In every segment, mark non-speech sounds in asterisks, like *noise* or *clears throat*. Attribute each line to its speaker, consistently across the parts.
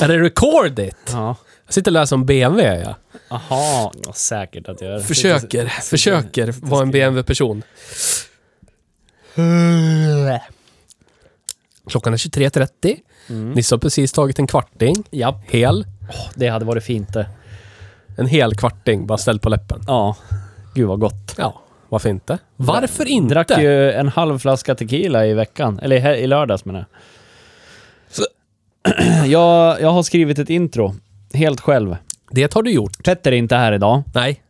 Speaker 1: Är det record it?
Speaker 2: Ja.
Speaker 1: Jag sitter och läser om BMW. Ja.
Speaker 2: Aha, ja, säkert att jag gör.
Speaker 1: Försöker, försöker vara en BMW-person. Klockan är 23.30. Nisse har precis tagit en kvarting.
Speaker 2: Japp,
Speaker 1: Hel.
Speaker 2: det hade varit fint det.
Speaker 1: En hel kvarting, bara ställd på läppen.
Speaker 2: Ja. Gud vad gott.
Speaker 1: Ja, varför inte? Varför inte?
Speaker 2: Drack ju en halv flaska tequila i veckan. Eller i hel- i lördags menar jag. *clears throat* jag. Jag har skrivit ett intro. Helt själv.
Speaker 1: Det har du gjort.
Speaker 2: Petter är inte här idag,
Speaker 1: Nej,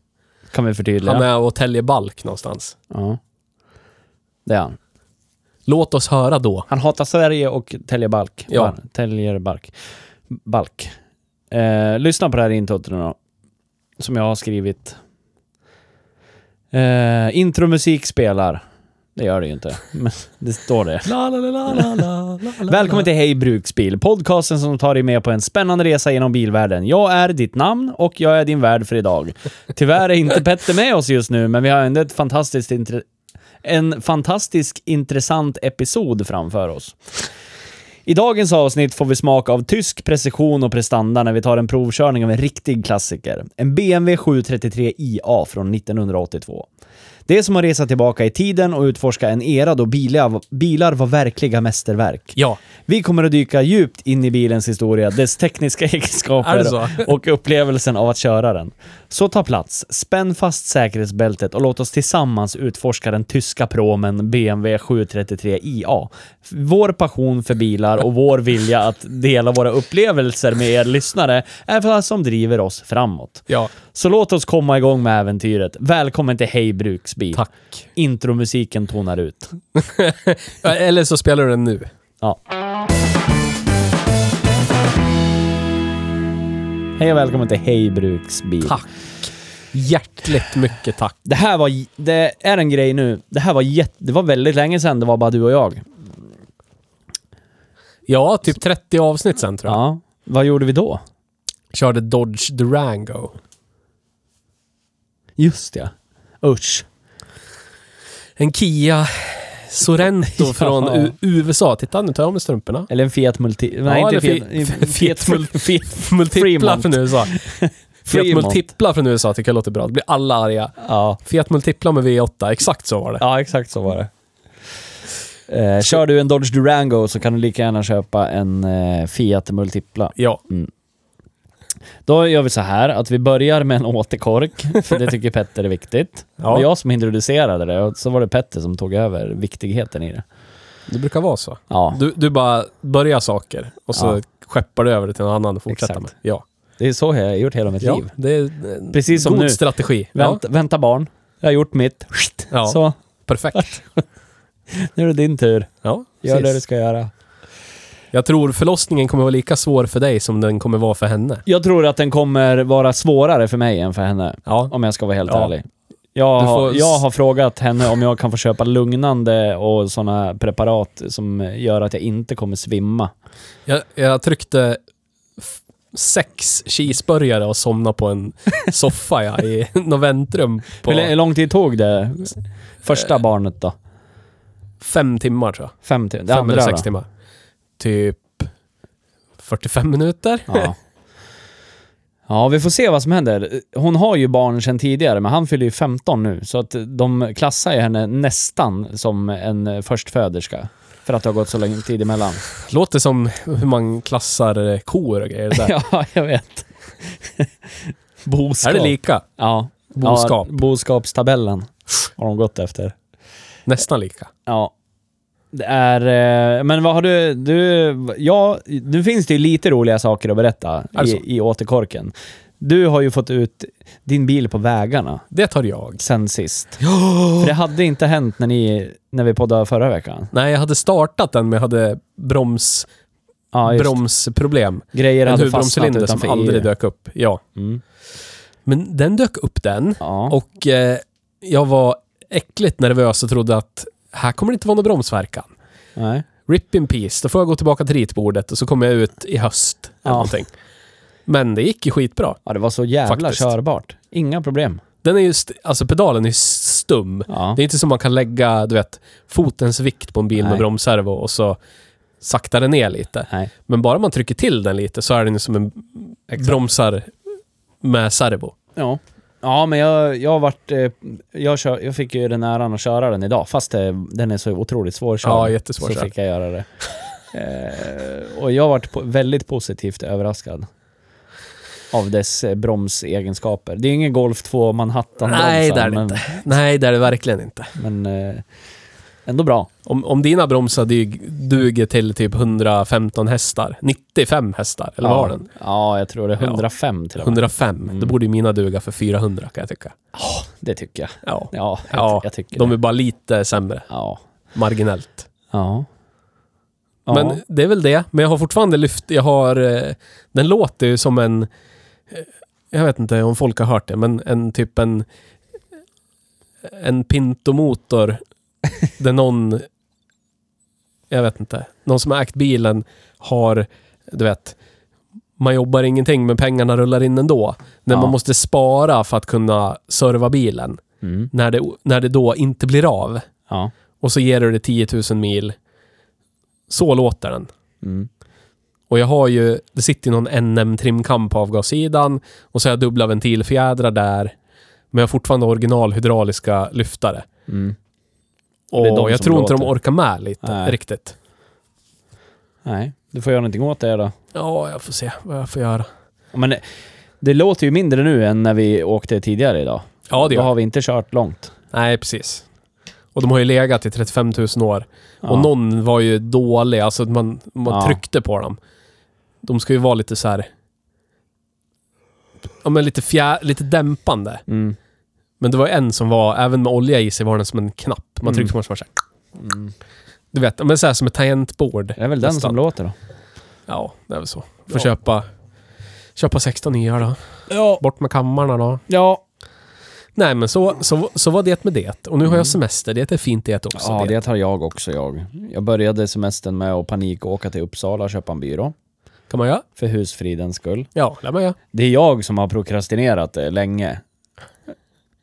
Speaker 2: kan vi förtydliga.
Speaker 1: han är och täljer balk någonstans.
Speaker 2: Ja. Det är han.
Speaker 1: Låt oss höra då.
Speaker 2: Han hatar Sverige och täljer balk.
Speaker 1: Ja.
Speaker 2: Bar- Täljer bark. Balk. Eh, lyssna på det här introt nu då. Som jag har skrivit. Eh, intromusik spelar. Det gör det ju inte. *laughs* Men det står det.
Speaker 1: La, la, la, la, la, la, la, la.
Speaker 2: Välkommen till Hej Bruksbil, podcasten som tar dig med på en spännande resa genom bilvärlden. Jag är ditt namn och jag är din värd för idag. Tyvärr är inte Petter med oss just nu, men vi har ändå ett fantastiskt intre- en fantastisk intressant episod framför oss. I dagens avsnitt får vi smak av tysk precision och prestanda när vi tar en provkörning av en riktig klassiker. En BMW 733 IA från 1982. Det är som att resa tillbaka i tiden och utforska en era då bilar, bilar var verkliga mästerverk.
Speaker 1: Ja,
Speaker 2: Vi kommer att dyka djupt in i bilens historia, dess tekniska *laughs*
Speaker 1: Är det
Speaker 2: egenskaper
Speaker 1: så?
Speaker 2: *laughs* och upplevelsen av att köra den. Så ta plats, spänn fast säkerhetsbältet och låt oss tillsammans utforska den tyska pråmen BMW 733 IA. Vår passion för bilar och vår vilja att dela våra upplevelser med er lyssnare är vad som driver oss framåt.
Speaker 1: ja.
Speaker 2: Så låt oss komma igång med äventyret. Välkommen till Hej Bruksbil.
Speaker 1: Tack.
Speaker 2: Intromusiken tonar ut.
Speaker 1: Eller så spelar du den nu.
Speaker 2: Ja. Hej och välkommen till Hej Bruksbil.
Speaker 1: Tack. Hjärtligt mycket tack.
Speaker 2: Det här var, j- det är en grej nu. Det här var jätte, det var väldigt länge sedan det var bara du och jag.
Speaker 1: Ja, typ 30 avsnitt sen tror jag.
Speaker 2: Ja. Vad gjorde vi då?
Speaker 1: Körde Dodge Durango.
Speaker 2: Just det. Usch.
Speaker 1: En Kia
Speaker 2: *laughs*
Speaker 1: Sorento från U- USA. Titta, nu tar jag av mig strumporna.
Speaker 2: Eller en Fiat Multi... Nej,
Speaker 1: Ja,
Speaker 2: inte
Speaker 1: eller
Speaker 2: *laughs* Fiat...
Speaker 1: Fi- Fiat Mul-
Speaker 2: Fiat
Speaker 1: Multipla
Speaker 2: Fremont.
Speaker 1: från USA. Fiat
Speaker 2: Fremont.
Speaker 1: Multipla från USA tycker jag låter bra. Det blir alla arga.
Speaker 2: Ja.
Speaker 1: Fiat Multipla med V8, exakt så var det.
Speaker 2: ja, exakt så var det. Eh, kör du en Dodge Durango så kan du lika gärna köpa en eh, Fiat Multipla.
Speaker 1: Ja.
Speaker 2: Då gör vi så här att vi börjar med en återkork, för det tycker Petter är viktigt.
Speaker 1: *laughs*
Speaker 2: Det
Speaker 1: Ja.
Speaker 2: var jag som introducerade det och så var det Petter som tog över viktigheten i det.
Speaker 1: Det brukar vara så.
Speaker 2: Ja,
Speaker 1: Du, du bara börjar saker och så
Speaker 2: Ja.
Speaker 1: skeppar du över det till någon annan och fortsätter
Speaker 2: Exakt.
Speaker 1: med. Ja.
Speaker 2: det är så jag har gjort hela mitt
Speaker 1: ja,
Speaker 2: liv.
Speaker 1: det är en
Speaker 2: Precis som
Speaker 1: god
Speaker 2: nu.
Speaker 1: strategi. Ja,
Speaker 2: Vänta, vänta barn, jag har gjort mitt. Skit.
Speaker 1: Ja.
Speaker 2: Så, *laughs*
Speaker 1: perfekt.
Speaker 2: nu är det din tur.
Speaker 1: Ja,
Speaker 2: Gör det du
Speaker 1: precis.
Speaker 2: ska göra.
Speaker 1: Jag tror förlossningen kommer vara lika svår för dig som den kommer vara för henne.
Speaker 2: Jag tror att den kommer vara svårare för mig än för henne,
Speaker 1: Ja.
Speaker 2: om jag ska vara helt
Speaker 1: Ja.
Speaker 2: ärlig. Jag
Speaker 1: Du
Speaker 2: har,
Speaker 1: får-
Speaker 2: jag har frågat henne om jag kan få köpa lugnande och sådana preparat som gör att jag inte kommer svimma.
Speaker 1: Jag, jag tryckte f- sex cheeseburgare och somnade på
Speaker 2: *laughs*
Speaker 1: en soffa ja, i något väntrum på Eh,
Speaker 2: Hur, lä- hur lång tid tog det första barnet då?
Speaker 1: fem timmar tror jag.
Speaker 2: Fem timmar? Det
Speaker 1: fem eller
Speaker 2: andra
Speaker 1: sex
Speaker 2: då?
Speaker 1: timmar. Typ 45 minuter.
Speaker 2: Ja. ja, vi får se vad som händer. Hon har ju barn sedan tidigare, men han fyller ju 15 nu. Så att de klassar ju henne nästan som en förstföderska. För att det har gått så lång
Speaker 1: *laughs*
Speaker 2: tid emellan.
Speaker 1: Låter som hur man klassar eh, kor och grejer
Speaker 2: *laughs*
Speaker 1: där.
Speaker 2: ja, jag vet. Boskap.
Speaker 1: Är det lika?
Speaker 2: Ja.
Speaker 1: Boskap.
Speaker 2: Ja, boskapstabellen har de gått efter.
Speaker 1: Nästan lika.
Speaker 2: Ja. Det är... eh, Men vad har du... du ja, nu finns det ju lite roliga saker att berätta
Speaker 1: Alltså.
Speaker 2: i, i återkorken. Du har ju fått ut din bil på vägarna
Speaker 1: Det tar jag.
Speaker 2: sen sist. För det hade inte hänt när, ni, när vi poddade förra veckan.
Speaker 1: Nej, jag hade startat den men jag hade broms,
Speaker 2: Ja, just.
Speaker 1: bromsproblem.
Speaker 2: Grejer
Speaker 1: En
Speaker 2: hade fastnat
Speaker 1: huvudbromscylinder som
Speaker 2: utanför
Speaker 1: aldrig
Speaker 2: EU.
Speaker 1: dök upp. Ja.
Speaker 2: Mm.
Speaker 1: Men den dök upp den.
Speaker 2: Ja.
Speaker 1: Och eh, jag var äckligt nervös och trodde att här kommer det inte vara någon bromsverkan.
Speaker 2: Nej.
Speaker 1: Rip in peace, då får jag gå tillbaka till ritbordet och så kommer jag ut i höst.
Speaker 2: Ja.
Speaker 1: Eller någonting. Men det gick ju skitbra.
Speaker 2: ja, det var så jävla
Speaker 1: Faktiskt.
Speaker 2: körbart. Inga problem.
Speaker 1: Den är ju, st- alltså pedalen är ju stum.
Speaker 2: Ja.
Speaker 1: Det är inte som man kan lägga, du vet, fotens vikt på en bil
Speaker 2: Nej.
Speaker 1: med bromsservo och så saktar den ner lite.
Speaker 2: Nej.
Speaker 1: Men bara man trycker till den lite så är den ju som en bromsar med servo.
Speaker 2: Ja. Ja, men jag, jag har varit... eh, Jag, kör, jag fick ju den äran att köra den idag, fast det, den är så otroligt svårkörd.
Speaker 1: Ja, jättesvårkörd.
Speaker 2: Så fick jag göra det. eh, och jag har varit po- väldigt positivt överraskad av dess eh, bromsegenskaper. Det är ingen Golf 2 Manhattan-bromsar,
Speaker 1: Nej, det är det
Speaker 2: men,
Speaker 1: inte. Nej, det är det verkligen inte.
Speaker 2: men eh, ändå bra.
Speaker 1: Om, om dina bromsar dyg- duger till typ 115 hästar, 95 hästar, eller vad
Speaker 2: ja.
Speaker 1: har den?
Speaker 2: Ja, jag tror det är
Speaker 1: Ja.
Speaker 2: 105 till och med.
Speaker 1: 105. Då
Speaker 2: Mm.
Speaker 1: borde ju mina duga för 400 kan jag tycka.
Speaker 2: Det tycker jag.
Speaker 1: Ja.
Speaker 2: Ja, jag,
Speaker 1: Ja,
Speaker 2: jag tycker
Speaker 1: De
Speaker 2: det.
Speaker 1: är bara lite sämre,
Speaker 2: Ja.
Speaker 1: marginellt.
Speaker 2: Ja. ja.
Speaker 1: Men det är väl det. Men jag har fortfarande lyft, jag har... eh, Den låter ju som en... eh, Jag vet inte om folk har hört det, men en typ en... En
Speaker 2: *laughs*
Speaker 1: Pinto-motor där någon... Jag vet inte. Någon som har ägt bilen har, du vet, man jobbar ingenting men pengarna rullar in ändå. När
Speaker 2: Ja.
Speaker 1: man måste spara för att kunna serva bilen.
Speaker 2: Mm.
Speaker 1: när det, när det då inte blir av
Speaker 2: Ja.
Speaker 1: och så ger du det 10 000 mil. Så låter den.
Speaker 2: Mm.
Speaker 1: Och jag har ju, det sitter ju någon NM-trimkam på avgassidan och så har jag dubbla ventilfjädrar där. Men jag har fortfarande original hydrauliska lyftare.
Speaker 2: Mm.
Speaker 1: Och
Speaker 2: det är de
Speaker 1: jag
Speaker 2: som
Speaker 1: tror inte de
Speaker 2: låter.
Speaker 1: orkar med lite
Speaker 2: Nej.
Speaker 1: riktigt.
Speaker 2: Nej, du får göra någonting åt det då.
Speaker 1: Ja, jag får se vad jag får göra.
Speaker 2: Men det, det låter ju mindre nu än när vi åkte tidigare idag.
Speaker 1: Ja, det
Speaker 2: Då
Speaker 1: gör
Speaker 2: har
Speaker 1: jag.
Speaker 2: vi inte kört långt.
Speaker 1: Nej, precis. Och de har ju legat i 35 000 år.
Speaker 2: Ja.
Speaker 1: Och någon var ju dålig, alltså att man, man
Speaker 2: Ja.
Speaker 1: tryckte på dem. De ska ju vara lite så här... Ja, men lite, fjär, lite dämpande.
Speaker 2: Mm.
Speaker 1: Men det var en som var, även med olja i sig, var den som en knapp. Man
Speaker 2: Mm.
Speaker 1: tryckte på den som var så här. Du vet, ja, men så här som ett tangentbord.
Speaker 2: Det är väl den
Speaker 1: Mm. Nästan.
Speaker 2: som låter då.
Speaker 1: Ja, det är väl så. Får
Speaker 2: Ja.
Speaker 1: köpa, köpa 16 nya då.
Speaker 2: Ja.
Speaker 1: Bort med kammarna då.
Speaker 2: Ja.
Speaker 1: Nej, men så, så, så var det med det. Och nu har jag semester. Det är fint Alltså, det också.
Speaker 2: Mm. Ja, det tar jag också jag. Jag började semestern med att panikåka till Uppsala och köpa en byrå.
Speaker 1: Kan man göra?
Speaker 2: För husfridens skull.
Speaker 1: Ja, lär man göra.
Speaker 2: Det är jag som har prokrastinerat det länge.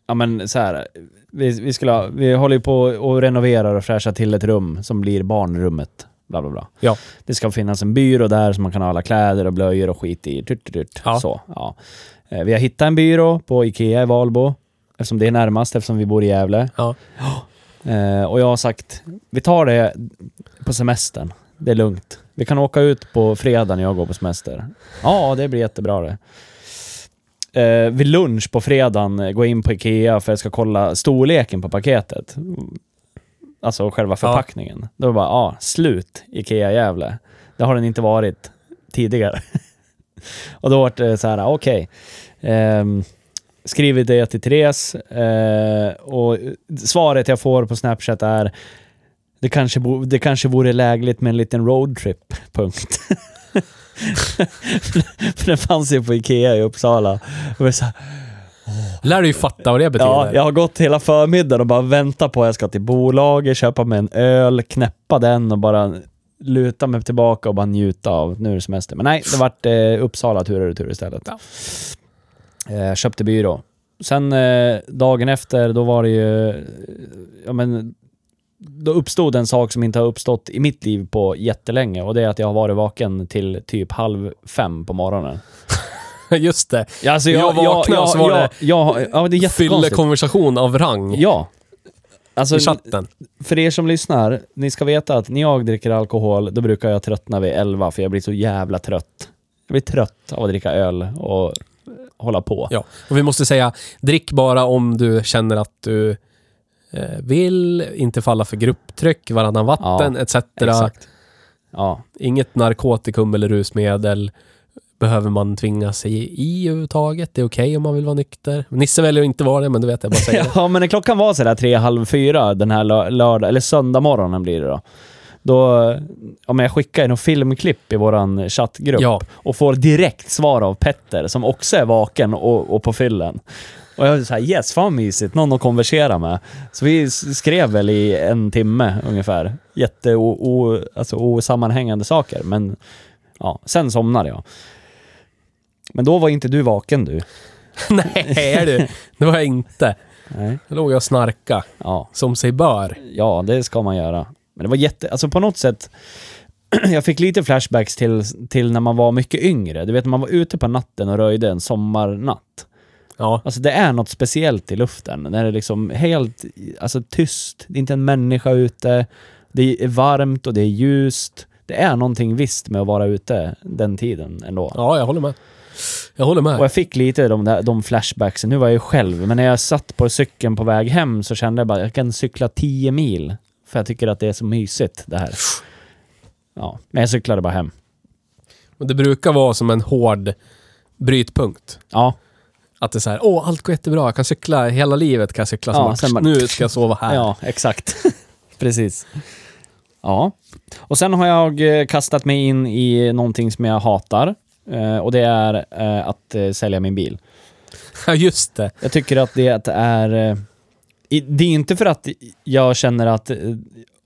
Speaker 2: Ja men så här. Vi, vi, skulle ha, vi håller ju på och renoverar och fräschar till ett rum som blir barnrummet. Bla bla bla.
Speaker 1: Ja.
Speaker 2: Det ska finnas en byrå där som man kan ha alla kläder och blöjor och skit i. Tut, tut, tut.
Speaker 1: Ja.
Speaker 2: Så, ja. Eh, Vi har hittat en byrå på Ikea i Valbo. Eftersom det är närmast, eftersom vi bor i Gävle.
Speaker 1: Ja.
Speaker 2: Eh, och jag har sagt, vi tar det på semestern. Det är lugnt. Vi kan åka ut på fredag när jag går på semester. Ja, det blir jättebra det. Eh, vid lunch på fredagen eh, går jag in på Ikea för jag ska kolla storleken på paketet. Alltså själva förpackningen. Då var det bara, ja, slut Ikea Gävle. Det har den inte varit tidigare. *laughs* och då var det så här, okej. Ehm, skrivit det till Therese eh, och svaret jag får på Snapchat är det kanske, bo- det kanske vore lägligt med en liten roadtrip, punkt. *laughs* För den fanns ju på Ikea i Uppsala. Och jag, så här,
Speaker 1: Lär du ju fatta vad det betyder.
Speaker 2: ja, jag har gått hela förmiddagen och bara väntat på att jag ska till bolaget, köpa mig en öl, knäppa den och bara luta mig tillbaka och bara njuta av nu är det semester. Men nej, det vart eh, Uppsala tur och retur istället.
Speaker 1: Ja.
Speaker 2: Eh, köpte byrå. Sen eh, dagen efter, då var det ju... eh, Ja, men, då uppstod en sak som inte har uppstått i mitt liv på jättelänge och det är att jag har varit vaken till typ halv fem på morgonen.
Speaker 1: *laughs* Just det.
Speaker 2: Ja, alltså,
Speaker 1: Jag vaknade och så var det-
Speaker 2: jag, jag, ja, det är
Speaker 1: Fyller
Speaker 2: jättekonstigt.
Speaker 1: konversation av rang
Speaker 2: Ja. Alltså,
Speaker 1: i chatten.
Speaker 2: för er som lyssnar, ni ska veta att när jag dricker alkohol, då brukar jag tröttna vid 11 för jag blir så jävla trött. Jag blir trött av att dricka öl och hålla på.
Speaker 1: Ja, och vi måste säga drick bara om du känner att du eh, vill, inte falla för grupptryck, varannan vatten, etc.
Speaker 2: Exakt. Ja,
Speaker 1: Inget narkotikum eller rusmedel behöver man tvinga sig i överhuvudtaget. Det är okej om man vill vara nykter. Nisse väljer att inte vara det, men du vet, jag bara säger
Speaker 2: *laughs*
Speaker 1: det.
Speaker 2: Ja, men när klockan var sådär tre, halv fyra den här lö- lördag, eller söndag morgonen blir det då. Då, ja, men jag skickar en filmklipp i våran chattgrupp
Speaker 1: Ja. *laughs*
Speaker 2: och får direkt svar av Petter som också är vaken och, och på fyllen. Och jag var såhär, yes, fan mysigt, någon att konversera med. Så vi s- skrev väl i en timme ungefär. Jätte o, o, alltså, osammanhängande saker, men ja, sen somnade jag. Men då var inte du vaken du.
Speaker 1: Nej, du. Det var jag inte.
Speaker 2: Nej.
Speaker 1: Då låg jag och snarka
Speaker 2: Ja.
Speaker 1: som sig bör.
Speaker 2: Ja, det ska man göra. Men det var jätte... Alltså på något sätt... *clears throat* Jag fick lite flashbacks till, till när man var mycket yngre. Du vet, när man var ute på natten och röjde en sommarnatt.
Speaker 1: Ja,
Speaker 2: Alltså det är något speciellt i luften. När det är liksom helt alltså, tyst, det är inte en människa ute. Det är varmt och det är ljust. Det är någonting visst med att vara ute den tiden ändå.
Speaker 1: ja jag håller med. Jag håller med.
Speaker 2: Och jag fick lite de, där, de flashbacksen. Nu var jag ju själv, men när jag satt på cykeln på väg hem så kände jag bara jag kan cykla 10 mil. För jag tycker att det är så mysigt det här. Ja, men jag cyklade bara hem.
Speaker 1: Men det brukar vara som en hård brytpunkt.
Speaker 2: Ja,
Speaker 1: Att det är så här, åh, allt går jättebra, jag kan cykla, hela livet kan jag cykla.
Speaker 2: Ja,
Speaker 1: Ja,
Speaker 2: sen bara-
Speaker 1: Nu ska jag sova här.
Speaker 2: ja exakt. *laughs* Precis. Ja. Och sen har jag eh, kastat mig in i någonting som jag hatar. eh, Och det är eh, att eh, sälja min bil.
Speaker 1: *laughs* Ja, just det.
Speaker 2: Jag tycker att det är... eh, i- Det är inte för att jag känner att eh,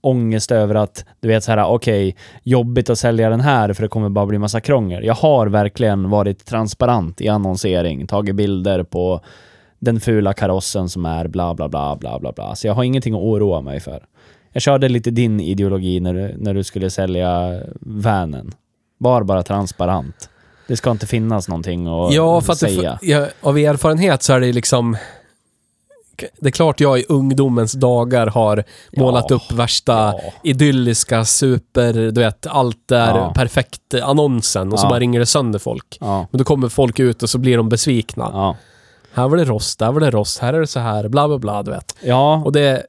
Speaker 2: ångest över att, du vet så här, okej, jobbigt att sälja den här för det kommer bara bli massa krångel. Jag har verkligen varit transparent i annonsering, tagit bilder på den fula karossen som är bla bla bla bla bla bla. Så jag har ingenting att oroa mig för. Jag körde lite din ideologi när du, när du skulle sälja vanen. Var bara transparent. Det ska inte finnas någonting att
Speaker 1: Ja, för att det,
Speaker 2: säga.
Speaker 1: ja, av erfarenhet så är det liksom... Det är klart jag i ungdomens dagar har målat upp värsta
Speaker 2: ja.
Speaker 1: idylliska super, du vet, allt är
Speaker 2: Ja.
Speaker 1: perfekt annonsen och så
Speaker 2: Ja.
Speaker 1: bara ringer det sönder folk.
Speaker 2: ja.
Speaker 1: Men då kommer folk ut och så blir de besvikna.
Speaker 2: Ja.
Speaker 1: Här var det rost, där var det rost, här är det så här, bla bla bla, du vet.
Speaker 2: Ja,
Speaker 1: Och det,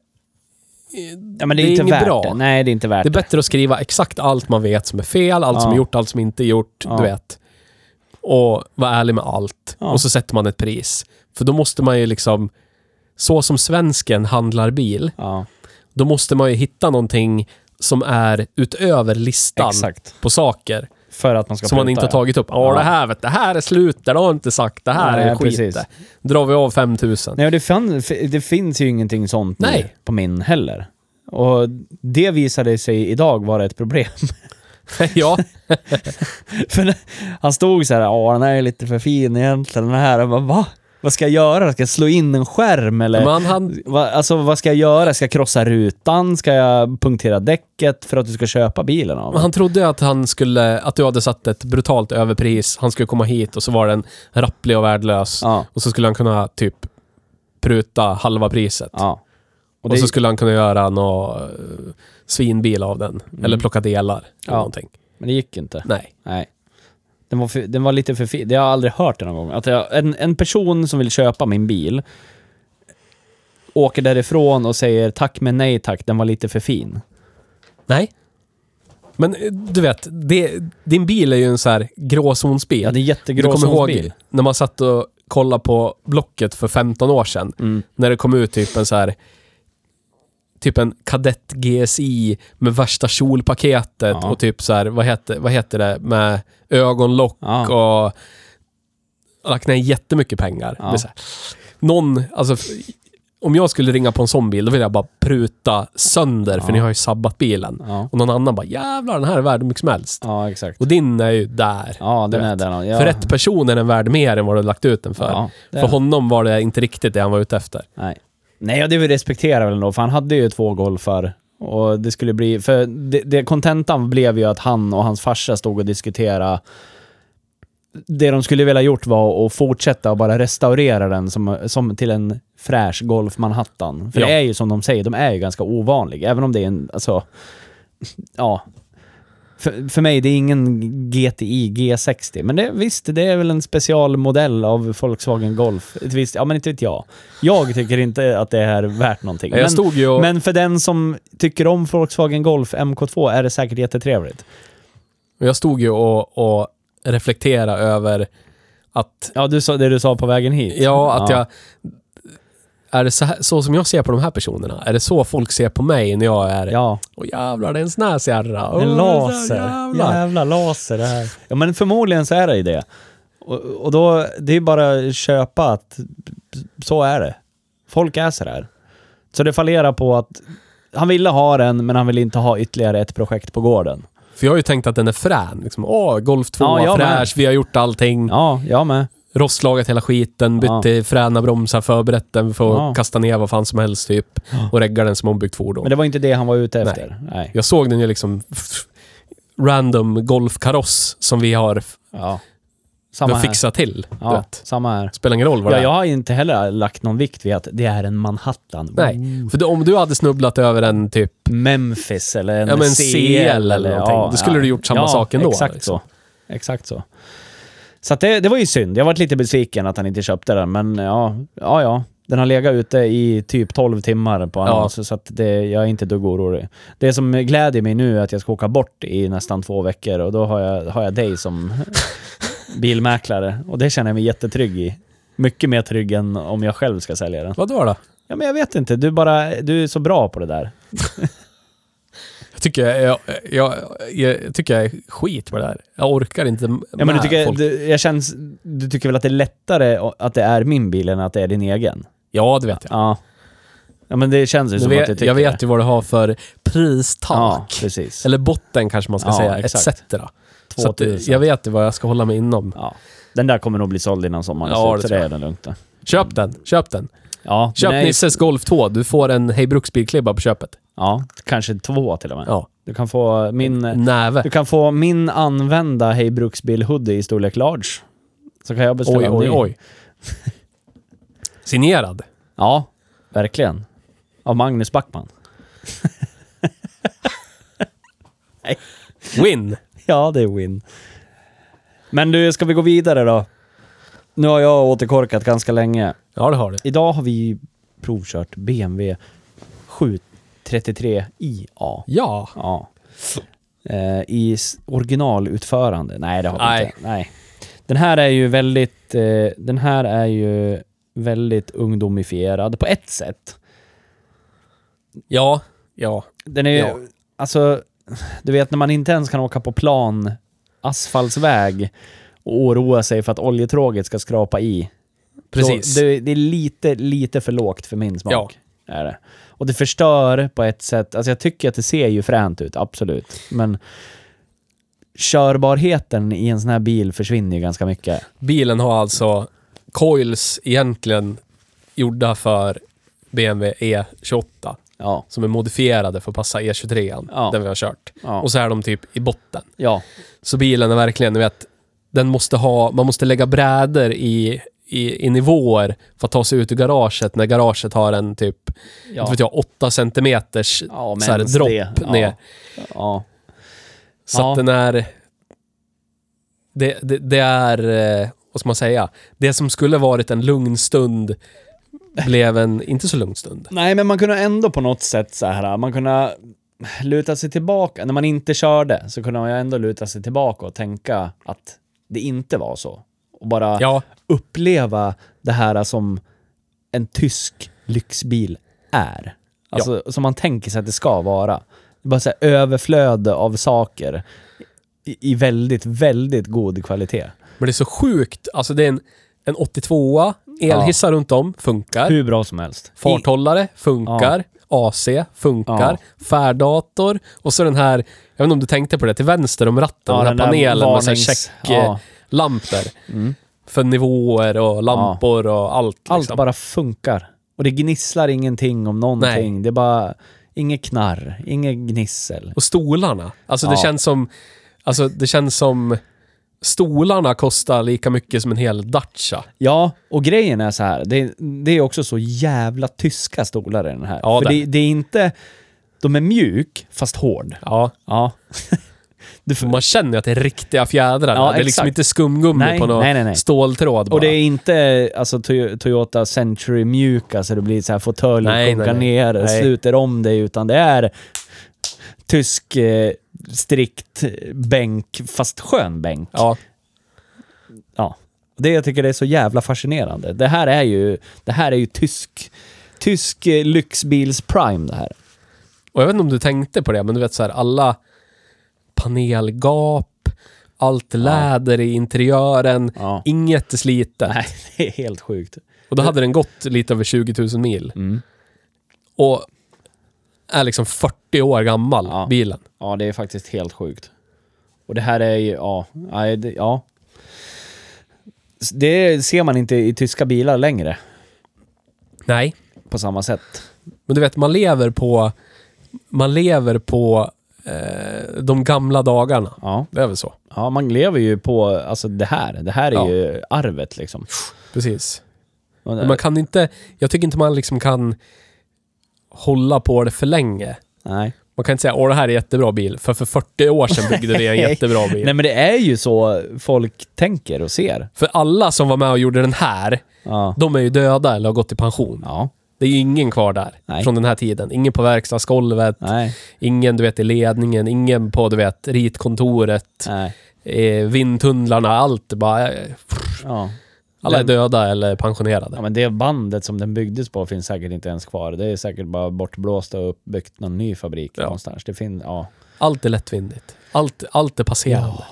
Speaker 2: ja men det är,
Speaker 1: det är
Speaker 2: inte
Speaker 1: inget
Speaker 2: värt
Speaker 1: bra.
Speaker 2: det. Nej, det är inte värt
Speaker 1: det
Speaker 2: det.
Speaker 1: är bättre att skriva exakt allt man vet som är fel, allt som
Speaker 2: Ja.
Speaker 1: är gjort, allt som inte är gjort,
Speaker 2: Ja.
Speaker 1: du vet. Och vara ärlig med allt.
Speaker 2: Ja.
Speaker 1: Och så sätter man ett pris. För då måste man ju liksom, så som svensken handlar bil,
Speaker 2: Ja,
Speaker 1: då måste man ju hitta någonting som är utöver listan
Speaker 2: exakt.
Speaker 1: på saker
Speaker 2: För att man ska
Speaker 1: som man
Speaker 2: pruta,
Speaker 1: inte har
Speaker 2: ja.
Speaker 1: tagit upp. Ja,
Speaker 2: Ja.
Speaker 1: det här vet du, det här är slut, det har jag inte sagt, det här
Speaker 2: Nej,
Speaker 1: är skit.
Speaker 2: precis.
Speaker 1: det. drar vi av 5000.
Speaker 2: Nej, och det, fan, det finns ju ingenting sånt nu
Speaker 1: Nej.
Speaker 2: på min heller. Och det visade sig idag vara ett problem.
Speaker 1: *laughs*
Speaker 2: *laughs*
Speaker 1: ja,
Speaker 2: För när- han stod så här, ja den här är lite för fin egentligen, den här. Jag bara, va? Vad ska jag göra? Ska jag slå in en skärm eller?
Speaker 1: men han,
Speaker 2: Va, alltså vad ska jag göra? Ska jag krossa rutan? Ska jag punktera däcket för att du ska köpa bilen av mig?
Speaker 1: han trodde ju att han skulle, att du hade satt ett brutalt överpris, han skulle komma hit och så var den rapplig och värdelös.
Speaker 2: Ja.
Speaker 1: Och så skulle han kunna typ pruta halva priset.
Speaker 2: ja.
Speaker 1: Och,
Speaker 2: det-
Speaker 1: så skulle han kunna göra någon eh, svinbil av den. Eller plocka delar.
Speaker 2: Mm. Ja.
Speaker 1: Eller någonting.
Speaker 2: Men det gick inte.
Speaker 1: Nej.
Speaker 2: Nej. Den var, för, den var lite för fin. Det har jag aldrig hört det någon gång. Att jag, en, en person som vill köpa min bil åker därifrån och säger tack men nej tack, den var lite för fin.
Speaker 1: Nej. Men eh, du vet, det, din bil är ju en så här gråzonsbil.
Speaker 2: Ja, det är en
Speaker 1: du
Speaker 2: jättegrå
Speaker 1: kommer ihåg
Speaker 2: bil.
Speaker 1: när man satt och kollade på Blocket för 15 år sedan.
Speaker 2: Mm.
Speaker 1: När det kom ut typ en så här typ en kadett GSI med värsta kjolpaketet
Speaker 2: Ja.
Speaker 1: och typ så här, vad heter, vad heter det, med ögonlock
Speaker 2: Ja.
Speaker 1: och lagt ner jättemycket pengar.
Speaker 2: Ja.
Speaker 1: Det är så här, någon, alltså f- om jag skulle ringa på en sån bil, då vill jag bara pruta sönder för
Speaker 2: Ja.
Speaker 1: ni har ju sabbat bilen.
Speaker 2: Ja.
Speaker 1: Och någon annan bara, jävlar den här är värd hur mycket som helst.
Speaker 2: ja, exakt.
Speaker 1: Och din är ju där.
Speaker 2: Ja, den
Speaker 1: Du
Speaker 2: är
Speaker 1: vet.
Speaker 2: där. Ja.
Speaker 1: För rätt person är den värd mer än vad du har lagt ut den för.
Speaker 2: Ja, det är
Speaker 1: för
Speaker 2: den.
Speaker 1: honom var det inte riktigt det han var ute efter.
Speaker 2: Nej. Nej, och det vi respekterar väl ändå, för han hade ju två golfar. Och det skulle bli, för det- det- kontentan blev ju att han och hans farsa stod och diskuterade det de skulle vilja gjort var att fortsätta och bara restaurera den som, som till en fräsch Golf Manhattan. För
Speaker 1: Ja.
Speaker 2: det är ju som de säger, de är ju ganska ovanliga. Även om det är en, alltså, ja. För, för mig, det är ingen GTI G60, men det, visst, det är väl en specialmodell av Volkswagen Golf. Ett visst, ja men inte vet jag. Jag tycker inte att det är värt någonting.
Speaker 1: Jag
Speaker 2: Men,
Speaker 1: stod ju och...
Speaker 2: men för den som tycker om Volkswagen Golf MK2 är det säkert jättetrevligt.
Speaker 1: Jag stod ju och, och reflekterade över att,
Speaker 2: Ja, du sa det du sa på vägen hit.
Speaker 1: ja, att jag... Är det så, här, så som jag ser på de här personerna? Är det så folk ser på mig när jag är...
Speaker 2: Ja,
Speaker 1: Åh jävlar, det är en snäsjärra. Åh,
Speaker 2: en laser.
Speaker 1: Jävlar.
Speaker 2: Jävla laser det här. Ja, men förmodligen så är det ju det. Och, och då, det är bara att köpa att så är det. Folk är så där. Så det fallerar på att han ville ha den, men han ville inte ha ytterligare ett projekt på gården.
Speaker 1: För jag har ju tänkt att den är frän. Liksom, åh, Golf 2,
Speaker 2: Ja, jag
Speaker 1: fräsch, vi har gjort allting.
Speaker 2: Ja, jag med.
Speaker 1: Rostlagat hela skiten, bytt
Speaker 2: Ja.
Speaker 1: till fräna bromsar, förberett den för att
Speaker 2: Ja.
Speaker 1: kasta ner vad fan som helst typ. Och reggar den som ombyggt fordon.
Speaker 2: Men det var inte det han var ute
Speaker 1: Nej.
Speaker 2: efter. Nej.
Speaker 1: Jag såg den ju liksom f- random golfkaross som vi har, f-
Speaker 2: Ja.
Speaker 1: vi
Speaker 2: Samma
Speaker 1: har
Speaker 2: här.
Speaker 1: fixat till. du
Speaker 2: Ja,
Speaker 1: vet.
Speaker 2: samma här.
Speaker 1: Spelar ingen roll vad
Speaker 2: Ja,
Speaker 1: det är.
Speaker 2: jag har inte heller lagt någon vikt vid att det är en Manhattan. Mm.
Speaker 1: Nej, för det, om du hade snubblat över en typ
Speaker 2: Memphis eller en
Speaker 1: Ja, men
Speaker 2: CL,
Speaker 1: CL eller någonting. Då skulle du gjort samma sak ändå,
Speaker 2: Exakt
Speaker 1: liksom.
Speaker 2: så. Exakt så. Så att det, det var ju synd. Jag varit lite besviken att han inte köpte den, men ja, ja, ja. Den har legat ute i typ 12 timmar på annons, så att det, jag är inte ett dugg orolig. Det som glädjer mig nu är att jag ska åka bort i nästan två veckor och då har jag, har jag
Speaker 1: *laughs*
Speaker 2: dig som bilmäklare. Och det känner jag mig jättetrygg i. Mycket mer trygg än om jag själv ska sälja den.
Speaker 1: Vadå då?
Speaker 2: Ja, men jag vet inte. Du, bara, du är så bra på det där.
Speaker 1: Jag tycker jag, jag, jag, jag tycker jag är skit med det här. Jag orkar inte
Speaker 2: Ja, men du, tycker, du, jag känns, du tycker väl att det är lättare o- att det är min bil än att det är din egen?
Speaker 1: Ja, det vet jag.
Speaker 2: Ja. Ja, men det känns ju
Speaker 1: Du
Speaker 2: som att du
Speaker 1: vet,
Speaker 2: tycker
Speaker 1: jag vet
Speaker 2: det.
Speaker 1: ju vad du har för
Speaker 2: Ja,
Speaker 1: pristak.
Speaker 2: precis.
Speaker 1: Eller botten kanske man ska
Speaker 2: Ja,
Speaker 1: säga,
Speaker 2: exakt.
Speaker 1: etc. Så att, eh,
Speaker 2: 2000.
Speaker 1: jag vet ju vad jag ska hålla mig inom.
Speaker 2: Ja. Den där kommer nog bli såld innan sommaren
Speaker 1: Ja,
Speaker 2: ja,
Speaker 1: det
Speaker 2: så
Speaker 1: tror
Speaker 2: det
Speaker 1: jag.
Speaker 2: är den lugnt. då.
Speaker 1: Köp den, köp den.
Speaker 2: Ja,
Speaker 1: Köp
Speaker 2: den är ju-
Speaker 1: Nisses Golf 2. Du får en Hej Bruksbilklibba på köpet.
Speaker 2: Ja, kanske två till och med.
Speaker 1: Ja. Mm.
Speaker 2: Du kan få min...
Speaker 1: Näve.
Speaker 2: Du kan få min använda Hej Bruksbil hoodie i storlek large. Så kan jag beställa
Speaker 1: Oj,
Speaker 2: en
Speaker 1: oj,
Speaker 2: ny.
Speaker 1: oj. Signerad.
Speaker 2: Ja, verkligen. Av Magnus Backman.
Speaker 1: Win.
Speaker 2: *laughs* Ja, det är win. Men du, ska vi gå vidare då? Nu har jag återkorkat ganska länge.
Speaker 1: Ja, det har du.
Speaker 2: Idag har vi provkört BMW 733iA.
Speaker 1: Ja.
Speaker 2: Ja. Eh, I s- originalutförande. Nej, det har vi
Speaker 1: Nej.
Speaker 2: inte. Nej. Den här är ju väldigt... Eh, den här är ju väldigt ungdomifierad på ett sätt.
Speaker 1: Ja. Ja.
Speaker 2: Den är ju...
Speaker 1: Ja.
Speaker 2: Alltså, du vet när man inte ens kan åka på plan asfaltsväg och oroa sig för att oljetråget ska skrapa i.
Speaker 1: Precis.
Speaker 2: Så det, det är lite, lite för lågt för min smak. Är det. Och det förstör på ett sätt. Alltså jag tycker att det ser ju fränt ut, absolut. Men körbarheten i en sån här bil försvinner ju ganska mycket.
Speaker 1: Bilen har alltså coils egentligen gjorda för BMW E28
Speaker 2: Ja.
Speaker 1: E som är modifierade för att passa E23,
Speaker 2: Ja.
Speaker 1: den vi har kört.
Speaker 2: Ja.
Speaker 1: Och så är de typ i botten.
Speaker 2: ja.
Speaker 1: Så bilen är verkligen, du vet, den måste ha, man måste lägga brädor i, i, i nivåer för att ta sig ut ur garaget när garaget har en typ,
Speaker 2: Ja.
Speaker 1: inte vet jag, 8 centimeters
Speaker 2: Ja, men
Speaker 1: så här,
Speaker 2: ens
Speaker 1: dropp
Speaker 2: det. Ja.
Speaker 1: ner.
Speaker 2: ja.
Speaker 1: Så
Speaker 2: Ja.
Speaker 1: att den är... Det, det, det är... eh, Vad ska man säga? Det som skulle varit en lugn stund blev en inte så lugn stund.
Speaker 2: Nej, men man kunde ändå på något sätt så här, man kunde luta sig tillbaka. När man inte körde så kunde man ju ändå luta sig tillbaka och tänka att det inte var så. Och bara
Speaker 1: Ja,
Speaker 2: uppleva det här som en tysk lyxbil är. Alltså som man tänker sig att det ska vara. Det är bara så här överflöd av saker i, i väldigt, väldigt god kvalitet.
Speaker 1: men det är så sjukt. Alltså det är en, en 82a, elhissar runt om, funkar.
Speaker 2: Hur bra som helst.
Speaker 1: Farthållare, funkar. AC, funkar. Färddator. Och så den här, jag vet inte om du tänkte på det, till vänster om ratten,
Speaker 2: Ja,
Speaker 1: den här
Speaker 2: den där
Speaker 1: panelen med
Speaker 2: varnings- ja. Mm.
Speaker 1: check-lampor. För nivåer och lampor och allt.
Speaker 2: Allt
Speaker 1: liksom.
Speaker 2: bara funkar. Och det gnisslar ingenting om någonting. Det är bara inget knarr, inget gnissel.
Speaker 1: Och stolarna. Alltså det
Speaker 2: Ja.
Speaker 1: känns som... Alltså det känns som... Stolarna kostar lika mycket som en hel Dacia.
Speaker 2: Ja, och grejen är så här. Det, det är också så jävla tyska stolar i den här.
Speaker 1: Ja,
Speaker 2: För
Speaker 1: det.
Speaker 2: det, det är inte... De är mjuk, fast hård.
Speaker 1: Ja.
Speaker 2: Ja. *laughs* Du får-
Speaker 1: Man känner ju att det är riktiga fjädrar.
Speaker 2: Ja,
Speaker 1: det är liksom
Speaker 2: exakt.
Speaker 1: inte skumgummi
Speaker 2: Nej,
Speaker 1: på någon
Speaker 2: nej, nej, nej.
Speaker 1: ståltråd bara.
Speaker 2: och det är inte alltså, Toy- Toyota Century mjuka så det blir så här
Speaker 1: Nej,
Speaker 2: fåtölj,
Speaker 1: nej,
Speaker 2: konkar
Speaker 1: nej.
Speaker 2: ner,
Speaker 1: Nej.
Speaker 2: sluter om dig, utan det är tysk eh, strikt bänk, fast skön bänk.
Speaker 1: Ja,
Speaker 2: Ja. Det jag tycker det är så jävla fascinerande. Det här är ju, det här är ju tysk, tysk eh, lyxbils prime det här.
Speaker 1: och jag vet inte om du tänkte på det, men du vet så här alla panelgap, allt läder i interiören,
Speaker 2: Ja.
Speaker 1: inget är slitet.
Speaker 2: Nej, det *laughs* är helt sjukt.
Speaker 1: Och då hade den gått lite över 20 000 mil.
Speaker 2: Mm.
Speaker 1: Och är liksom 40 år gammal,
Speaker 2: Ja.
Speaker 1: bilen.
Speaker 2: Ja, det är faktiskt helt sjukt. Och det här är ju, ja, nej, det- ja. S- Det ser man inte i tyska bilar längre
Speaker 1: Nej.
Speaker 2: på samma sätt.
Speaker 1: Men du vet, man lever på, man lever på eh, de gamla dagarna.
Speaker 2: Ja,
Speaker 1: Det är väl så?
Speaker 2: ja man lever ju på, alltså det här. Det här är
Speaker 1: Ja.
Speaker 2: ju arvet liksom.
Speaker 1: Precis.
Speaker 2: Och det-
Speaker 1: Men man kan inte, jag tycker inte man liksom kan hålla på det för länge.
Speaker 2: nej.
Speaker 1: Man kan inte säga åh det här är en jättebra bil, för för 40 år sedan byggde vi en
Speaker 2: *laughs* Nej.
Speaker 1: jättebra bil.
Speaker 2: nej, men det är ju så folk tänker och ser.
Speaker 1: För alla som var med och gjorde den här,
Speaker 2: Ja.
Speaker 1: de är ju döda eller har gått i pension.
Speaker 2: ja.
Speaker 1: Det är ju ingen kvar där
Speaker 2: Nej.
Speaker 1: från den här tiden. Ingen på verkstadsgolvet,
Speaker 2: Nej.
Speaker 1: ingen du vet i ledningen, ingen på du vet ritkontoret,
Speaker 2: Nej.
Speaker 1: eh, vindtunnlarna, allt bara... eh, pff,
Speaker 2: Ja.
Speaker 1: Alla är
Speaker 2: Men-
Speaker 1: döda eller pensionerade.
Speaker 2: ja, men det bandet som den byggdes på finns säkert inte ens kvar. Det är säkert bara bortblåst och uppbyggt någon ny fabrik
Speaker 1: Ja.
Speaker 2: någonstans. Det finns, ja.
Speaker 1: Allt är lättvindigt. Allt, allt är passerande.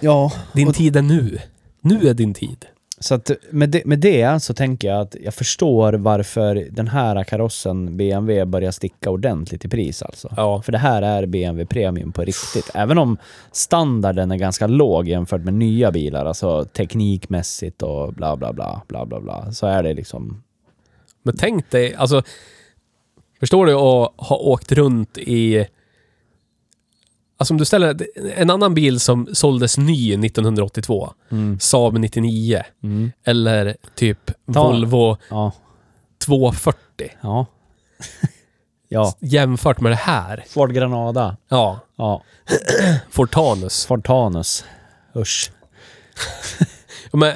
Speaker 2: Ja.
Speaker 1: Din tid är nu. Nu är din tid.
Speaker 2: Så att med det, med det så tänker jag att jag förstår varför den här karossen BMW börjar sticka ordentligt i pris alltså.
Speaker 1: Ja.
Speaker 2: För det här är BMW Premium på riktigt. Även om standarden är ganska låg jämfört med nya bilar, alltså teknikmässigt och bla bla bla, bla bla bla, så är det liksom...
Speaker 1: Men tänk dig, alltså... Förstår du att ha åkt runt i... Alltså om du ställer en annan bil som såldes ny 1982.
Speaker 2: Mm.
Speaker 1: Saab 99. Eller typ
Speaker 2: Ta-
Speaker 1: Volvo
Speaker 2: Ja.
Speaker 1: 240.
Speaker 2: Ja. *laughs* ja.
Speaker 1: Jämfört med det här.
Speaker 2: Ford Granada.
Speaker 1: Ja.
Speaker 2: Ja.
Speaker 1: Fortanus.
Speaker 2: Ford Tanus. Usch.
Speaker 1: Men, eh,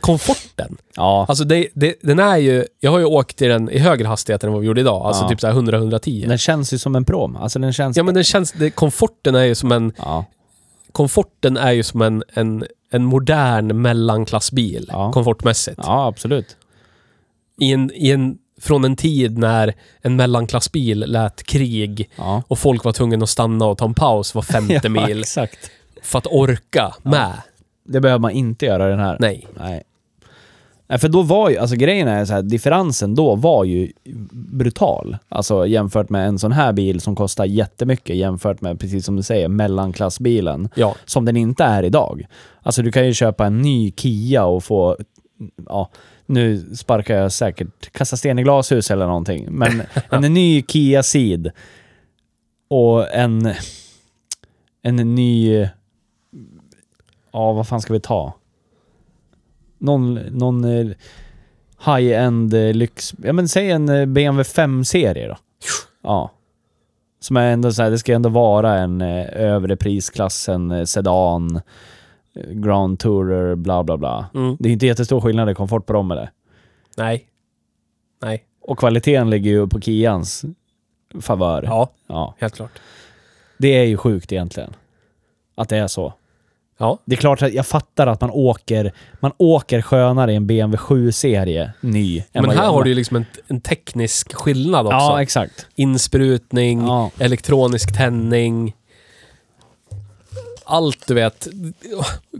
Speaker 1: komforten.
Speaker 2: Ja.
Speaker 1: Alltså det, det, den är ju, jag har ju åkt i den i högre hastighet än vad vi gjorde idag. Alltså
Speaker 2: Ja.
Speaker 1: typ såhär 100-110.
Speaker 2: Den känns ju som en prom. Alltså den känns...
Speaker 1: Ja men den känns, det, komforten är ju som en,
Speaker 2: Ja.
Speaker 1: komforten är ju som en, en, en modern mellanklassbil.
Speaker 2: Ja.
Speaker 1: Komfortmässigt.
Speaker 2: ja, absolut.
Speaker 1: I en, i en, från en tid när en mellanklassbil lät krig *laughs*
Speaker 2: Ja.
Speaker 1: och folk var tvungna att stanna och ta en paus var
Speaker 2: *laughs*
Speaker 1: femte mil
Speaker 2: exakt.
Speaker 1: för att orka med.
Speaker 2: Det behöver man inte göra i den här.
Speaker 1: Nej.
Speaker 2: Nej. Nej, för då var ju, alltså grejen är så här, differensen då var ju brutal. Alltså jämfört med en sån här bil som kostar jättemycket jämfört med, precis som du säger, mellanklassbilen.
Speaker 1: Ja.
Speaker 2: Som den inte är idag. Alltså du kan ju köpa en ny Kia och få, ja, nu sparkar jag säkert, kasta sten i glashus eller någonting. Men en ny Kia Ceed och en, en ny, ja vad fan ska vi ta? Någon, någon eh, high-end eh, lyx... Ja men säg en eh, BMW 5-serie då. Ja. Som är ändå så här, det ska ändå vara en eh, övre prisklassen eh, sedan, eh, Grand Tourer, bla bla bla.
Speaker 1: Mm.
Speaker 2: Det är inte jättestor skillnad i komfort på dem eller?
Speaker 1: Nej. Nej.
Speaker 2: Och kvaliteten ligger ju på Kians favör.
Speaker 1: Ja,
Speaker 2: ja.
Speaker 1: helt klart.
Speaker 2: Det är ju sjukt egentligen. Att det är så.
Speaker 1: Ja.
Speaker 2: Det är klart att jag fattar att man åker, man åker skönare i en BMW 7-serie ny. än
Speaker 1: Men
Speaker 2: vad
Speaker 1: här
Speaker 2: jag-
Speaker 1: har du ju liksom en, en teknisk skillnad också. Mm.
Speaker 2: Ja, exakt.
Speaker 1: insprutning,
Speaker 2: Ja.
Speaker 1: elektronisk tändning. Allt du vet.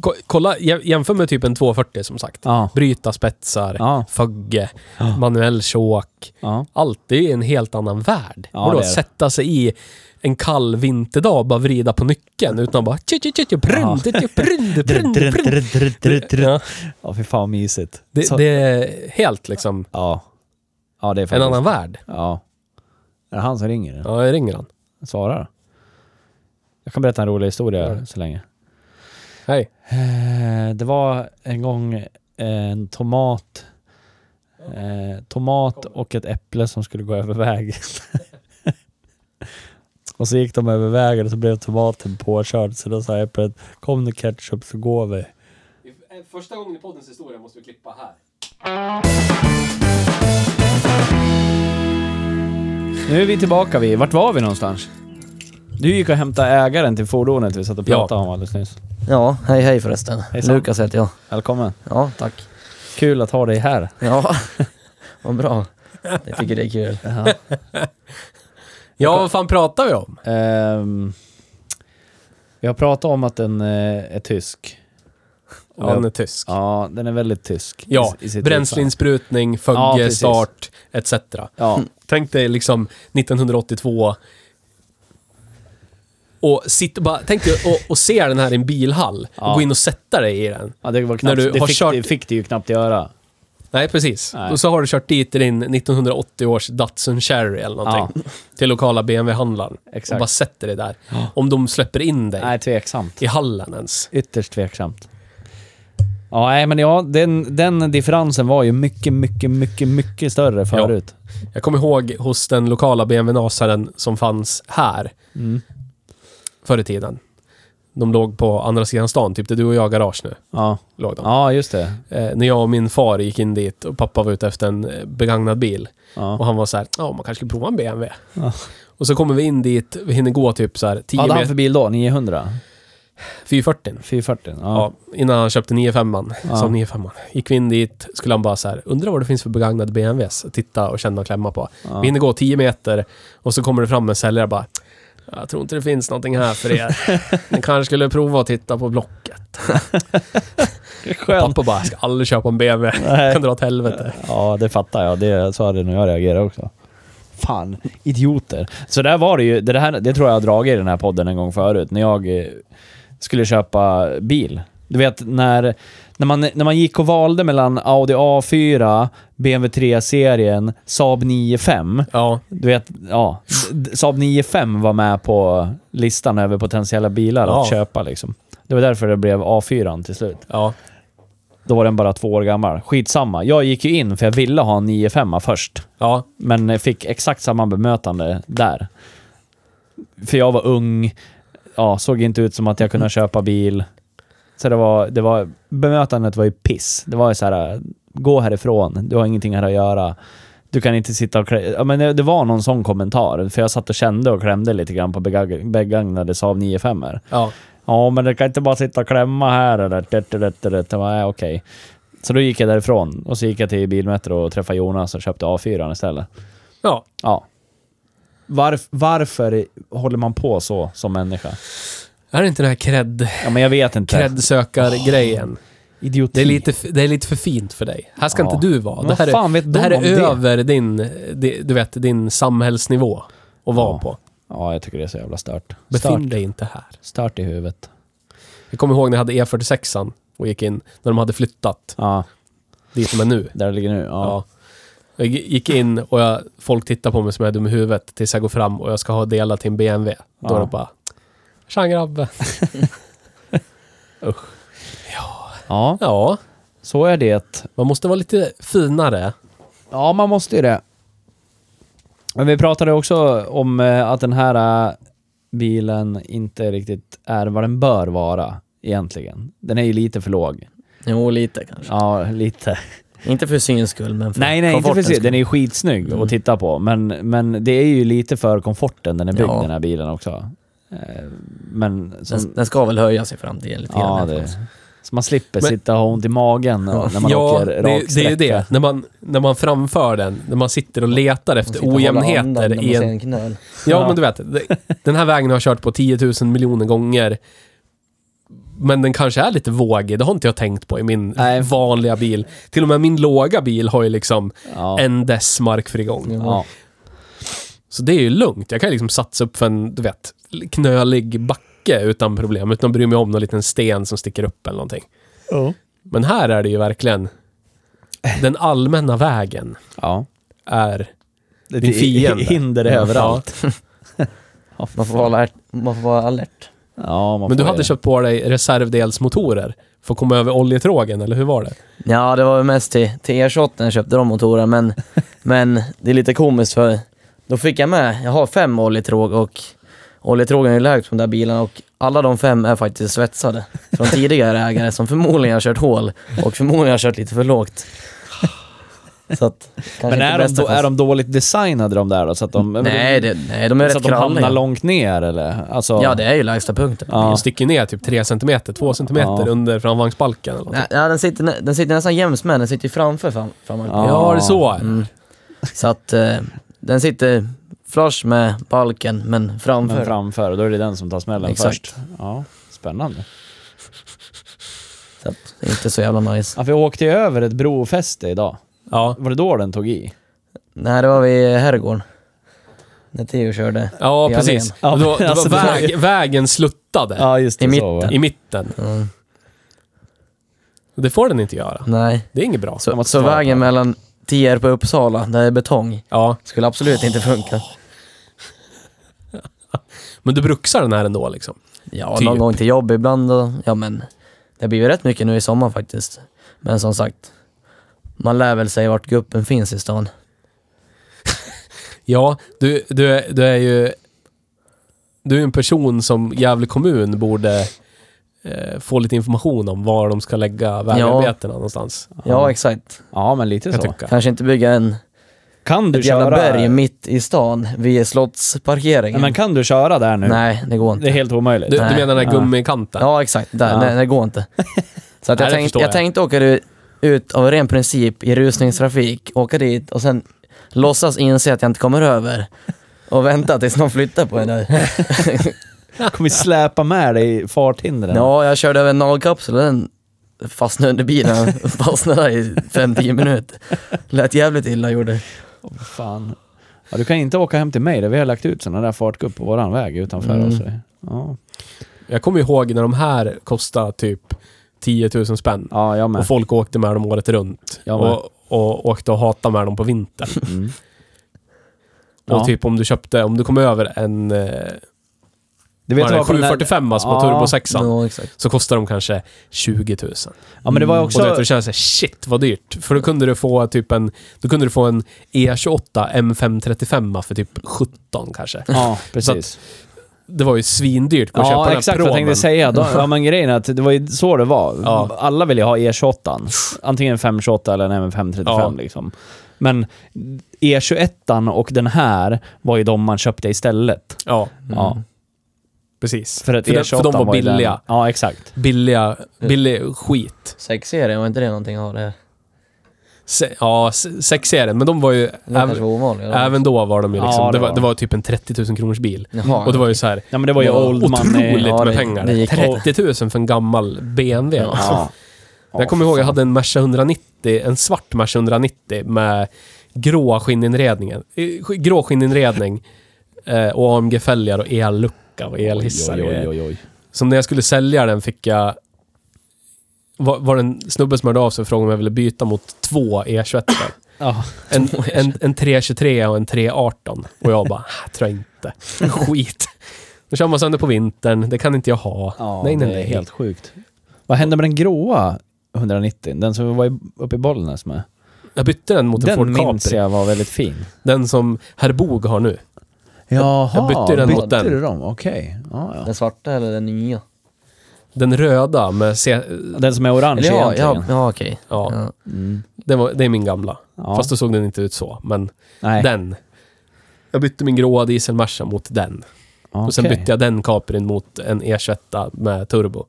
Speaker 1: Ko- Kolla, jä- jämför med typ en 240 som sagt.
Speaker 2: Ja.
Speaker 1: Bryta spetsar,
Speaker 2: Ja.
Speaker 1: fögge, manuell chok.
Speaker 2: Ja.
Speaker 1: Allt, det är en helt annan värld.
Speaker 2: Ja,
Speaker 1: och då
Speaker 2: det är det.
Speaker 1: sätta sig i en kall vinterdag och bara vrida på nyckeln utan bara... tju, tju, tju, tju, prund, tju,
Speaker 2: *laughs*
Speaker 1: prund, prund, prund. Ja,
Speaker 2: Ja, fy fan vad mysigt.
Speaker 1: det,
Speaker 2: Så-
Speaker 1: det är helt liksom
Speaker 2: Ja. Ja, det är
Speaker 1: en
Speaker 2: faktiskt...
Speaker 1: annan värld.
Speaker 2: Ja. Är det han som ringer?
Speaker 1: Ja, jag ringer han.
Speaker 2: Svara då. Jag kan berätta en rolig historia så länge.
Speaker 1: Hej.
Speaker 2: Eh, Det var en gång eh, en tomat eh, tomat och ett äpple som skulle gå över vägen. *laughs* Och så gick de över vägen och så blev tomaten påkörd. Så då sa äpplet, kom nu ketchup så går vi.
Speaker 1: Första gången i poddens historia måste vi klippa här.
Speaker 2: Nu är vi tillbaka vid, vart var vi någonstans? Du gick och hämtade ägaren till fordonet vi satt och
Speaker 1: Ja.
Speaker 2: pratade om alldeles nyss.
Speaker 3: Ja, hej hej förresten.
Speaker 2: Hejsan.
Speaker 3: Lukas heter jag.
Speaker 2: Välkommen.
Speaker 3: Ja, tack.
Speaker 2: Kul att ha dig här. *laughs*
Speaker 3: Ja, vad bra. Jag tycker det är kul.
Speaker 1: Ja, vad fan pratar vi om?
Speaker 2: Ehm, vi har pratat om att den eh, är tysk.
Speaker 1: Ja, den är tysk. Ja,
Speaker 2: Ja, den är väldigt tysk. i- i sitt
Speaker 1: bränsleinsprutning, fögge,
Speaker 2: Ja, precis.
Speaker 1: start, etc.
Speaker 2: Ja,
Speaker 1: Tänk dig liksom 1982 och sitta, bara, tänk dig och, och se den här i en bilhall
Speaker 2: Ja.
Speaker 1: och gå in och sätta dig i den.
Speaker 2: ja det var
Speaker 1: När
Speaker 2: knappt,
Speaker 1: du
Speaker 2: det
Speaker 1: har
Speaker 2: fick,
Speaker 1: kört-
Speaker 2: det fick det ju knappt göra.
Speaker 1: Nej, precis.
Speaker 2: Nej.
Speaker 1: Och så har du kört dit i din 1980 års Datsun Cherry eller någonting. Till lokala BMW-handlaren.
Speaker 2: Exakt.
Speaker 1: Och bara sätter dig där. Om de släpper in dig
Speaker 2: Nej, tveksamt.
Speaker 1: i hallen ens.
Speaker 2: Ytterst tveksamt. Ja, nej, men ja, den, den differensen var ju mycket, mycket, mycket, mycket större förut.
Speaker 1: Jag kommer ihåg hos den lokala BMW-nasaren som fanns här
Speaker 2: Mm.
Speaker 1: förr i tiden. De låg på andra sidan stan, typ där du och jag har garage nu.
Speaker 2: Ja.
Speaker 1: Låg de.
Speaker 2: ja, just det.
Speaker 1: Eh, när jag och min far gick in dit och pappa var ute efter en eh, begagnad bil. Och
Speaker 2: Ja.
Speaker 1: han var så här, ja man kanske ska prova en BMW.
Speaker 2: Ja.
Speaker 1: Och så kommer vi in dit, vi hinner gå typ så här 10
Speaker 2: Hade han för
Speaker 1: meter,
Speaker 2: bil då? 900?
Speaker 1: 440.
Speaker 2: 440? Ja.
Speaker 1: Ja, innan han köpte 95an.
Speaker 2: Ja.
Speaker 1: Som 95an. Gick vi in dit, skulle han bara så här, undra vad det finns för begagnade BMWs. Titta och känna och klämma på.
Speaker 2: Ja.
Speaker 1: Vi hinner gå 10 meter och så kommer det fram en säljare bara, jag tror inte det finns någonting här för
Speaker 2: *laughs*
Speaker 1: er. Ni kanske skulle prova att titta på Blocket.
Speaker 2: Skön.
Speaker 1: Pappa bara, jag ska aldrig köpa en BMW. *laughs*
Speaker 2: Nej.
Speaker 1: kan dra åt helvete.
Speaker 2: Ja, det fattar jag. Det, så hade nog jag reagerat också. Fan, idioter. Så där var det ju. Det, här, det tror jag jag har dragit i den här podden en gång förut, när jag eh, skulle köpa bil. Du vet, när, när, man, när man gick och valde mellan Audi A4, BMW 3-serien, Saab 9-5.
Speaker 1: Ja,
Speaker 2: Du vet, ja. d- Saab 9-5 var med på listan över potentiella bilar
Speaker 1: Ja.
Speaker 2: att köpa liksom. Det var därför det blev A4 till slut.
Speaker 1: ja.
Speaker 2: Då var den bara två år gammal. Skitsamma. Jag gick ju in för jag ville ha en 9-5 först.
Speaker 1: Ja,
Speaker 2: Men jag fick exakt samma bemötande där. För jag var ung, ja, såg inte ut som att jag kunde köpa bil. Så det var, det var, bemötandet var ju piss. Det var ju så här, gå härifrån, du har ingenting här att göra. Du kan inte sitta och klä... ja, men det, det var någon sån kommentar, för jag satt och kände och klämde lite grann på begag- begagnade Saab 95 er
Speaker 1: ja.
Speaker 2: Ja, men du kan inte bara sitta och klämma här eller... Det, det, det, det. Jag bara, "Nej, okej. Så då gick jag därifrån och så gick jag till Bilmetro och träffade Jonas och köpte A4 istället.
Speaker 1: Ja,
Speaker 2: Ja. Varf, varför håller man på så som människa?
Speaker 1: är det inte den här cred,
Speaker 2: Ja, men jag vet inte.
Speaker 1: cred-sökar-grejen?
Speaker 2: Ah, Idioti.
Speaker 1: Det är, lite, f- det är lite för fint för dig. Här ska
Speaker 2: Ja.
Speaker 1: inte du vara.
Speaker 2: Men
Speaker 1: Det här
Speaker 2: Ah. vad
Speaker 1: är,
Speaker 2: fan vet
Speaker 1: det här
Speaker 2: de
Speaker 1: är
Speaker 2: om det?
Speaker 1: över din, di- du vet, din samhällsnivå att vara
Speaker 2: Ja.
Speaker 1: på.
Speaker 2: Ja, jag tycker det är så jävla stört. Stört,
Speaker 1: Befinn dig inte här.
Speaker 2: stört i huvudet.
Speaker 1: Jag kommer ihåg när jag hade E46an och gick in, när de hade flyttat
Speaker 2: Ja,
Speaker 1: dit de är nu.
Speaker 2: där det ligger nu.
Speaker 1: Ja.
Speaker 2: Ja.
Speaker 1: Jag g- gick in och jag, folk tittar på mig som jag är dum i huvudet tills jag går fram och jag ska ha delat till en BMW. Då
Speaker 2: Ja.
Speaker 1: är det bara, tja grabbe.
Speaker 2: Ja.
Speaker 1: Ja,
Speaker 2: så är det.
Speaker 1: man måste vara lite finare.
Speaker 2: Ja, man måste ju det. Men vi pratade också om eh, att den här eh, bilen inte riktigt är vad den bör vara egentligen. Den är ju lite för låg.
Speaker 3: Jo, lite kanske.
Speaker 2: Ja, lite.
Speaker 3: Inte för syns skull, men för
Speaker 2: Nej, nej, inte för
Speaker 3: komfortens
Speaker 2: sig.
Speaker 3: skull.
Speaker 2: Den är ju skitsnygg
Speaker 1: Mm.
Speaker 2: att titta på, men, men det är ju lite för komforten den är byggd,
Speaker 3: Ja.
Speaker 2: den här bilen också. Eh, Men som,
Speaker 3: Den, den ska väl höjas i framtiden lite
Speaker 2: ja,
Speaker 3: grann.
Speaker 2: det, så man slipper
Speaker 1: Men-
Speaker 2: sitta och ha ont i magen och- när man
Speaker 1: ja,
Speaker 2: åker
Speaker 1: det,
Speaker 2: rak
Speaker 1: det är ju
Speaker 2: sträcka.
Speaker 1: det. När man, när man framför den, när man sitter och letar
Speaker 3: Man
Speaker 1: efter
Speaker 3: sitter och håller andan när
Speaker 1: ojämnheter
Speaker 3: man
Speaker 1: i
Speaker 3: ser
Speaker 1: en...
Speaker 3: en knöl.
Speaker 1: Ja,
Speaker 2: Ja.
Speaker 1: men du vet. det- Den här vägen har jag kört på 10 000 miljoner gånger. Men den kanske är lite vågig. Det har inte jag tänkt på i min
Speaker 2: Nej.
Speaker 1: vanliga bil. Till och med min låga bil har ju liksom
Speaker 2: Ja.
Speaker 1: en dess markfrigång.
Speaker 2: Ja.
Speaker 1: Så det är ju lugnt. Jag kan ju liksom satsa upp för en, du vet, knölig backe utan problem. Utan att bry mig om någon liten sten som sticker upp eller någonting. Men här är det ju verkligen... Den allmänna vägen
Speaker 2: ja.
Speaker 1: är...
Speaker 2: Det är
Speaker 1: Din fiende.
Speaker 2: hinder
Speaker 3: *laughs*
Speaker 2: överallt. Ja,
Speaker 3: Man får, vara alert, man får vara alert.
Speaker 2: Ja, man
Speaker 1: Men du
Speaker 2: får
Speaker 1: hade
Speaker 2: ju-
Speaker 1: köpt på dig reservdelsmotorer för att komma över oljetrågen, eller hur var det?
Speaker 3: Ja, det var väl mest till, till E28 när jag köpte de
Speaker 2: *laughs*
Speaker 3: motorerna, men, men det är lite komiskt för då fick jag med, jag har fem oljetråg och Oljetrogen är lägst på de där bilarna och alla de fem är faktiskt svetsade.
Speaker 2: *laughs*
Speaker 3: Från tidigare ägare som förmodligen har kört hål och förmodligen har kört lite för lågt. Så att, kanske
Speaker 2: Men
Speaker 3: inte
Speaker 2: är de,
Speaker 3: bästa
Speaker 2: då,
Speaker 3: fast-
Speaker 2: är de dåligt designade de där då? Så att de,
Speaker 3: Nej, det, nej, de är
Speaker 2: så
Speaker 3: rätt
Speaker 2: att de hamnar
Speaker 3: kralliga.
Speaker 2: långt ner eller? Alltså,
Speaker 3: Ja, det är ju lägsta punkten.
Speaker 2: Ja.
Speaker 1: De sticker ner typ 3 cm, 2 cm
Speaker 2: Ja.
Speaker 1: under framvagnsbalken. Eller något.
Speaker 3: Nej, Ja, den, sitter, nä- den sitter nästan jämst med, den sitter ju framför fram, framvagnen.
Speaker 2: Ja.
Speaker 1: Ja, det är så.
Speaker 3: Mm. Så att eh, den sitter flush med balken, men framför.
Speaker 2: Men framför, då är det den som tar smällen
Speaker 3: Exakt.
Speaker 2: först. Ja, spännande.
Speaker 3: Så att, det är inte så jävla nice.
Speaker 2: Ja, vi åkte ju över ett brofäste idag.
Speaker 1: Ja.
Speaker 2: Var det då den tog i?
Speaker 3: Nej, det var vid herrgården. När Theo körde.
Speaker 1: Ja,
Speaker 3: I
Speaker 1: precis.
Speaker 2: *laughs* Ja,
Speaker 1: då, då
Speaker 2: alltså,
Speaker 1: var
Speaker 2: det-
Speaker 1: väg, vägen sluttade
Speaker 2: Ja, just det.
Speaker 3: I
Speaker 2: Så,
Speaker 3: mitten.
Speaker 2: var det.
Speaker 1: i mitten.
Speaker 3: Mm.
Speaker 1: Det får den inte göra.
Speaker 3: Nej.
Speaker 1: Det är inget bra.
Speaker 2: Jag
Speaker 3: Så,
Speaker 2: måste
Speaker 3: så
Speaker 2: svara på
Speaker 3: vägen mellan Tierp och Uppsala, där det är betong,
Speaker 1: Ja,
Speaker 3: skulle absolut inte funka.
Speaker 1: men du bruxar den här ändå liksom.
Speaker 3: Ja,
Speaker 1: Typ.
Speaker 3: någon gång till jobb ibland och, ja men, det blir ju rätt mycket nu i sommar faktiskt. Men som sagt, man lär väl sig vart guppen finns i stan.
Speaker 1: Ja, du, du, är- du är ju... Du är en person som Gävle kommun borde eh, få lite information om var de ska lägga vägarbetena någonstans.
Speaker 3: Ja, exakt.
Speaker 2: Ja, men lite
Speaker 1: Jag
Speaker 2: så.
Speaker 1: tycka.
Speaker 3: Kanske inte bygga en,
Speaker 2: Kan du
Speaker 3: ett jävla
Speaker 2: köra...
Speaker 3: berg mitt i stan vid slottsparkeringen.
Speaker 2: Nej, men kan du köra där nu?
Speaker 3: Nej, det går inte.
Speaker 2: Det är helt omöjligt.
Speaker 1: Du, du
Speaker 3: Nej.
Speaker 1: menar den här
Speaker 2: Ja.
Speaker 1: gummikanten?
Speaker 3: Ja, exakt. Där.
Speaker 2: Ja.
Speaker 3: Nej, det går inte. Så
Speaker 1: Nej,
Speaker 3: att jag,
Speaker 1: det
Speaker 3: tänkt,
Speaker 1: förstår
Speaker 3: jag.
Speaker 1: jag.
Speaker 3: tänkte åka du- ut av ren princip i rusningstrafik, åka dit och sen låtsas inse att jag inte kommer över och vänta tills någon flyttar på en där.
Speaker 2: Jag kommer släpa med dig i farthindren.
Speaker 3: Ja, jag körde över en nagelkapsel och den fastnade under bilen. *laughs* Fastnade i 5-10 minuter. Lät jävligt illa gjorde det.
Speaker 2: Åh, fan. Ja, du kan inte åka hem till mig där vi har lagt ut sådana där fartgupp på våran väg utanför
Speaker 3: Mm.
Speaker 2: oss. Ja,
Speaker 1: Jag kommer ihåg när de här kostade typ 10 000 spänn.
Speaker 2: ja jag med.
Speaker 1: Och folk åkte med dem året runt.
Speaker 2: Jag med.
Speaker 1: och, och åkte och hatade med dem på vintern.
Speaker 2: Mm.
Speaker 1: Och
Speaker 2: Ja.
Speaker 1: typ om du köpte, om du kom över en eh,
Speaker 2: Du
Speaker 1: vet
Speaker 2: vet vad på den här...
Speaker 1: 745 alltså på
Speaker 2: Ja.
Speaker 1: turbo 6
Speaker 3: Ja, exakt.
Speaker 1: så kostar de kanske 20 000.
Speaker 2: Ja, men det var ju
Speaker 1: Och då,
Speaker 2: också...
Speaker 1: vet du, då känner jag såhär, shit vad dyrt. För då kunde du få typ en, då kunde du få en E E28 M535 för typ 17 kanske. *laughs*
Speaker 2: Ja, precis.
Speaker 1: Det var ju svindyrt att köpa
Speaker 2: Ja,
Speaker 1: den här
Speaker 2: exakt vad jag
Speaker 1: pråmen.
Speaker 2: tänkte
Speaker 1: *laughs*
Speaker 2: säga. Då, ja, men grejen är att det var ju så det var.
Speaker 1: Ja.
Speaker 2: Alla ville ju ha E28. Antingen 528 eller en 535
Speaker 1: Ja.
Speaker 2: liksom. Men E21 och den här var ju de man köpte istället.
Speaker 1: Ja,
Speaker 2: Ja,
Speaker 1: precis.
Speaker 2: för, att
Speaker 1: Mm. för, de-
Speaker 2: E28
Speaker 1: för de var,
Speaker 2: ju Mm. den-
Speaker 1: billiga.
Speaker 2: Ja, exakt.
Speaker 1: Billiga, billig skit.
Speaker 3: Sexserien, var inte det någonting av det?
Speaker 1: Se, ja, se- sexserien, men de var ju...
Speaker 3: Det kanske var
Speaker 1: Även,
Speaker 3: ovanligt.
Speaker 1: även då var de ju liksom...
Speaker 2: Ja,
Speaker 1: det,
Speaker 2: det
Speaker 1: var,
Speaker 2: var
Speaker 1: det var typ en 30 000 kronors bil.
Speaker 3: Jaha.
Speaker 1: Och det var ju så här
Speaker 2: Ja, men det var ju
Speaker 3: Det var
Speaker 2: Old
Speaker 1: otroligt
Speaker 2: Money.
Speaker 3: Ja,
Speaker 1: med
Speaker 3: det-
Speaker 1: pengar.
Speaker 3: det gick
Speaker 1: 30 000 för en gammal BMW. alltså.
Speaker 2: Ja.
Speaker 1: jag kommer ihåg, jag hade en Merca 190, en svart Merca 190 med grå skinninredningen. eh, sk- Grå skinninredning eh, och AMG-fälgar och ellucka och elhissar.
Speaker 2: Oj,
Speaker 1: och
Speaker 2: oj,
Speaker 1: grejer.
Speaker 2: oj, oj.
Speaker 1: Som när jag skulle sälja den fick jag... Var, var det en snubbe som hörde av sig och frågade om jag ville byta mot två E E21.
Speaker 2: Ja. *laughs*
Speaker 1: En, en, en 323 och en 318. Och jag bara, *laughs* "Ah, tror jag inte. Skit. Då kör man sönder på vintern, det kan inte jag ha.
Speaker 2: Ja,
Speaker 1: nej, nej,
Speaker 2: det är
Speaker 1: nej.
Speaker 2: helt sjukt. Vad hände med den gråa 190? Den som vi var i- uppe i Bollnäs med.
Speaker 1: Jag bytte den mot en
Speaker 2: Den
Speaker 1: Ford
Speaker 2: minns
Speaker 1: Capri.
Speaker 2: jag var väldigt fin.
Speaker 1: Den som herr Bog har nu.
Speaker 2: Jaha,
Speaker 1: jag bytte ju den mot den.
Speaker 2: du dem? Okej. Ja, ja.
Speaker 3: Den svarta eller den nya?
Speaker 1: Den röda med C...
Speaker 2: Den som är orange
Speaker 3: Eller ja,
Speaker 2: egentligen.
Speaker 3: ja, ja okej.
Speaker 1: Ja,
Speaker 3: Ja.
Speaker 2: Mm.
Speaker 1: Det, var, det är min gamla.
Speaker 2: Ja.
Speaker 1: Fast då såg den inte ut så, men
Speaker 2: Nej.
Speaker 1: den. Jag bytte min gråa diesel Merca mot den. Och sen
Speaker 2: Okej.
Speaker 1: bytte jag den Caprin mot en E21 med turbo.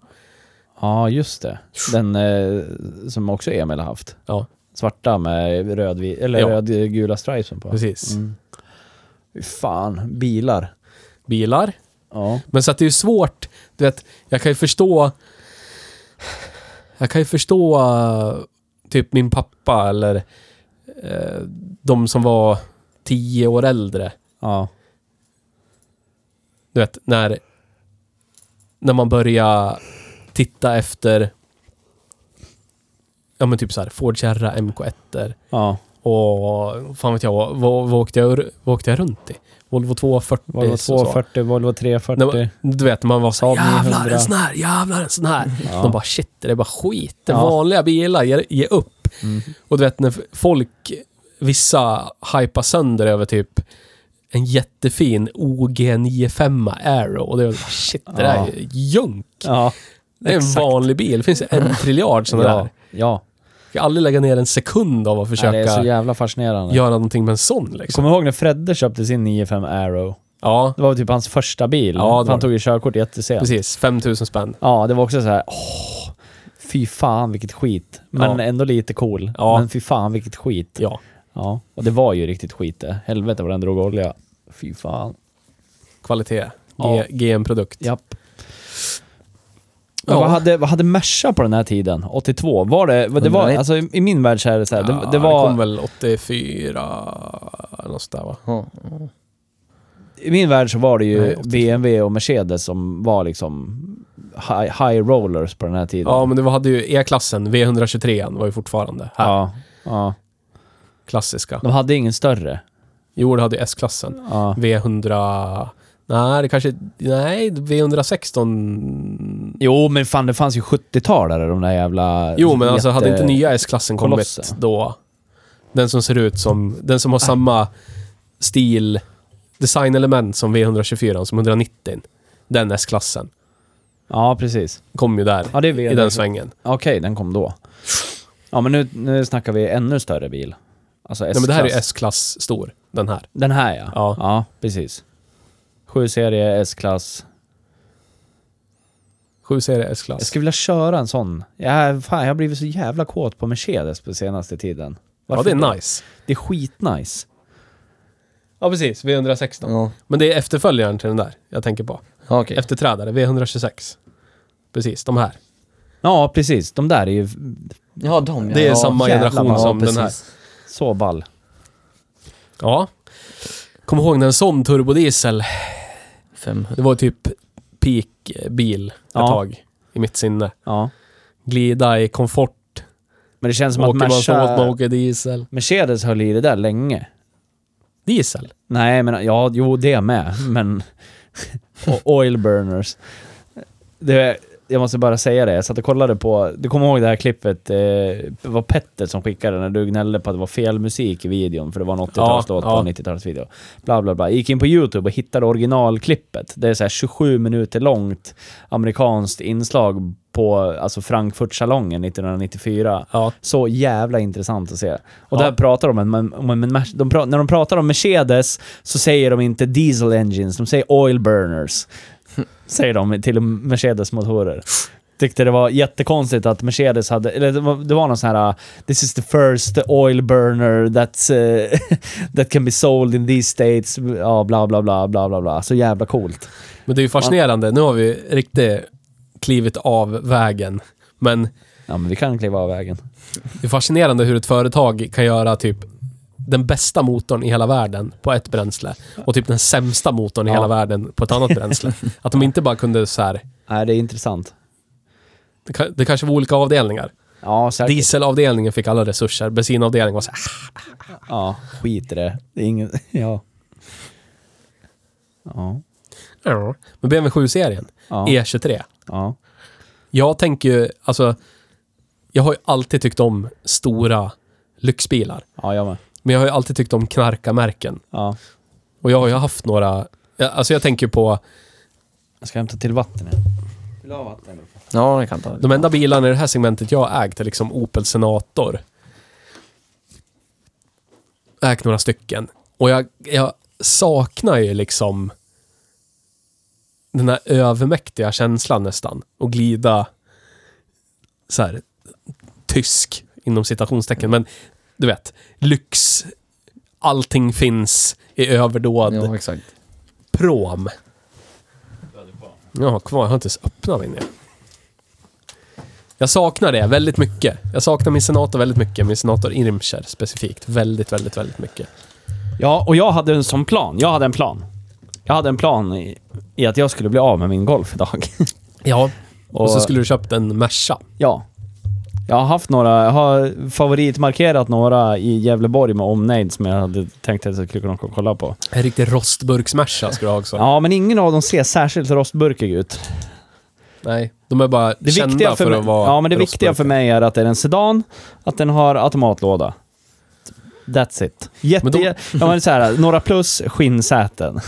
Speaker 2: Ja, just det. Den eh, som också Emil har haft.
Speaker 1: Ja,
Speaker 2: Svarta med röd, eller
Speaker 1: Ja.
Speaker 2: rödgula stripesen på.
Speaker 1: precis.
Speaker 2: Mm. Fy Fan, bilar.
Speaker 1: Bilar.
Speaker 2: Ja.
Speaker 1: Men så att det är ju svårt. Du vet, jag kan ju förstå... Jag kan ju förstå eh, typ min pappa eller eh, de som var tio år äldre.
Speaker 2: ja.
Speaker 1: Du vet, när, när man börjar titta efter ja men typ så här, Ford Kärra MK1 -er
Speaker 2: Ja.
Speaker 1: och fan vet jag, vad, vad, åkte, jag, ur- vad åkte jag runt i? Volvo 240
Speaker 2: Volvo
Speaker 1: så sa-
Speaker 2: 240, Volvo
Speaker 1: När
Speaker 2: 340.
Speaker 1: man, du vet, man var så
Speaker 2: Saab
Speaker 1: här,
Speaker 2: 900.
Speaker 1: jävlar en sån här, jävlar en sån här.
Speaker 2: Mm. Ja.
Speaker 1: De bara shit, det är bara skit. Det är
Speaker 2: Ja. Mm.
Speaker 1: vanliga bilar, ge, ge upp. Och du vet när folk, vissa hypar sönder över typ en jättefin OG 95 Aero och det var shit, det där är junk.
Speaker 2: Ja,
Speaker 1: Det är en
Speaker 2: exakt.
Speaker 1: vanlig bil. Det finns en triljard sådana
Speaker 2: ja,
Speaker 1: där.
Speaker 2: ja.
Speaker 1: Jag kan aldrig lägga ner en sekund av att försöka
Speaker 2: Nej, det är så jävla fascinerande.
Speaker 1: göra någonting med en sån
Speaker 2: Jag
Speaker 1: liksom.
Speaker 2: kommer ihåg när Fredde köpte sin 95 Arrow.
Speaker 1: Ja,
Speaker 2: Det var typ hans första bil.
Speaker 1: Ja, det var
Speaker 2: För han
Speaker 1: det.
Speaker 2: tog ju körkort jättesent.
Speaker 1: precis. 5000 spänn.
Speaker 2: Ja, det var också så här. Åh, fy fan vilket skit. Men
Speaker 1: Ja.
Speaker 2: ändå lite cool.
Speaker 1: Ja.
Speaker 2: Men fy fan vilket skit.
Speaker 1: Ja.
Speaker 2: Ja, och det var ju riktigt skit det. Helvete vad den drog olja. Fy fan.
Speaker 1: Kvalitet.
Speaker 2: Ja.
Speaker 1: G- GM-produkt.
Speaker 2: Japp.
Speaker 1: Ja.
Speaker 2: Vad, hade, vad hade Merca på den här tiden? 82? Var det... Det var,
Speaker 3: 101.
Speaker 2: alltså, i, I min värld så är det så här,
Speaker 1: Ja,
Speaker 2: det, det var...
Speaker 1: kom väl 84... eller Något sådär va?
Speaker 3: Ja.
Speaker 2: I min värld så var det ju
Speaker 1: Nej, 84.
Speaker 2: BMW och Mercedes som var liksom high, high rollers på den här tiden.
Speaker 1: Ja, men det var- hade ju E-klassen, V123 var ju fortfarande här.
Speaker 2: ja, ja.
Speaker 1: Klassiska.
Speaker 2: De hade ingen större.
Speaker 1: Jo, det hade ju S-klassen.
Speaker 2: Ja.
Speaker 1: V100... Nej, det kanske... Nej, V116...
Speaker 2: Jo, men fan det fanns ju 70-talare, de där jävla...
Speaker 1: Jo, men alltså
Speaker 2: jätte-
Speaker 1: hade inte nya S-klassen kommit
Speaker 2: Kolosser.
Speaker 1: då? Den som ser ut som... Den
Speaker 2: Ah.
Speaker 1: som har samma stil, designelement som V124, som 190. Den S-klassen
Speaker 2: Ja, precis.
Speaker 1: kom ju där,
Speaker 2: Ja, det är
Speaker 1: i
Speaker 2: V100.
Speaker 1: den svängen.
Speaker 2: Okej, den kom då. Ja, men nu, nu snackar vi ännu större bil. Alltså S-klass.
Speaker 1: Nej, men det här är ju S-klass stor, den här.
Speaker 2: Den här ja.
Speaker 1: Ja.
Speaker 2: precis. 7-serie, S-klass.
Speaker 1: 7 serie S-klass.
Speaker 2: Jag skulle vilja köra en sån. Jag, fan, jag har blivit så jävla kåt på Mercedes på senaste tiden.
Speaker 1: Ja,
Speaker 2: Varför
Speaker 1: det
Speaker 2: inte?
Speaker 1: är nice.
Speaker 2: Det är skitnice.
Speaker 1: Ja, precis. V116.
Speaker 3: Ja.
Speaker 1: Men det är efterföljaren till den där jag tänker på.
Speaker 3: Ja, okej.
Speaker 1: Efterträdare, V126. Precis, de här.
Speaker 2: Ja, precis. De där är ju
Speaker 3: Ja, de ja.
Speaker 1: Det är
Speaker 3: ja,
Speaker 1: samma
Speaker 3: jävlar
Speaker 1: generation
Speaker 3: vad-
Speaker 1: som
Speaker 3: ja,
Speaker 1: den här.
Speaker 3: precis.
Speaker 2: så ball.
Speaker 1: Ja. Kommer ihåg när en sån turbodiesel,
Speaker 3: 500.
Speaker 1: det var typ peak-bil ett
Speaker 2: Ja.
Speaker 1: tag i mitt sinne.
Speaker 2: Ja.
Speaker 1: Glida i komfort,
Speaker 2: Men det känns som
Speaker 1: åker
Speaker 2: att
Speaker 1: man så åt man
Speaker 2: Merca,
Speaker 1: åker diesel.
Speaker 2: Mercedes höll i det där länge.
Speaker 1: Diesel?
Speaker 2: Nej, men ja, jo, det med.
Speaker 1: *laughs*
Speaker 2: Men... och oil burners. Det, jag måste bara säga det. Jag satt och kollade på... Du kommer ihåg det här klippet? Eh, det var Petter som skickade när du gnällde på att det var fel musik i videon för det var en 80-talslåt
Speaker 1: Ja, ja.
Speaker 2: på en 90-talsvideo. Bla, bla, bla. Jag gick in på YouTube och hittade originalklippet. Det är så här 27 minuter långt amerikanskt inslag på alltså Frankfurtsalongen 1994.
Speaker 1: Ja.
Speaker 2: Så jävla intressant att se. Och
Speaker 1: Ja.
Speaker 2: där pratar de om en... Om en Mer- de pra, när de pratar om Mercedes så säger de inte diesel engines, de säger oil burners. säger de till Mercedes-motorer. Tyckte det var jättekonstigt att Mercedes hade... Eller det var, det var någon sån här... uh, This is the first oil burner that's, eh, *laughs* that can be sold in these states. Ja, bla, bla, bla, bla, bla, bla. Så jävla coolt.
Speaker 1: Men det är ju fascinerande. Nu har vi riktigt klivit av vägen. Men
Speaker 2: Ja, men vi kan kliva av vägen.
Speaker 1: det är fascinerande hur ett företag kan göra typ den bästa motorn i hela världen på ett bränsle och typ den sämsta motorn i
Speaker 2: Ja.
Speaker 1: hela världen på ett annat
Speaker 2: *laughs*
Speaker 1: bränsle. Att de inte bara kunde så här
Speaker 2: Nej, Äh, det är intressant.
Speaker 1: Det, ka- det kanske var olika avdelningar.
Speaker 2: Ja, säkert.
Speaker 1: Dieselavdelningen fick alla resurser. Bensinavdelningen var så här,
Speaker 2: Ja, skit i det. Det är ingen... *laughs* Ja. Ja.
Speaker 1: "Ah." Men BMW 7-serien,
Speaker 2: Ja.
Speaker 1: E23.
Speaker 2: Ja.
Speaker 1: E Jag tänker ju, alltså, jag har ju alltid tyckt om stora lyxbilar.
Speaker 2: Ja, jag med.
Speaker 1: Men jag har ju alltid tyckt om knarkarmärken.
Speaker 2: Ja.
Speaker 1: Och jag har ju haft några, ja, alltså jag tänker på,
Speaker 2: Jag ska hämta till vatten här. Vill du ha vatten?
Speaker 3: Ja, jag kan ta det.
Speaker 1: de enda bilarna i det här segmentet jag har ägt är liksom Opel Senator. Ägt några stycken. Och jag, jag saknar ju liksom den här övermäktiga känslan nästan. Och glida så här tysk, inom citationstecken. Men du vet, lyx. Allting finns i överdåd.
Speaker 3: Ja, exakt.
Speaker 1: Prom. Jag har kvar, jag har inte ens öppnat min. än. Jag saknar det väldigt mycket. Jag saknar min senator väldigt mycket. Min senator Irmscher specifikt. Väldigt, väldigt, väldigt mycket.
Speaker 2: Ja, och jag hade en sån plan. Jag hade en plan. Jag hade en plan i, i att jag skulle bli av med min golf idag. *laughs*
Speaker 1: Ja. Och, så
Speaker 2: Och-
Speaker 1: skulle du köpt en Merca.
Speaker 2: ja. Jag har haft några, jag har favoritmarkerat några i Gävleborg med omnejd som jag hade tänkt att jag skulle kunna kolla på.
Speaker 1: En riktig rostburks-Merca skulle du ha också.
Speaker 2: Ja, men ingen av dem ser särskilt rostburkig ut.
Speaker 1: Nej, de är bara
Speaker 2: Det
Speaker 1: kända
Speaker 2: viktiga för,
Speaker 1: för
Speaker 2: mig,
Speaker 1: att vara
Speaker 2: Ja, men det
Speaker 1: rostburkar.
Speaker 2: viktiga för mig är att det är en sedan, att den har automatlåda. That's it. Jätte,
Speaker 1: Men de-
Speaker 2: *laughs* ja, men så här, några plus skinnsäten.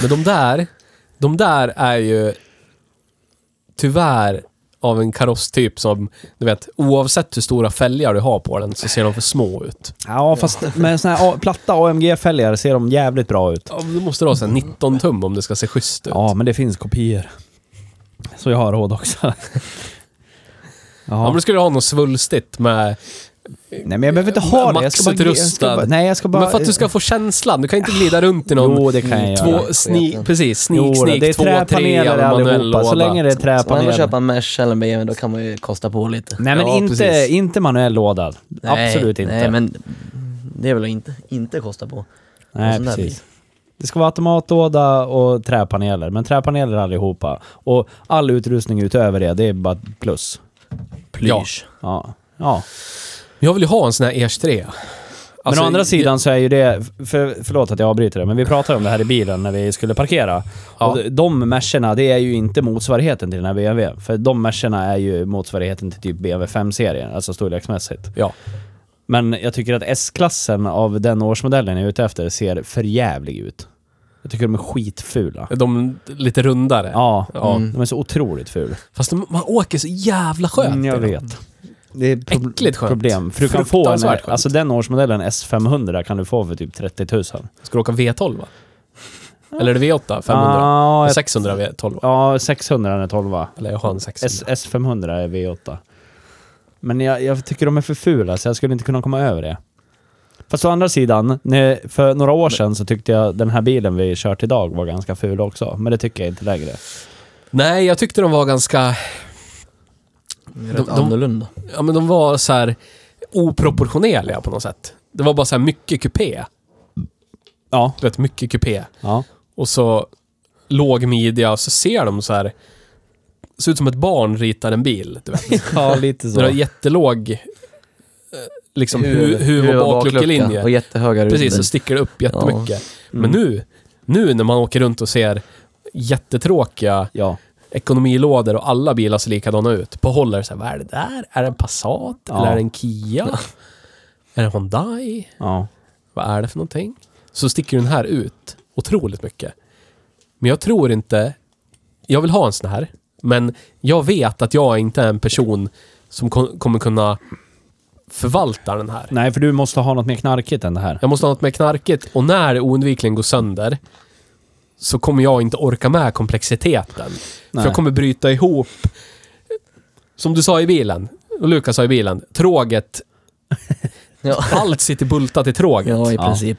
Speaker 1: Men de där, de där är ju tyvärr av en karosstyp som, du vet, oavsett hur stora fälgar du har på den så ser de för små ut.
Speaker 2: Ja, fast med såna här A- platta AMG-fälgar ser de jävligt bra ut.
Speaker 1: Ja, men då måste du ha så här 19 tum om det ska se schysst ut.
Speaker 2: Ja, men det finns kopior. Så jag har råd också. *laughs*
Speaker 1: Ja, men då skulle du ha något svulstigt med...
Speaker 2: Nej men jag behöver inte ha det. Jag ska bara, jag ska
Speaker 1: Maxutrustad.
Speaker 2: bara, nej, jag ska bara...
Speaker 1: men för att du ska få känslan. Du kan inte glida runt i någon...
Speaker 2: Jo, det kan jag
Speaker 1: två,
Speaker 2: göra.
Speaker 1: sni, precis,
Speaker 2: Jo,
Speaker 1: sneak, sneak,
Speaker 2: det är
Speaker 1: två, tre,
Speaker 2: träpaneler
Speaker 1: manuell
Speaker 2: allihopa. Så länge det är
Speaker 3: Så man vill
Speaker 2: träpaneler.
Speaker 3: köpa en mesh eller en BMW, då kan man ju kosta på lite.
Speaker 2: Nej men
Speaker 1: Ja,
Speaker 2: inte,
Speaker 1: precis.
Speaker 2: inte manuell låda.
Speaker 3: Nej,
Speaker 2: Absolut inte.
Speaker 3: Nej, men det är väl inte, inte kosta på.
Speaker 2: Nej,
Speaker 3: sån där
Speaker 2: precis. Det ska vara automatlåda och träpaneler, men träpaneler allihopa. Och all utrustning utöver det, det är bara plus.
Speaker 3: Plysch.
Speaker 2: Ja. ja.
Speaker 1: Jag vill ju ha en sån här ERS3. Alltså,
Speaker 2: men å andra sidan så är ju det... För, förlåt att jag avbryter det, men vi pratade om det här i bilen när vi skulle parkera.
Speaker 1: Ja.
Speaker 2: Och de Mercerna, det är ju inte motsvarigheten till den här BMW. För de Mercerna är ju motsvarigheten till typ BMW 5-serien, alltså storleksmässigt.
Speaker 1: Ja.
Speaker 2: Men jag tycker att S-klassen av den årsmodellen jag är ute efter ser för jävlig ut. Jag tycker de är skitfula.
Speaker 1: De lite rundare.
Speaker 2: Ja,
Speaker 1: Ja.
Speaker 3: Mm.
Speaker 2: de är så otroligt ful.
Speaker 1: Fast de, man åker så jävla skönt.
Speaker 2: Mm, jag
Speaker 1: i dem.
Speaker 2: vet. Det är
Speaker 1: Äckligt skönt.
Speaker 2: problem. För du kan få en,
Speaker 1: Fruktansvärt skönt.
Speaker 2: alltså den årsmodellen S500 kan du få för typ 30 000. 500?
Speaker 1: Ska du åka V12 va? Eller är det V8? 500?
Speaker 2: Ja, Ah, jag-
Speaker 1: 600 V12 va?
Speaker 2: ja 600 är 12
Speaker 1: Eller jag har en 600.
Speaker 2: S, S500 är V8. Men jag, jag tycker de är för fula så jag skulle inte kunna komma över det. Fast å andra sidan, när- för några år sedan så tyckte jag den här bilen vi kört idag var ganska ful också. Men det tycker jag inte längre.
Speaker 1: Nej, jag tyckte de var ganska...
Speaker 3: Rätt
Speaker 1: De- de-
Speaker 3: annorlunda.
Speaker 1: Ja, men de var så här oproportionerliga på något sätt. Det var bara så här mycket kupé.
Speaker 2: Ja.
Speaker 1: Du vet, mycket kupé.
Speaker 2: ja.
Speaker 1: Och så låg midja och så ser de så här... Ser ut som ett barn ritar en bil. Du vet.
Speaker 2: *laughs* *laughs* ja, lite
Speaker 1: Så. Det är
Speaker 2: så.
Speaker 1: jättelåg... eh, Liksom huvud,
Speaker 3: Huvud-
Speaker 1: huvud
Speaker 3: huvud-
Speaker 1: och bakluckelinje.
Speaker 3: Och jättehöga rubber.
Speaker 1: Precis, så sticker det upp jättemycket. Men
Speaker 2: Mm.
Speaker 1: nu, nu när man åker runt och ser jättetråkiga
Speaker 2: Ja.
Speaker 1: ekonomilådor och alla bilar ser likadana ut. På håll är det så här, vad är det där? Är det en Passat?
Speaker 2: Ja.
Speaker 1: Eller är det en Kia? är det en Hyundai?
Speaker 2: ja.
Speaker 1: Vad är det för någonting? Så sticker den här ut otroligt mycket. Men jag tror inte... Jag vill ha en sån här, men jag vet att jag inte är en person som kom, kommer kunna förvalta den här.
Speaker 2: Nej, för du måste ha något mer knarkigt än det här.
Speaker 1: Jag måste ha något mer knarkigt och när det oundvikligen går sönder så kommer jag inte orka med komplexiteten.
Speaker 2: Nej.
Speaker 1: För jag kommer bryta ihop. Som du sa i bilen, och Lukas sa i bilen, tråget.
Speaker 3: Ja.
Speaker 1: Allt sitter bultat i tråget.
Speaker 3: ja, i
Speaker 2: Ja.
Speaker 3: princip.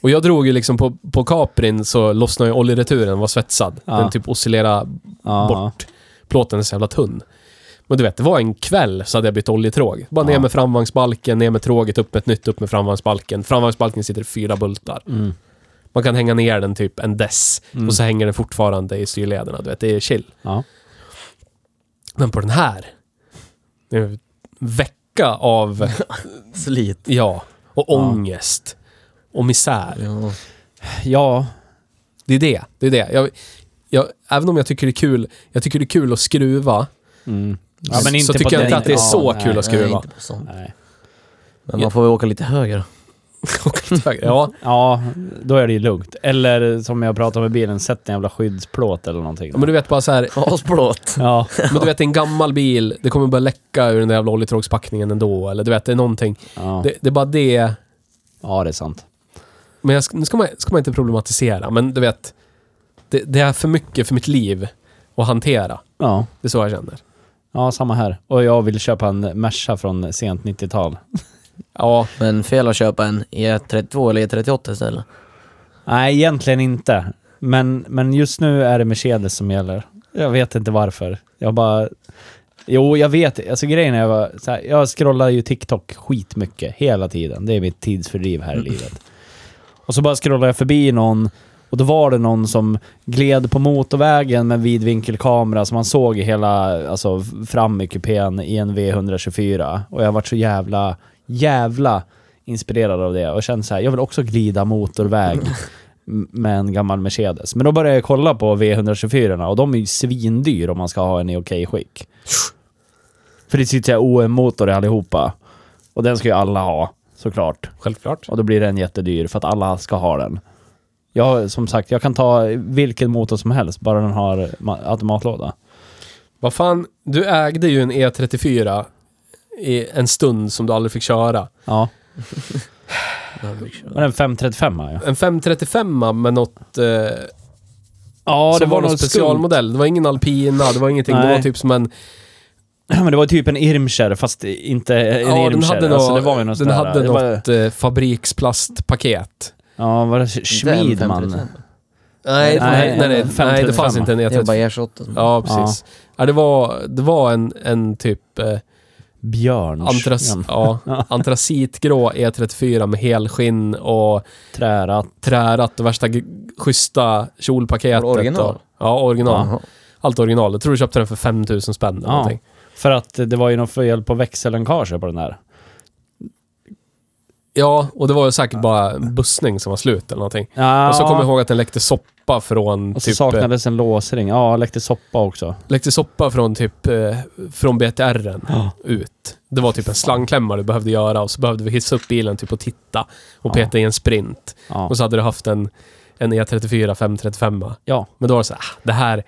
Speaker 1: Och jag drog ju liksom på, på Caprin så lossnade ju oljereturen, var svetsad.
Speaker 2: Ja.
Speaker 1: Den typ oscillerade
Speaker 2: Ja.
Speaker 1: bort. Plåten är så jävla tunn. Men du vet, det var en kväll så hade jag bytt oljetråg. Bara ner
Speaker 2: Ja.
Speaker 1: med framvagnsbalken, ner med tråget, upp med ett nytt, upp med framvagnsbalken. Framvagnsbalken sitter i fyra bultar.
Speaker 2: Mm.
Speaker 1: Man kan hänga ner den typ en dess
Speaker 2: Mm.
Speaker 1: och så hänger den fortfarande i styrlederna. Du vet, det är chill.
Speaker 2: Ja.
Speaker 1: Men på den här, det är en vecka
Speaker 2: *laughs*
Speaker 1: av,
Speaker 3: Slit.
Speaker 1: ja, och
Speaker 2: Ja.
Speaker 1: ångest och misär.
Speaker 3: Ja.
Speaker 2: ja.
Speaker 1: Det är det. det, är det. Jag, jag, även om jag tycker det är kul, jag tycker det är kul att skruva, *laughs*
Speaker 2: Mm. ja
Speaker 1: Så-
Speaker 2: men inte
Speaker 1: så
Speaker 2: på
Speaker 1: tycker jag
Speaker 2: den-
Speaker 1: inte att det är
Speaker 2: ja,
Speaker 1: så
Speaker 2: nej,
Speaker 1: kul att skruva.
Speaker 3: Nej, inte på sånt.
Speaker 2: Nej.
Speaker 3: Men man får väl åka lite högre. *laughs*
Speaker 1: ja,
Speaker 2: Ja, då är det ju lugnt. Eller som jag pratade med bilen, sätt en jävla skyddsplåt eller någonting.
Speaker 1: men du vet bara så här,
Speaker 3: Asplåt.
Speaker 2: *laughs* Ja,
Speaker 1: men du vet en gammal bil, det kommer börja läcka ur den där jävla oljetrågspackningen ändå, eller du vet, det är någonting.
Speaker 2: ja.
Speaker 1: Det, det är bara det,
Speaker 2: ja, det är sant.
Speaker 1: men jag, sk- nu ska man, ska man inte problematisera, men du vet, det, det är för mycket för mitt liv att hantera.
Speaker 2: Ja.
Speaker 1: Det är så jag känner.
Speaker 2: ja, samma här. Och jag vill köpa en Merca från sent 90-tal.
Speaker 1: Ja,
Speaker 3: Men fel att köpa en E32 eller E38 istället.
Speaker 2: Nej, egentligen inte. Men, men just nu är det Mercedes som gäller. Jag vet inte varför. Jag bara... Jo, jag vet. Alltså grejen är jag var så här, jag scrollar ju TikTok skitmycket hela tiden. Det är mitt tidsfördriv här i livet. Och så bara scrollar jag förbi någon och då var det någon som gled på motorvägen med vidvinkelkamera som man såg hela, alltså fram i kupén i en V124. Och jag varit så jävla, jävla inspirerad av det och kände så här, jag vill också glida motorväg m- med en gammal Mercedes. Men då började jag kolla på V124 och de är ju svindyr om man ska ha en i okej skick. För det sitter OM-motor i allihopa. Och den ska ju alla ha. såklart.
Speaker 1: Självklart.
Speaker 2: Och då blir den jättedyr för att alla ska ha den. Jag, som sagt, jag kan ta vilken motor som helst, bara den har ma- automatlåda.
Speaker 1: Vad fan, du ägde ju en E34 i en stund som du aldrig fick köra. *laughs*
Speaker 2: Ja, men en 535 ja.
Speaker 1: En 535 med något... Eh,
Speaker 2: Ja,
Speaker 1: som var någon specialmodell. Det var ingen alpina, det var ingenting. Det
Speaker 2: Nej.
Speaker 1: var typ som en...
Speaker 2: *clears throat* Men det var typ en Irmscher, fast inte en
Speaker 1: Ja, den
Speaker 2: Irmscher.
Speaker 1: hade,
Speaker 2: alltså,
Speaker 1: nå-
Speaker 2: det var ju någon sån
Speaker 1: den
Speaker 2: där-
Speaker 1: hade
Speaker 2: det
Speaker 1: något
Speaker 2: var,
Speaker 1: eh, fabriksplastpaket.
Speaker 2: Ja, var det
Speaker 3: Den
Speaker 2: Schmidman?
Speaker 3: 535. Nej,
Speaker 1: Nej, nej, nej, E nej, det
Speaker 2: 535.
Speaker 1: fanns inte en
Speaker 3: det är bara
Speaker 1: E35.
Speaker 3: E28.
Speaker 1: Ja, precis. Ja. det, var, det var en, en typ eh,
Speaker 2: Björns?
Speaker 1: antras,
Speaker 2: Ja,
Speaker 1: ja, antracitgrå E34 med helskinn och
Speaker 2: Träratt.
Speaker 1: trärat och värsta g- schyssta kjolpaketet.
Speaker 3: Var det original?
Speaker 1: Och, ja, original.
Speaker 3: Jaha.
Speaker 1: Allt original. Jag tror du köpte den för 5000 spänn eller
Speaker 2: Ja.
Speaker 1: någonting.
Speaker 2: För att det var ju något fel på växellänkaget på den där.
Speaker 1: Ja, och det var ju säkert bara en bussning som var slut eller någonting.
Speaker 2: Ja,
Speaker 1: Och så kommer jag ihåg att den läckte soppa från
Speaker 2: Och så
Speaker 1: typ... eh,
Speaker 2: saknades en låsring. Ja, läckte soppa också.
Speaker 1: Läckte soppa från typ... eh, Från BTR'n
Speaker 2: Ja.
Speaker 1: ut. Det var typ en slangklämma du behövde göra och så behövde vi hissa upp bilen typ och titta. Och
Speaker 2: Ja.
Speaker 1: peta i en sprint.
Speaker 2: Ja.
Speaker 1: Och så hade du haft en, en E E34 535.
Speaker 2: ja.
Speaker 1: Men då var det så här, "Ah, det här...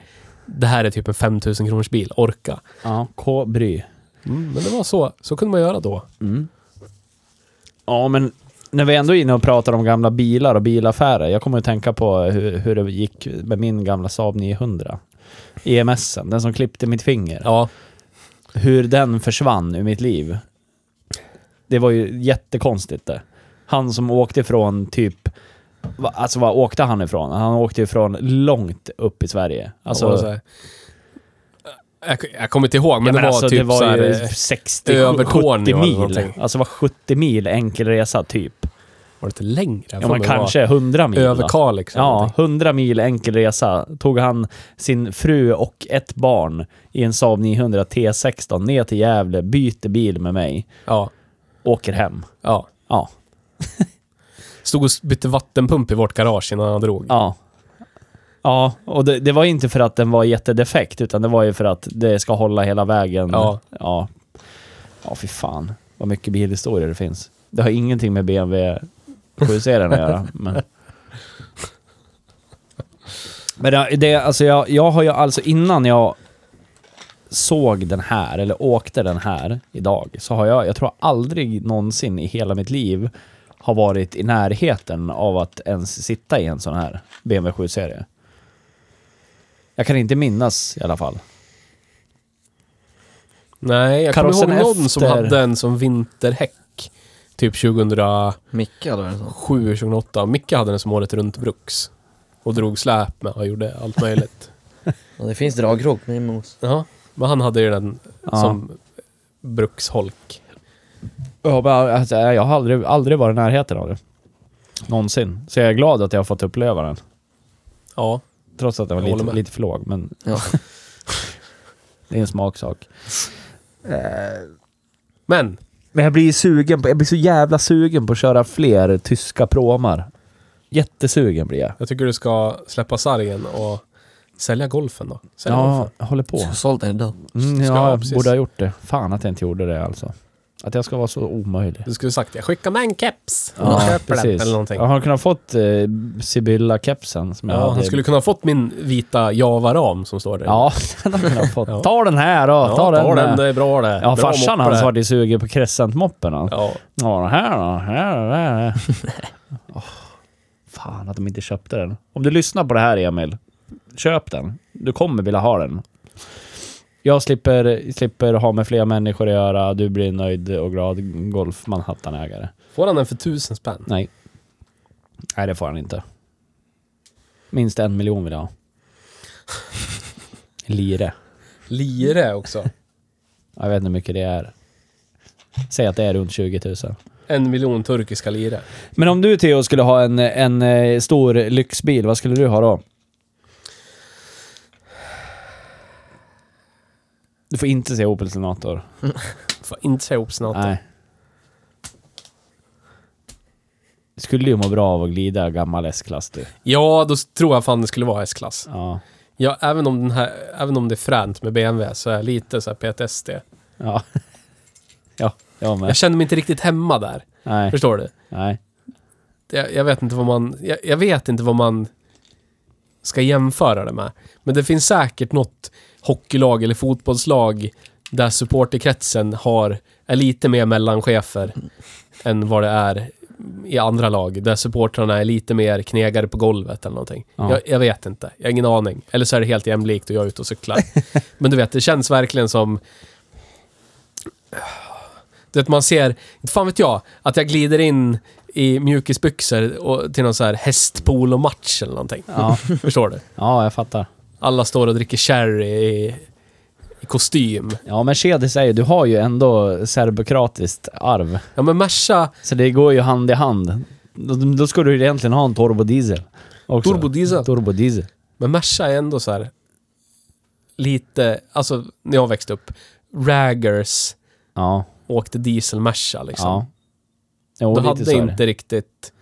Speaker 1: Det här är typ en 5000 kronors bil, orka.
Speaker 2: ja. K-bry.
Speaker 1: Mm, men det var så, så kunde man göra då.
Speaker 2: Mm. Ja, men när vi ändå är inne och pratar om gamla bilar och bilaffärer. Jag kommer att tänka på hur, hur det gick med min gamla Saab 900. EMSen, den som klippte mitt finger.
Speaker 1: Ja,
Speaker 2: Hur den försvann ur mitt liv. Det var ju jättekonstigt det. Han som åkte ifrån typ... va- Alltså var åkte han ifrån? Han åkte ifrån långt upp i Sverige.
Speaker 1: alltså... Så
Speaker 2: Alltså,
Speaker 1: här, jag, jag kommer inte ihåg, men,
Speaker 2: Ja,
Speaker 1: det var
Speaker 2: alltså,
Speaker 1: typ
Speaker 2: det var
Speaker 1: så här,
Speaker 2: ju
Speaker 1: eh,
Speaker 2: 60,
Speaker 1: över Tornio
Speaker 2: 70
Speaker 1: eller
Speaker 2: mil.
Speaker 1: någonting.
Speaker 2: Alltså var 70 mil enkel resa typ.
Speaker 1: Var det inte längre? Jag
Speaker 2: Ja,
Speaker 1: får
Speaker 2: men
Speaker 1: mig vara
Speaker 2: kanske 100 mil.
Speaker 1: Över
Speaker 2: va?
Speaker 1: Kalix eller
Speaker 2: Ja,
Speaker 1: någonting.
Speaker 2: 100 mil enkel resa tog han sin fru och ett barn i en Saab 900 T16 ner till Gävle, byter bil med mig,
Speaker 1: Ja,
Speaker 2: åker hem.
Speaker 1: ja.
Speaker 2: Ja,
Speaker 1: Stod och bytte vattenpump i vårt garage innan han drog.
Speaker 2: ja. Ja, och det, det var inte för att den var jättedefekt, utan det var ju för att det ska hålla hela vägen.
Speaker 1: Ja.
Speaker 2: Ja, ja fy fan. Vad mycket bilhistorier det finns. Det har ingenting med BMW 7-serien att göra. Men, men det, det, alltså jag, jag har ju alltså innan jag såg den här, eller åkte den här idag, så har jag, jag tror aldrig någonsin i hela mitt liv har varit i närheten av att ens sitta i en sån här BMW 7-serie. Jag kan inte minnas i alla fall.
Speaker 1: Nej, jag kommer ihåg
Speaker 2: Karossen
Speaker 1: någon som
Speaker 2: efter.
Speaker 1: hade en som vinterhäck. Typ 2007,
Speaker 3: Micke hade varit en sån.
Speaker 1: 2008. Micke hade den som året runt bruks. Och drog släp med och gjorde allt möjligt.
Speaker 3: Ja, det finns dragkrok med mos.
Speaker 1: ja, men han hade ju den
Speaker 2: Ja.
Speaker 1: som bruksholk.
Speaker 2: Ja, men alltså, jag har aldrig, aldrig varit i närheten av det. Någonsin. Så jag är glad att jag har fått uppleva den.
Speaker 1: Ja,
Speaker 2: Trots att den var
Speaker 1: Jag håller med.
Speaker 2: lite, lite för låg, men
Speaker 3: Ja.
Speaker 2: det är en smaksak.
Speaker 1: men
Speaker 2: Men jag blir sugen på, jag blir så jävla sugen på att köra fler tyska promar. Jättesugen blir jag.
Speaker 1: jag tycker du ska släppa sargen och sälja golfen då. Sälj
Speaker 2: Ja,
Speaker 1: golfen.
Speaker 2: jag håller på.
Speaker 3: Jag har sålt den idag.
Speaker 2: Mm,
Speaker 1: ska-
Speaker 2: ja, jag
Speaker 1: precis.
Speaker 2: borde ha gjort det. Fan att jag inte gjorde det alltså. Att jag ska vara så omöjlig.
Speaker 1: Du skulle sagt jag skickar med en keps.
Speaker 2: Ja,
Speaker 1: Ja, köper den
Speaker 2: precis.
Speaker 1: eller någonting.
Speaker 2: Jag har kunnat fått eh, Sibylla-kepsen som jag
Speaker 1: Ja,
Speaker 2: hade.
Speaker 1: han skulle kunna ha fått min vita Java-ram som står där.
Speaker 2: Ja, *laughs* den har jag kunnat fått.
Speaker 1: Ja.
Speaker 2: Ta den här då!
Speaker 1: Ja,
Speaker 2: ta den, eh.
Speaker 1: det är bra det.
Speaker 2: Ja,
Speaker 1: bra
Speaker 2: farsan
Speaker 1: moppe
Speaker 2: hans
Speaker 1: det.
Speaker 2: vart ju sugen på crescentmoppen han. Ja.
Speaker 1: Ja,
Speaker 2: ja, den här då. Här, där,
Speaker 1: *laughs*
Speaker 2: där. Åh, fan att de inte köpte den. Om du lyssnar på det här Emil, köp den. Du kommer vilja ha den. Jag slipper, slipper ha med fler människor att göra, du blir nöjd och glad Golf Manhattan-ägare.
Speaker 1: får han den för tusen spänn?
Speaker 2: Nej. Nej, det får han inte. Minst en miljon vill
Speaker 1: *laughs*
Speaker 2: jag ha. Lire.
Speaker 1: Lire också.
Speaker 2: Jag vet inte hur mycket det är. Säg att det är runt 20 000.
Speaker 1: En miljon turkiska lire.
Speaker 2: Men om du Theo skulle ha en, en eh, stor lyxbil, vad skulle du ha då? Du får inte säga Opel Senator.
Speaker 1: Får inte säga ihop snart.
Speaker 2: Nej. Du skulle ju må bra av att glida gammal S-klass du.
Speaker 1: Ja, då tror jag fan det skulle vara S-klass.
Speaker 2: Ja.
Speaker 1: Ja, även om, den här, även om det är fränt med BMW så är jag lite så här PTSD.
Speaker 2: *laughs* Ja. ja. Jag med.
Speaker 1: Jag känner mig inte riktigt hemma där.
Speaker 2: Nej,
Speaker 1: Förstår du?
Speaker 2: nej.
Speaker 1: Jag, jag vet inte vad man... Jag, jag vet inte vad man ska jämföra det med. Men det finns säkert något hockeylag eller fotbollslag där supporterkretsen har, är lite mer mellanchefer än vad det är i andra lag. Där supportrarna är lite mer knegare på golvet eller någonting.
Speaker 2: Ja.
Speaker 1: Jag, jag vet inte. Jag har ingen aning. Eller så är det helt jämlikt och jag är ute och cyklar. Men du vet, det känns verkligen som... Du vet, man ser... inte Fan vet jag, att jag glider in i mjukisbyxor och, till någon så här hästpolomatch eller någonting. *laughs*
Speaker 2: Ja.
Speaker 1: Förstår du?
Speaker 2: ja, jag fattar.
Speaker 1: Alla står och dricker sherry i, i kostym.
Speaker 2: Ja, men Shedi säger, du har ju ändå serbokratiskt arv.
Speaker 1: Ja, men Merca
Speaker 2: Så det går ju hand i hand. Då, då ska du ju egentligen ha en turbodiesel. också.
Speaker 1: Turbodiesel.
Speaker 2: Turbodiesel.
Speaker 1: Men Merca är ändå så här lite, alltså när jag växte upp, raggers
Speaker 2: Ja,
Speaker 1: åkte diesel Merca liksom.
Speaker 2: ja. Jo,
Speaker 1: Då
Speaker 2: lite
Speaker 1: hade
Speaker 2: så är det.
Speaker 1: inte riktigt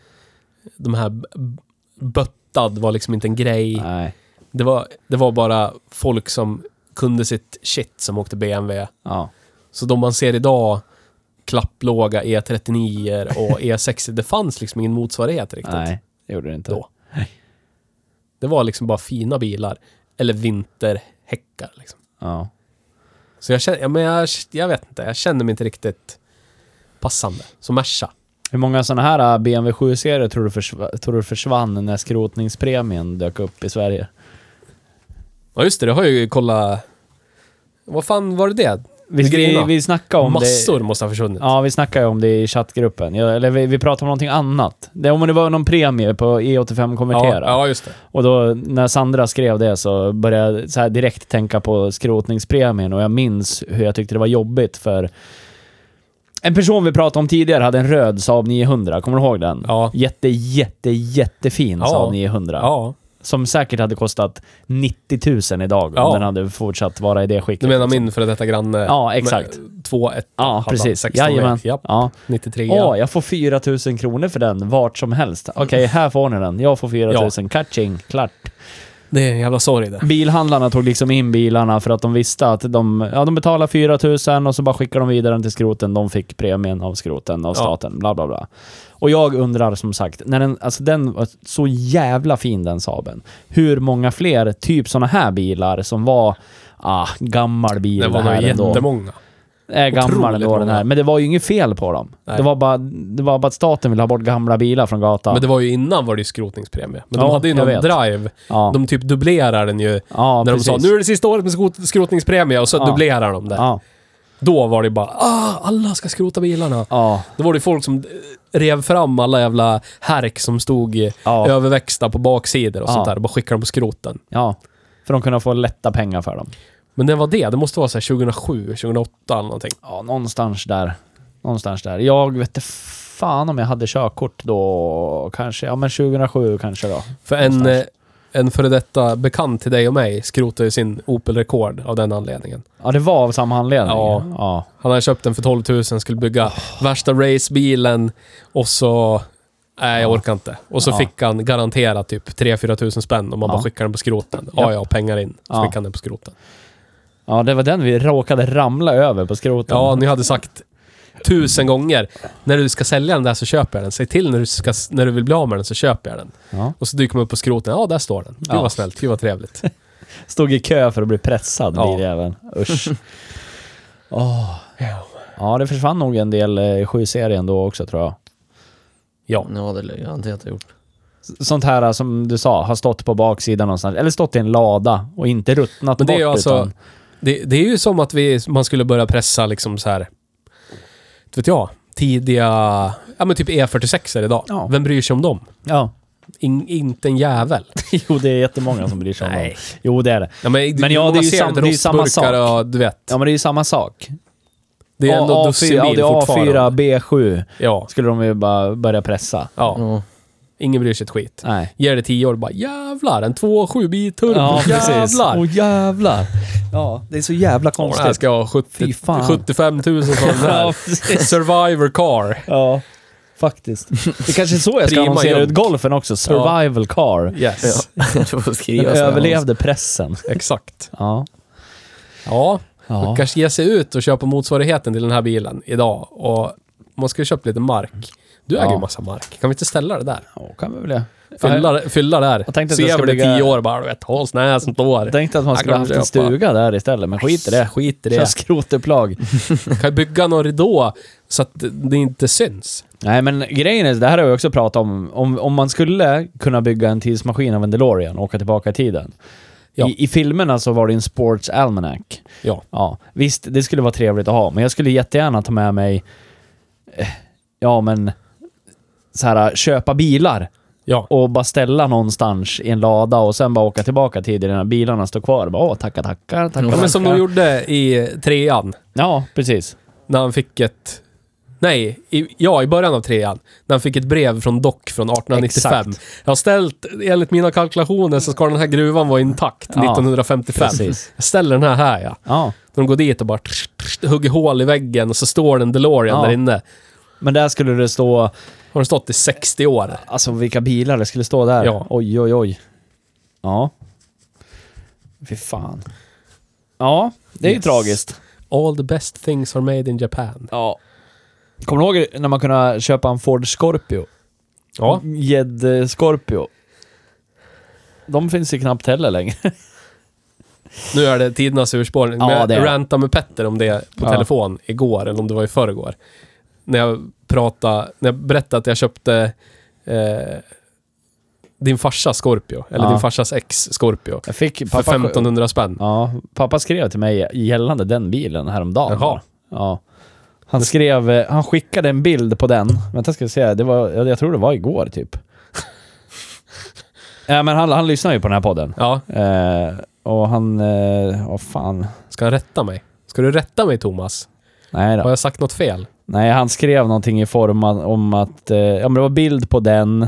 Speaker 1: de här b- b- böttad var liksom inte en grej.
Speaker 2: Nej.
Speaker 1: Det var, det var bara folk som kunde sitt shit som åkte BMW.
Speaker 2: Ja.
Speaker 1: Så de man ser idag, klapplåga E39
Speaker 2: *laughs*
Speaker 1: och E60, det fanns liksom ingen motsvarighet riktigt.
Speaker 2: Nej, det gjorde det inte.
Speaker 1: Då. Det var liksom bara fina bilar. Eller vinterhäckar liksom.
Speaker 2: Ja.
Speaker 1: Så jag känner, ja, men jag, jag vet inte, jag känner mig inte riktigt passande. Som Merca.
Speaker 2: Hur många sådana här äh, BMW 7-serier tror, du försv- tror du försvann när skrotningspremien dök upp i Sverige?
Speaker 1: Ja just det, det har jag ju kollat... Vad fan var det det?
Speaker 2: Vi, vi,
Speaker 1: Grina.
Speaker 2: vi snackade om
Speaker 1: Massor
Speaker 2: det...
Speaker 1: måste ha försvunnit.
Speaker 2: Ja, vi snackade ju om det i chattgruppen. Ja, Eller vi, vi pratade om någonting annat. Det, om det var någon premie på E
Speaker 1: ja,
Speaker 2: E85-konvertera.
Speaker 1: ja, just det.
Speaker 2: Och då när Sandra skrev det så började jag så här direkt tänka på skrotningspremien och jag minns hur jag tyckte det var jobbigt för en person vi pratade om tidigare hade en röd Saab 900, kommer du ihåg den?
Speaker 1: Ja.
Speaker 2: Jätte, jätte, jättefin
Speaker 1: Ja.
Speaker 2: Saab 900.
Speaker 1: Ja.
Speaker 2: Som säkert hade kostat 90 000 idag om
Speaker 1: Ja.
Speaker 2: den hade fortsatt vara i det skicket.
Speaker 1: Du menar
Speaker 2: liksom.
Speaker 1: min före detta granne? eh,
Speaker 2: Ja, exakt.
Speaker 1: 2-1.
Speaker 2: Ja, precis. Jajamän.
Speaker 1: Ja,
Speaker 2: Ja.
Speaker 1: 93.
Speaker 2: Åh, jag får 4 000 kronor för den vart som helst. Okej, här får ni den. Jag får 4 000. Catching, klart.
Speaker 1: Det är en jävla sorg det.
Speaker 2: Bilhandlarna tog liksom in bilarna för att de visste att de, ja, de betalade 4 000 och så bara skickade de vidare den till skroten. De fick premien av skroten, av
Speaker 1: Ja.
Speaker 2: staten, bla bla bla. Och jag undrar som sagt, när den, alltså den var så jävla fin den Saaben. Hur många fler, typ såna här bilar som var, ah, gammal bil
Speaker 1: Det var nog
Speaker 2: här ändå.
Speaker 1: jättemånga.
Speaker 2: Är gammal
Speaker 1: otroligt
Speaker 2: ändå den här.
Speaker 1: många.
Speaker 2: Men det var ju inget fel på dem.
Speaker 1: Nej.
Speaker 2: Det var, bara, det var bara att staten ville ha bort gamla bilar från gatan.
Speaker 1: Men det var ju innan var det ju skrotningspremie. Men
Speaker 2: Ja,
Speaker 1: de hade ju
Speaker 2: jag
Speaker 1: någon
Speaker 2: vet.
Speaker 1: drive.
Speaker 2: ja.
Speaker 1: De typ dubblerar den ju.
Speaker 2: ja,
Speaker 1: när
Speaker 2: precis.
Speaker 1: de sa nu är det sista året med skot- skrotningspremie och så
Speaker 2: Ja.
Speaker 1: dubblerar de det.
Speaker 2: Ja,
Speaker 1: Då var det bara ah, alla ska skrota bilarna.
Speaker 2: ja,
Speaker 1: Då var det folk som eh, rev fram alla jävla härk som stod eh,
Speaker 2: ja.
Speaker 1: överväxta på baksidor och
Speaker 2: Ja.
Speaker 1: sånt där och bara skickade dem på skroten.
Speaker 2: Ja. För de kunde få lätta pengar för dem.
Speaker 1: Men det var det. Det måste vara så här 2007, 2008 eller någonting.
Speaker 2: Ja, någonstans där. Någonstans där. Jag vet inte fan om jag hade körkort då. Kanske, ja men 2007 kanske då.
Speaker 1: För en, eh,
Speaker 2: Någonstans.
Speaker 1: en före detta bekant till dig och mig skrotade ju sin Opel Rekord av den anledningen.
Speaker 2: Ja, det var av samma anledning.
Speaker 1: Ja.
Speaker 2: ja.
Speaker 1: Han hade köpt den för 12 000, skulle bygga
Speaker 2: Oh.
Speaker 1: värsta racebilen och så... Nej, jag orkar inte. Och så
Speaker 2: Ja.
Speaker 1: fick han garanterat typ 3-4 tusen spänn om man
Speaker 2: Ja.
Speaker 1: bara skickar den på skroten. Ja, ja, pengar in. Så
Speaker 2: Ja.
Speaker 1: skickade han den på skroten.
Speaker 2: Ja, det var den vi råkade ramla över på skroten.
Speaker 1: Ja, ni hade sagt tusen gånger. När du ska sälja den där så köper jag den. Säg till när du, ska, när du vill bli av med den så köper jag den.
Speaker 2: Ja.
Speaker 1: Och så dyker man upp på skroten. Ja, där står den. Gud
Speaker 2: Ja.
Speaker 1: vad snällt. Gud vad trevligt.
Speaker 2: Stod i kö för att bli pressad,
Speaker 1: Ja.
Speaker 2: biljäveln.
Speaker 1: *laughs*
Speaker 2: Usch. Åh. Ja, det försvann nog en del eh, i 7-serien då också tror jag. *laughs*
Speaker 1: Ja.
Speaker 3: Ja, det har jag garanterat ha gjort.
Speaker 2: S- Sånt här eh, som du sa, har stått på baksidan någonstans. Eller stått i en lada och inte ruttnat
Speaker 1: Men det är ju
Speaker 2: bort.
Speaker 1: alltså...
Speaker 2: utan,
Speaker 1: Det, det är ju som att vi, man skulle börja pressa liksom så här... inte vet jag. Tidiga... Ja men typ E46 är idag.
Speaker 2: Ja.
Speaker 1: Vem bryr sig om dem?
Speaker 2: ja.
Speaker 1: In, inte en jävel.
Speaker 2: *laughs* Jo, det är jättemånga som bryr sig om dem.
Speaker 1: Nej.
Speaker 2: Jo, det är det.
Speaker 1: Ja, men,
Speaker 2: Men ja,
Speaker 1: många
Speaker 2: det är ju
Speaker 1: ser
Speaker 2: sam- det är ju samma
Speaker 1: rostburkar
Speaker 2: sak.
Speaker 1: Och, du vet.
Speaker 2: Ja, men det är ju samma sak.
Speaker 1: det är ändå
Speaker 2: A-
Speaker 1: dussinbil
Speaker 2: ja, det är A4,
Speaker 1: fortfarande.
Speaker 2: B7
Speaker 1: Ja,
Speaker 2: skulle de ju bara börja pressa.
Speaker 1: ja.
Speaker 3: Ja.
Speaker 1: Ingen bryr sig ett skit.
Speaker 2: Nej.
Speaker 1: Ger det tio år bara jävlar, en 2,7 bit turbo. jävlar!
Speaker 2: Åh jävlar! Ja, det är så jävla
Speaker 1: Åh, den här
Speaker 2: konstigt.
Speaker 1: ska jag ha 70,
Speaker 2: Fy fan.
Speaker 1: 75 000
Speaker 2: *laughs*
Speaker 1: för den
Speaker 2: ja,
Speaker 1: här.
Speaker 2: precis.
Speaker 1: Survivor car.
Speaker 2: ja, faktiskt. Det kanske är så jag ska
Speaker 1: Prima
Speaker 2: annonsera
Speaker 1: jobb.
Speaker 2: ut golfen också. Survival car.
Speaker 1: Yes,
Speaker 3: *laughs* Ja. Du får
Speaker 2: Den
Speaker 3: skriva så här.
Speaker 2: överlevde pressen.
Speaker 1: exakt.
Speaker 2: Ja.
Speaker 1: Ja,
Speaker 2: Ja.
Speaker 1: Och kanske ge sig ut och köpa motsvarigheten till den här bilen idag. Och man ska ju köpa lite mark. Du äger
Speaker 2: Ja.
Speaker 1: ju massa mark. Kan vi inte ställa det där?
Speaker 2: ja, kan vi väl det.
Speaker 1: Fylla, det- fylla det här.
Speaker 2: Jag tänkte att
Speaker 1: Så
Speaker 2: jag
Speaker 1: gör
Speaker 2: ska
Speaker 1: vi det
Speaker 2: bygga-
Speaker 1: tio år bara, du vet. Hålsnäs, sånt år.
Speaker 2: Jag tänkte att man
Speaker 1: Jag
Speaker 2: skulle haft
Speaker 1: glömde
Speaker 2: en
Speaker 1: köpa.
Speaker 2: stuga där istället, men skit i det.
Speaker 1: Skit i
Speaker 2: Kör
Speaker 1: det.
Speaker 2: skrotupplag.
Speaker 1: Kan ju bygga någon ridå så att det inte syns.
Speaker 2: Nej, men grejen är, det här har vi också pratat om. om. Om man skulle kunna bygga en tidsmaskin av en DeLorean och åka tillbaka i tiden.
Speaker 1: Ja.
Speaker 2: I, I filmerna så var det en Sports Almanac.
Speaker 1: Ja.
Speaker 2: Ja, visst, det skulle vara trevligt att ha, men jag skulle jättegärna ta med mig... eh, Ja, men... Så här, äh, köpa bilar
Speaker 1: Ja.
Speaker 2: och bara ställa någonstans i en lada och sen bara åka tillbaka till det när bilarna står kvar. Bara, Åh, tacka, tackar, tackar,
Speaker 1: ja men som de
Speaker 2: tackar.
Speaker 1: gjorde i trean.
Speaker 2: Ja, precis.
Speaker 1: När han fick ett... Nej, i, ja, i början av trean. När han fick ett brev från Doc från 1895. Jag har ställt, enligt mina kalkylationer så ska den här gruvan vara intakt
Speaker 2: Ja,
Speaker 1: 1955.
Speaker 2: precis.
Speaker 1: Jag ställer den här här ja.
Speaker 2: Ja.
Speaker 1: När de går dit och bara tsch, tsch, hugger hål i väggen och så står den DeLorean
Speaker 2: Ja.
Speaker 1: där inne.
Speaker 2: Men där skulle det stå...
Speaker 1: Har den stått i 60 år?
Speaker 2: Alltså vilka bilar det skulle stå där.
Speaker 1: Ja.
Speaker 2: Oj, oj, oj. Ja. Fy fan. Ja, det är ju
Speaker 1: Yes.
Speaker 2: tragiskt.
Speaker 1: All the best things are made in Japan.
Speaker 2: Ja. Kommer du ihåg när man kunde köpa en Ford Scorpio?
Speaker 1: Ja.
Speaker 2: Gädde Scorpio. De finns ju knappt heller längre.
Speaker 1: Nu är det tidernas urspårning.
Speaker 2: Ja,
Speaker 1: Men jag
Speaker 2: det är det.
Speaker 1: rantade med Petter om det på
Speaker 2: Ja.
Speaker 1: telefon igår, eller om det var i förrgår. När jag pratade, när jag berättade att jag köpte eh, din farsas Scorpio, eller
Speaker 2: Ja.
Speaker 1: din farsas ex Scorpio.
Speaker 2: Jag fick
Speaker 1: För
Speaker 2: pappa...
Speaker 1: 1500 spänn.
Speaker 2: Ja, pappa skrev till mig gällande den bilen häromdagen.
Speaker 1: Jaha.
Speaker 2: Ja. Han skrev... eh, Han skickade en bild på den. Vänta ska jag se. Det var, jag jag tror det var igår typ. ja, men han, han lyssnar ju på den här podden.
Speaker 1: Ja,
Speaker 2: Eh, och han... Eh, vad fan.
Speaker 1: ska han rätta mig? Ska du rätta mig Thomas?
Speaker 2: Nej
Speaker 1: Har
Speaker 2: då.
Speaker 1: jag sagt något fel?
Speaker 2: Nej, han skrev någonting i form av- om att... Eh, ja, men det var bild på den.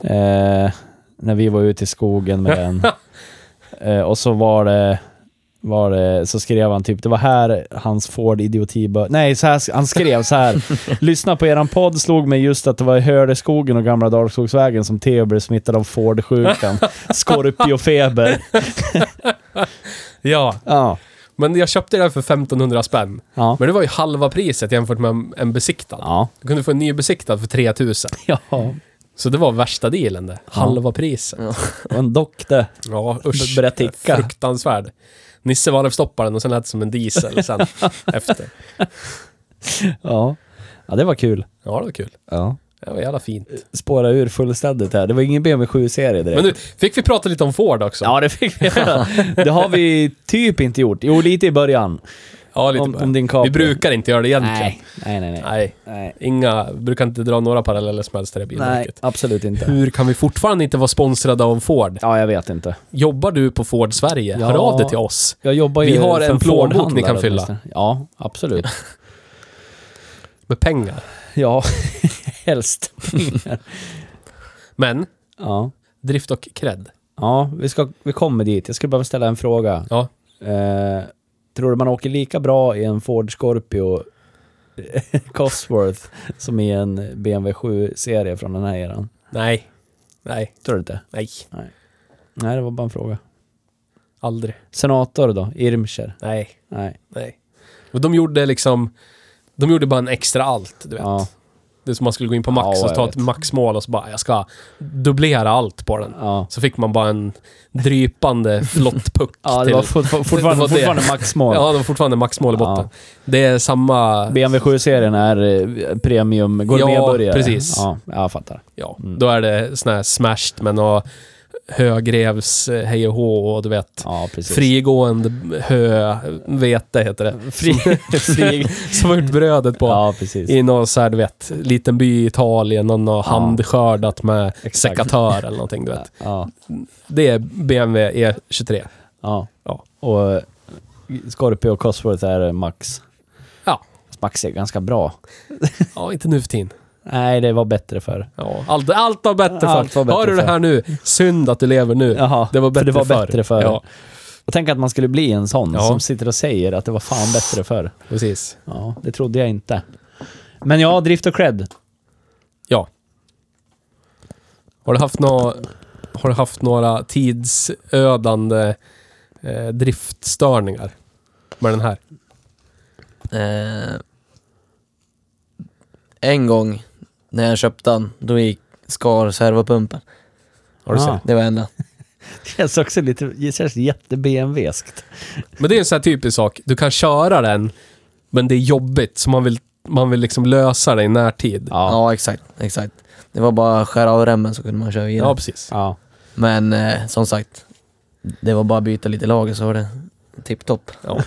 Speaker 2: Eh, när vi var ute i skogen med *laughs* den. Eh, och så var det... Var det, så skrev han typ, det var här hans Ford idioti bör- Nej, så här, han skrev så här. *laughs* Lyssna på eran podd slog mig just att det var i Hördeskogen och Gamla Dalskogsvägen som Theo blev smittad av *laughs* Ford-sjukan. Skorpiofeber.
Speaker 1: Ja,
Speaker 2: Ja.
Speaker 1: men jag köpte det här för 1500 spänn.
Speaker 2: Ja.
Speaker 1: Men det var ju halva priset jämfört med en besiktad.
Speaker 2: Ja.
Speaker 1: Du kunde få en ny besiktad för 3000.
Speaker 2: Ja.
Speaker 1: Så det var värsta dealen det. Halva priset.
Speaker 2: Och en dock det.
Speaker 1: Ja, usch.
Speaker 2: B- började ticka.
Speaker 1: Fruktansvärd. Nisse Valöv-stopparen och sen lät det som en diesel
Speaker 2: *laughs*
Speaker 1: sen efter.
Speaker 2: Ja. Ja, det var kul.
Speaker 1: Ja, det var kul.
Speaker 2: Ja.
Speaker 1: Det var jävla fint.
Speaker 2: spåra ur fullständigt här. Det var ingen BMW 7-serie direkt.
Speaker 1: Men nu, fick vi prata lite om Ford också?
Speaker 2: Ja, det fick vi göra. Det har vi typ inte gjort. Jo, lite i början.
Speaker 1: Ja, lite
Speaker 2: om-
Speaker 1: bara.
Speaker 2: om din
Speaker 1: Vi
Speaker 2: Capri.
Speaker 1: brukar inte göra det egentligen.
Speaker 2: Nej, nej, nej.
Speaker 1: Nej.
Speaker 2: Nej,
Speaker 1: Inga, brukar inte dra några paralleller som helst till det
Speaker 2: nej
Speaker 1: bilmärket.
Speaker 2: absolut inte.
Speaker 1: Hur kan vi fortfarande inte vara sponsrade av Ford?
Speaker 2: Ja, jag vet inte.
Speaker 1: Jobbar du på Ford Sverige?
Speaker 2: Ja.
Speaker 1: Hör av dig till oss.
Speaker 2: Jag jobbar
Speaker 1: Vi
Speaker 2: ju
Speaker 1: har
Speaker 2: för
Speaker 1: en plånbok
Speaker 2: Ford-handlare
Speaker 1: ni kan fylla.
Speaker 2: åtminstone. Ja,
Speaker 1: *laughs*
Speaker 2: absolut.
Speaker 1: Med pengar.
Speaker 2: Ja, *laughs* helst.
Speaker 1: Men,
Speaker 2: Ja.
Speaker 1: drift och cred.
Speaker 2: Ja, vi, ska, vi kommer dit. Jag skulle behöva ställa en fråga.
Speaker 1: Ja.
Speaker 2: Eh, tror du man åker lika bra i en Ford Scorpio *laughs* Cosworth som i en BMW 7-serie från den här eran?
Speaker 1: Nej. Nej.
Speaker 2: Tror du inte?
Speaker 1: Nej.
Speaker 2: Nej, det var bara en fråga.
Speaker 1: Aldrig.
Speaker 2: Senator då? Irmscher?
Speaker 1: Nej.
Speaker 2: Nej.
Speaker 1: Nej. Och de gjorde liksom... De gjorde bara en extra allt, du vet.
Speaker 2: Ja,
Speaker 1: Det är som man skulle gå in på max
Speaker 2: Ja,
Speaker 1: och ta
Speaker 2: jag
Speaker 1: ett
Speaker 2: vet.
Speaker 1: maxmål och så bara, jag ska dubblera allt på den.
Speaker 2: ja.
Speaker 1: Så fick man bara en
Speaker 2: *laughs*
Speaker 1: drypande flott puck
Speaker 2: ja det
Speaker 1: till...
Speaker 2: var
Speaker 1: *laughs*
Speaker 2: fort, fort, fortfarande,
Speaker 1: Det var det.
Speaker 2: fortfarande maxmål.
Speaker 1: Ja, det var fortfarande maxmål i botten. Det är samma...
Speaker 2: BMW 7-serien är eh, premium gourmetburgare.
Speaker 1: Ja, precis.
Speaker 2: Ja, jag fattar.
Speaker 1: Ja,
Speaker 2: Mm.
Speaker 1: då är det sån här smashed men och högrevs eh, hej och hå och du vet.
Speaker 2: Ja, precis.
Speaker 1: Frigående hö... Vete heter det.
Speaker 2: *laughs* Fri, fri,
Speaker 1: Som har gjort brödet på.
Speaker 2: ja, precis.
Speaker 1: I någon så här, du vet, liten by i Italien, någon har
Speaker 2: Ja.
Speaker 1: handskördat med
Speaker 2: Exakt.
Speaker 1: sekatör eller någonting, du vet.
Speaker 2: Ja.
Speaker 1: Det är BMW E23.
Speaker 2: Ja.
Speaker 1: Ja.
Speaker 2: Och eh, Scorpio och Cosworth är eh, Max.
Speaker 1: Ja.
Speaker 2: Fast Max är ganska bra.
Speaker 1: Ja, inte nu för tiden.
Speaker 2: Nej, det var bättre förr.
Speaker 1: Ja. Allt, allt var bättre
Speaker 2: Allt
Speaker 1: förr.
Speaker 2: var bättre
Speaker 1: Hör du det här nu? Synd att du lever nu.
Speaker 2: Jaha,
Speaker 1: Det var bättre
Speaker 2: för det var
Speaker 1: förr.
Speaker 2: bättre förr.
Speaker 1: Ja,
Speaker 2: Och tänk att man skulle bli en sån
Speaker 1: Ja.
Speaker 2: som sitter och säger att det var fan bättre förr.
Speaker 1: precis.
Speaker 2: Ja, det trodde jag inte. Men ja, drift och cred.
Speaker 1: Ja. Har du haft, nå, har du haft några tidsödande eh, driftstörningar? med den här?
Speaker 3: Eh, en gång när jag köpte den, då gick skar servopumpen.
Speaker 1: Har du
Speaker 2: Ah.
Speaker 1: sett?
Speaker 3: Det var enda.
Speaker 2: Det *laughs* känns också lite, det känns jätte-BMW-skt.
Speaker 1: Men det är en sån här typisk sak. Du kan köra den, men det är jobbigt. Så man vill, man vill liksom lösa det i närtid. Ja,
Speaker 3: Ja.
Speaker 2: Ja.
Speaker 3: exakt, exakt. Det var bara att skära av remmen så kunde man köra vidare.
Speaker 1: precis.
Speaker 2: ja.
Speaker 3: Men eh, som sagt, det var bara att byta lite lager så var det tipptopp.
Speaker 1: Ja,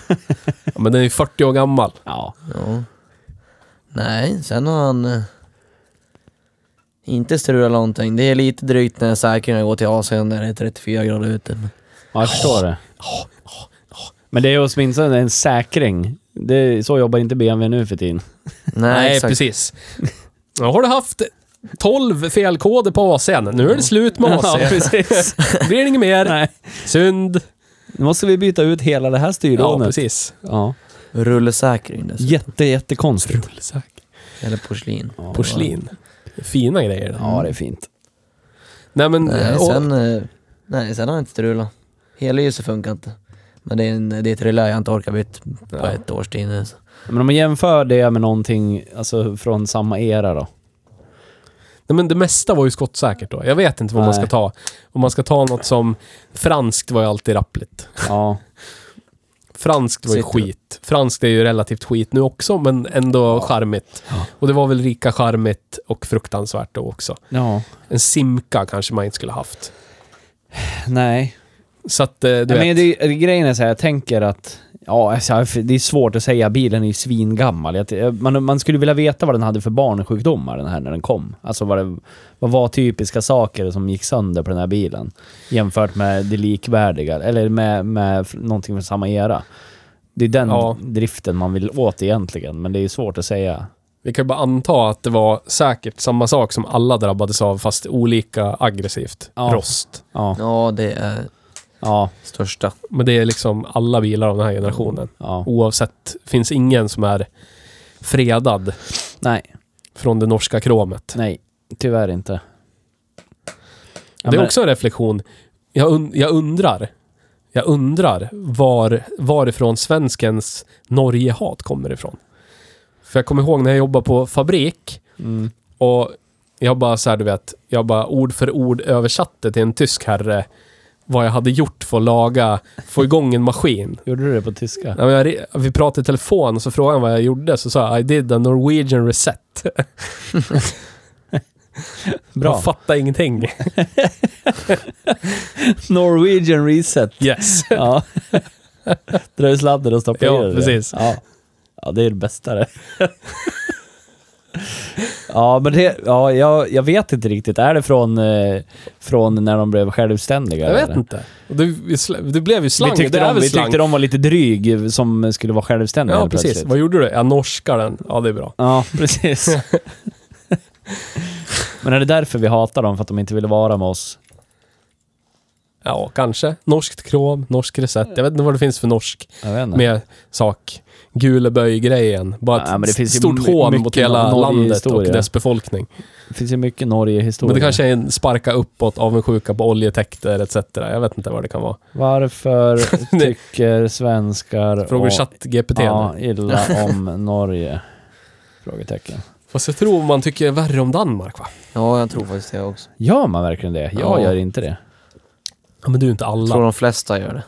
Speaker 1: men den är 40 år gammal.
Speaker 2: ja.
Speaker 3: Ja. Nej, sen har han eh, inte strulat någonting. Det är lite drygt när säkringarna går till Asien när det är 34 grader
Speaker 2: *laughs*
Speaker 3: ute. Men
Speaker 2: Ja, jag förstår det. Men det är åtminstone en säkring. Det är, så jobbar inte BMW nu för tiden.
Speaker 3: Nej,
Speaker 1: Nej,
Speaker 3: exakt.
Speaker 1: precis. Nu har du haft 12 felkoder på AC'n. Nu är det slut med
Speaker 2: *laughs* Ja,
Speaker 1: AC.
Speaker 2: precis.
Speaker 1: *laughs* blir det inget mer.
Speaker 2: Nej.
Speaker 1: Synd.
Speaker 2: Nu måste vi byta ut hela det här
Speaker 1: Ja,
Speaker 2: styrlånet.
Speaker 1: precis.
Speaker 2: Ja.
Speaker 3: Rullesäkring dessutom.
Speaker 2: Jätte, jättekonstigt.
Speaker 3: Eller porslin.
Speaker 2: Ja,
Speaker 1: Porslin. Fina grejer. det.
Speaker 2: Ja, det är fint.
Speaker 1: Nej, men...
Speaker 3: Nej,
Speaker 1: och,
Speaker 3: sen, eh, nej, sen har jag inte strulat. Helljuset funkar inte. Men det är, en, det är ett relä jag inte orkar byta på
Speaker 1: Ja.
Speaker 3: ett års tid nu. så.
Speaker 2: Men om man jämför det med någonting alltså, från samma era då?
Speaker 1: Nej, men det mesta var ju skottsäkert då. Jag vet inte vad man
Speaker 2: Nej.
Speaker 1: ska ta. Om man ska ta något som... Franskt var ju alltid rappligt.
Speaker 2: Ja.
Speaker 1: Franskt var ju
Speaker 3: Sitter.
Speaker 1: skit. Franskt är ju relativt skit nu också, men ändå charmigt.
Speaker 2: Ja.
Speaker 1: Och det var väl rika charmigt och fruktansvärt då också.
Speaker 2: ja.
Speaker 1: En simka kanske man inte skulle haft.
Speaker 2: Nej.
Speaker 1: Så att, eh, du
Speaker 2: Nej,
Speaker 1: vet.
Speaker 2: men det, det- grejen är så här, jag tänker att... Ja, alltså, det är svårt att säga. Bilen är ju svingammal. Jag, man, man skulle vilja veta vad den hade för barnsjukdomar, den här, när den kom. Alltså vad, det, vad var typiska saker som gick sönder på den här bilen? Jämfört med det likvärdiga, eller med, med någonting från samma era. Det är den
Speaker 1: Ja.
Speaker 2: driften man vill åt egentligen, men det är ju svårt att säga.
Speaker 1: Vi kan ju bara anta att det var säkert samma sak som alla drabbades av, fast olika aggressivt.
Speaker 2: Ja.
Speaker 1: Rost.
Speaker 2: Ja,
Speaker 3: Ja, det är
Speaker 2: ja,
Speaker 3: största.
Speaker 1: Men det är liksom alla bilar av den här generationen.
Speaker 2: ja.
Speaker 1: Oavsett, finns ingen som är fredad
Speaker 2: Nej,
Speaker 1: från det norska kromet.
Speaker 2: nej. Tyvärr inte. Ja,
Speaker 1: det är
Speaker 2: men-
Speaker 1: också en reflektion. Jag, und jag undrar. Jag undrar var, varifrån svenskens Norgehat kommer ifrån. För jag kommer ihåg när jag jobbade på fabrik
Speaker 2: Mm.
Speaker 1: och jag bara så här, du vet, jag bara ord för ord översatte till en tysk herre vad jag hade gjort för att laga, få igång en maskin.
Speaker 2: Gjorde du det på tyska?
Speaker 1: Ja, men jag, re- vi pratade i telefon och så frågade han vad jag gjorde, så sa jag I did a Norwegian reset.
Speaker 2: Bra.
Speaker 1: Jag fattade ingenting. *laughs*
Speaker 2: Norwegian reset.
Speaker 1: Yes.
Speaker 2: Ja. *laughs* Dra ur sladden och stoppa
Speaker 1: Ja,
Speaker 2: i det.
Speaker 1: precis.
Speaker 2: Ja. ja, det är det bästa det. *laughs* Ja, men det, ja, jag, jag vet inte riktigt. Är det från, eh, från när de blev självständiga?
Speaker 1: Jag
Speaker 2: eller?
Speaker 1: vet inte. Och Det, vi sl- det blev ju slang.
Speaker 2: Vi tyckte,
Speaker 1: det är
Speaker 2: de,
Speaker 1: väl
Speaker 2: vi
Speaker 1: slang.
Speaker 2: tyckte de var lite dryg som skulle vara självständiga
Speaker 1: Ja,
Speaker 2: helt
Speaker 1: precis.
Speaker 2: plötsligt.
Speaker 1: Vad gjorde du? Jag norskar den. Ja, det är bra.
Speaker 2: Ja, *laughs*
Speaker 1: *laughs*
Speaker 2: precis. men är det därför vi hatar dem? För att de inte ville vara med oss?
Speaker 1: Ja, kanske. Norskt krom, norsk recept. Jag vet inte vad det finns för norsk
Speaker 2: Jag vet inte.
Speaker 1: med sak. Guleböj-grejen. Bara ett
Speaker 2: Ja, men det finns ju
Speaker 1: stort
Speaker 2: my-
Speaker 1: hån
Speaker 2: mycket
Speaker 1: mot hela
Speaker 2: Norge-
Speaker 1: landet och
Speaker 2: historia.
Speaker 1: dess befolkning.
Speaker 2: Det finns ju mycket Norge-historia.
Speaker 1: Men det kanske är en sparka uppåt, avundsjuka på oljetäkter etc. Jag vet inte vad det kan vara.
Speaker 2: Varför
Speaker 1: *laughs* Nej.
Speaker 2: tycker svenskar...
Speaker 1: Frågar
Speaker 2: och-
Speaker 1: ChatGPT nu.
Speaker 2: Ja, illa om Norge? Frågetecken.
Speaker 1: Fast jag tror man tycker värre om Danmark, va?
Speaker 3: Ja, jag tror faktiskt det också.
Speaker 2: Gör man verkligen det? Jag
Speaker 3: Ja.
Speaker 2: gör inte det.
Speaker 1: Ja, men du är inte alla.
Speaker 3: Jag tror de flesta gör det.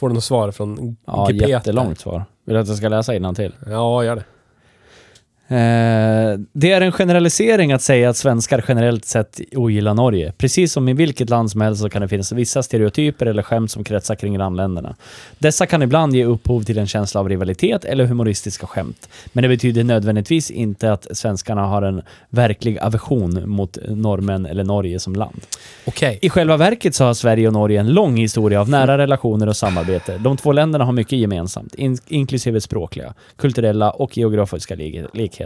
Speaker 1: Får du något svar från
Speaker 2: Ja,
Speaker 1: GPT?
Speaker 2: jättelångt svar. Vill du att jag ska läsa innantill?
Speaker 1: Ja, gör det.
Speaker 2: Eh, det är en generalisering att säga att svenskar generellt sett ogillar Norge. Precis som i vilket land som helst så kan det finnas vissa stereotyper eller skämt som kretsar kring grannländerna. Dessa kan ibland ge upphov till en känsla av rivalitet eller humoristiska skämt. Men det betyder nödvändigtvis inte att svenskarna har en verklig aversion mot norrmän eller Norge som land.
Speaker 1: Okej.
Speaker 2: I själva verket så har Sverige och Norge en lång historia av nära relationer och samarbete. De två länderna har mycket gemensamt, in inklusive språkliga, kulturella och geografiska lik likheter.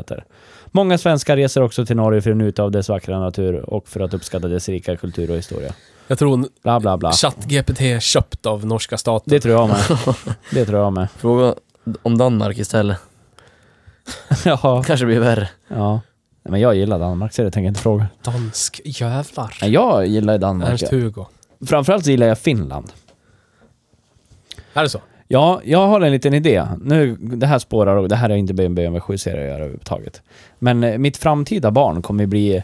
Speaker 2: Många svenskar reser också till Norge för att njuta av dess vackra natur och för att uppskatta dess rika kultur och historia.
Speaker 1: Jag tror
Speaker 2: Bla, bla, bla.
Speaker 1: ChatGPT är köpt av norska staten.
Speaker 2: Det tror jag *laughs* med. Det tror jag med.
Speaker 3: Fråga om Danmark istället.
Speaker 2: *laughs* Ja.
Speaker 3: kanske blir värre.
Speaker 2: ja. Nej, Men jag gillar Danmark, så det tänker jag inte fråga.
Speaker 1: Dansk jävlar.
Speaker 2: Nej, jag gillar Danmark. ja.
Speaker 1: Ernst-Hugo.
Speaker 2: Framförallt så gillar jag Finland.
Speaker 1: Är det så?
Speaker 2: Ja, jag har en liten idé. Nu, det här spårar och det här är inte en BMW 7-serie att göra överhuvudtaget. Men eh, mitt framtida barn kommer ju bli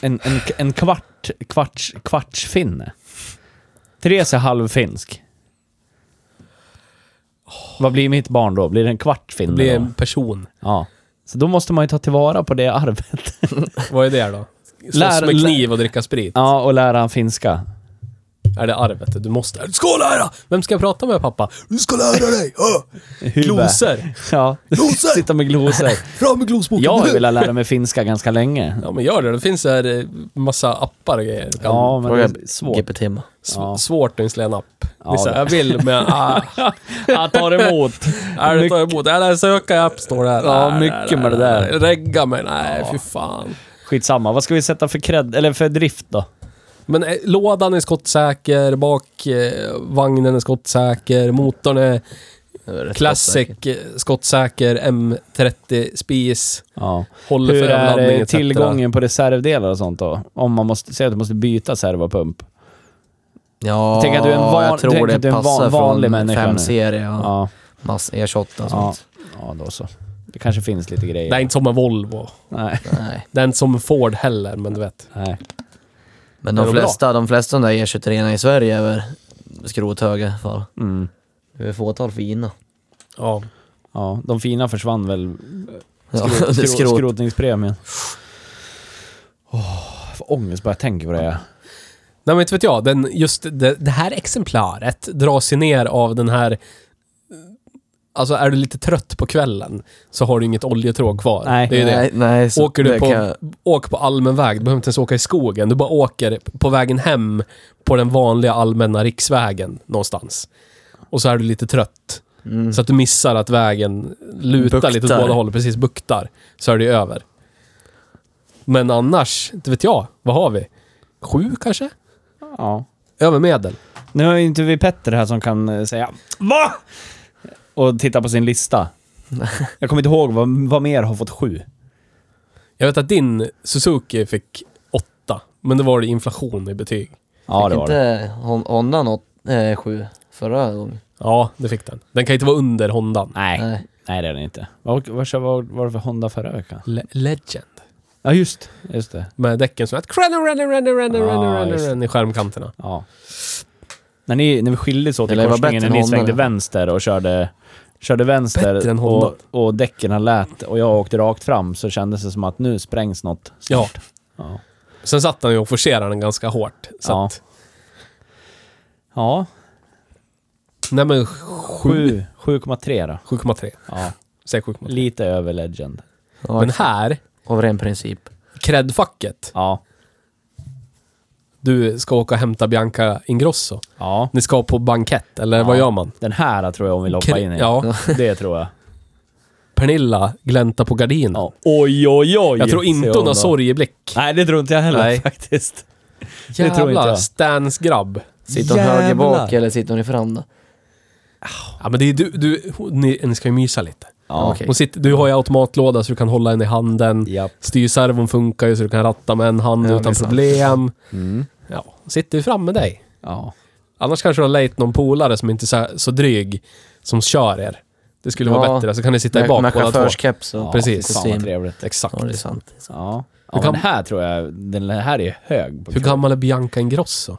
Speaker 2: en, en, en kvart, kvarts, kvartsfinne. Therese är halvfinsk. Vad blir mitt barn då? Blir det en
Speaker 1: Det
Speaker 2: kvartfinne
Speaker 1: blir
Speaker 2: då?
Speaker 1: en person.
Speaker 2: Ja. Så då måste man ju ta tillvara på det arvet.
Speaker 1: Vad är det då? Slåss
Speaker 2: Lär-
Speaker 1: med kniv och dricka sprit.
Speaker 2: Ja, och lära han finska.
Speaker 1: Är det arvet? Du måste... Du ska lära! Vem ska jag prata med pappa? Du ska lära dig! Ja.
Speaker 2: Huvud.
Speaker 1: Gloser!
Speaker 2: Ja,
Speaker 1: Glosor!
Speaker 2: sitta med glosor.
Speaker 1: Fram med glosboken
Speaker 2: Jag har ju
Speaker 1: nu!
Speaker 2: velat lära mig finska ganska länge.
Speaker 1: Ja men gör det. Det finns så här eh, massa appar och grejer. Du kan-
Speaker 2: Ja, men det
Speaker 3: Fråga
Speaker 2: är svårt.
Speaker 3: GPT. -ma.
Speaker 1: Sv-
Speaker 2: Ja.
Speaker 1: Svårt att installera en app.
Speaker 2: Ja,
Speaker 1: Nissa,
Speaker 2: det-
Speaker 1: jag vill men...
Speaker 2: *laughs*
Speaker 1: Ah,
Speaker 2: Att ta emot.
Speaker 1: är det tar jag emot? Eller söka i App Store där.
Speaker 2: Ja,
Speaker 1: Nej, nej,
Speaker 2: mycket med det
Speaker 1: nej, nej.
Speaker 2: där.
Speaker 1: Regga mig? Nej, fy fan.
Speaker 2: Skitsamma, vad ska vi sätta för cred, eller för drift då?
Speaker 1: Men eh, lådan är skottsäker, bak eh, vagnen är skottsäker, motorn är
Speaker 3: Det är rätt
Speaker 1: classic eh, skottsäker, M30 spis,
Speaker 2: Ja.
Speaker 1: håller
Speaker 2: Hur
Speaker 1: för
Speaker 2: är
Speaker 1: överladdning
Speaker 2: eh,
Speaker 1: etc.
Speaker 2: tillgången på reservdelar och sånt då? Om man måste, säg att du måste byta servopump.
Speaker 3: Ja,
Speaker 2: Tänk att du är en van-
Speaker 3: jag tror
Speaker 2: tänk
Speaker 3: det
Speaker 2: att du är en van-
Speaker 3: passar
Speaker 2: vanlig
Speaker 3: från
Speaker 2: människa nu.
Speaker 3: 5-serie och
Speaker 2: Ja.
Speaker 3: mass E28 och sånt.
Speaker 2: Ja. ja, då så. Det kanske finns lite grejer.
Speaker 1: Det är inte som en Volvo.
Speaker 2: Nej.
Speaker 3: Nej.
Speaker 1: Det är inte som en Ford heller, men du vet.
Speaker 2: Nej.
Speaker 3: Men
Speaker 1: Är
Speaker 3: de
Speaker 1: de bra?
Speaker 3: flesta, de flesta av de där e 23 i Sverige är väl skrothöga i alla fall.
Speaker 2: Mm.
Speaker 3: Det är ett fåtal fina.
Speaker 1: Ja.
Speaker 2: Ja, de fina försvann väl. *laughs*
Speaker 3: Ja, *laughs*
Speaker 2: Skrot,
Speaker 3: det är
Speaker 2: skrot,
Speaker 3: skrot.
Speaker 2: Skrotningspremien. Åh, vad ångest bara jag tänker på det. här.
Speaker 1: Nej men inte vet jag, den, just det, det här exemplaret dras ju ner av den här... Alltså är du lite trött på kvällen så har du inget oljetråg kvar.
Speaker 2: Nej.
Speaker 1: det är ju det.
Speaker 3: Nej, nej, så
Speaker 1: Åker du
Speaker 3: det
Speaker 1: på,
Speaker 3: kan jag-
Speaker 1: åk på allmän väg, du behöver inte ens åka i skogen. Du bara åker på vägen hem på den vanliga allmänna riksvägen någonstans. Och så är du lite trött.
Speaker 3: Mm.
Speaker 1: Så att du missar att vägen lutar
Speaker 3: Buktar.
Speaker 1: lite åt båda håll, precis buktar. Så är det ju över. Men annars, inte vet jag, vad har vi? Sju kanske?
Speaker 2: Ja.
Speaker 1: Över medel.
Speaker 2: Nu har ju inte vi Petter här som kan eh, säga VA? Och titta på sin lista. Jag kommer inte ihåg vad, vad mer har fått sju.
Speaker 1: Jag vet att din Suzuki fick åtta, men det var det inflation i betyg.
Speaker 2: Ja, det
Speaker 3: Fick
Speaker 2: var det.
Speaker 3: inte Hon- Honda något, eh, sju förra gången?
Speaker 1: Ja, det fick den. Den kan inte vara under Hondan.
Speaker 2: Nej,
Speaker 3: Nej.
Speaker 2: nej det är den inte. Vad, vad, kör- vad var det för Honda förra veckan?
Speaker 1: Le- Legend.
Speaker 2: Ja, just, just det.
Speaker 1: Med däcken som lät crunner, runner, runner, runner,
Speaker 2: Ah,
Speaker 1: runner, runner,
Speaker 2: just det.
Speaker 1: runner i skärmkanterna.
Speaker 2: Ja. När, ni, när vi skildes åt i
Speaker 3: Det lär vara
Speaker 2: korsningen,
Speaker 3: bättre
Speaker 2: när ni
Speaker 3: än Honda,
Speaker 2: svängde
Speaker 3: det.
Speaker 2: vänster och körde, körde
Speaker 1: Bättre än
Speaker 2: vänster
Speaker 1: Honda.
Speaker 2: och, och däcken lät och jag åkte rakt fram så kändes det som att nu sprängs något.
Speaker 1: Ja.
Speaker 2: Ja.
Speaker 1: Sen satt han ju och forcerade den ganska hårt. Så
Speaker 2: Ja.
Speaker 1: att,
Speaker 2: Ja,
Speaker 1: nej men sju-
Speaker 2: sju- 7,3 då.
Speaker 1: 7,3.
Speaker 2: Ja,
Speaker 1: Säg 7,3.
Speaker 2: lite över Legend.
Speaker 3: Ja,
Speaker 1: Men här,
Speaker 3: Av ren princip.
Speaker 1: credfacket.
Speaker 2: Ja,
Speaker 1: Du ska åka och hämta Bianca Ingrosso.
Speaker 2: ja.
Speaker 1: Ni ska på bankett, eller vad
Speaker 2: Ja.
Speaker 1: gör man?
Speaker 2: Den här tror jag hon vill hoppa
Speaker 1: Kri-
Speaker 2: in i.
Speaker 1: ja.
Speaker 2: *laughs* Det tror jag.
Speaker 1: Pernilla glänta på gardinen.
Speaker 2: Ja. Oj, oj, oj!
Speaker 1: Jag tror inte
Speaker 2: säger
Speaker 1: hon har
Speaker 2: då.
Speaker 1: sorgeblick.
Speaker 2: Nej, det tror inte jag heller
Speaker 1: Nej.
Speaker 2: faktiskt. tror inte
Speaker 1: Jävla
Speaker 2: jag.
Speaker 1: Stans grabb.
Speaker 3: Sitter hon
Speaker 2: Jävlar.
Speaker 3: höger bak eller sitter hon i fram då?
Speaker 1: Ja men det är du, du hon- ni, ni ska ju mysa lite.
Speaker 2: Ja.
Speaker 3: Okej.
Speaker 1: Hon sitter, du har ju automatlåda så du kan hålla henne i handen.
Speaker 2: Japp.
Speaker 1: Styrservon funkar ju så du kan ratta med en hand
Speaker 3: Ja, det är
Speaker 1: utan
Speaker 3: sant.
Speaker 1: problem.
Speaker 2: Mm.
Speaker 1: Ja, sitter ju framme med dig.
Speaker 2: Ja.
Speaker 1: Annars kanske du har lejt någon polare som inte är så, så dryg, som kör er. Det skulle vara
Speaker 3: Ja,
Speaker 1: bättre, så kan ni sitta i
Speaker 3: Med,
Speaker 1: bak
Speaker 3: med
Speaker 1: båda två.
Speaker 3: chaufförskeps
Speaker 2: ja.
Speaker 3: och
Speaker 1: precis.
Speaker 2: Fan vad
Speaker 3: kostym.
Speaker 2: trevligt.
Speaker 1: Exakt.
Speaker 3: Ja, det är sant.
Speaker 2: Ja.
Speaker 1: Hur gam-
Speaker 2: ja men den här tror jag, den här är hög. På
Speaker 1: Hur gammal är Bianca Ingrosso?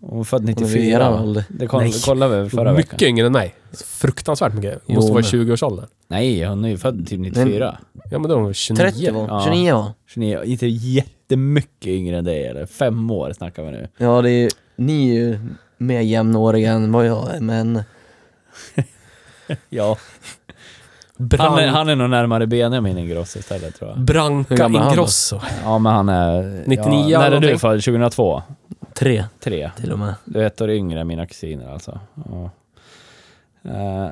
Speaker 2: Hon är född
Speaker 3: Hon är vid
Speaker 2: 94.
Speaker 3: eran ålder.
Speaker 2: Det koll,
Speaker 1: Nej.
Speaker 2: kollade vi förra
Speaker 1: mycket
Speaker 2: veckan.
Speaker 1: yngre än mig. Fruktansvärt mycket. Hon
Speaker 3: Jo,
Speaker 1: måste vara i
Speaker 3: men-
Speaker 1: 20-årsåldern.
Speaker 2: Nej, hon är ju född typ 94.
Speaker 1: Ja, men då är hon 29.
Speaker 3: 30 var
Speaker 2: Ja.
Speaker 3: hon. 29 var hon.
Speaker 2: 29. Inte jättemycket yngre än dig eller? Fem år snackar vi nu.
Speaker 3: Ja, det är ju, ni är ju mer jämnåriga än vad jag är, men
Speaker 2: Ja.
Speaker 1: Bran-
Speaker 2: Han är, han är nog närmare Benjamin Ingrosso istället tror jag.
Speaker 1: Branka
Speaker 3: Hur gammal är han då?
Speaker 1: Ingrosso.
Speaker 2: Ja, men han är...
Speaker 1: 99
Speaker 2: ja, När är
Speaker 1: någonting.
Speaker 2: du född? 2002?
Speaker 3: tre
Speaker 2: Tre.
Speaker 3: till och med.
Speaker 2: Du är ett år yngre än mina kusiner alltså. Ja. Eh,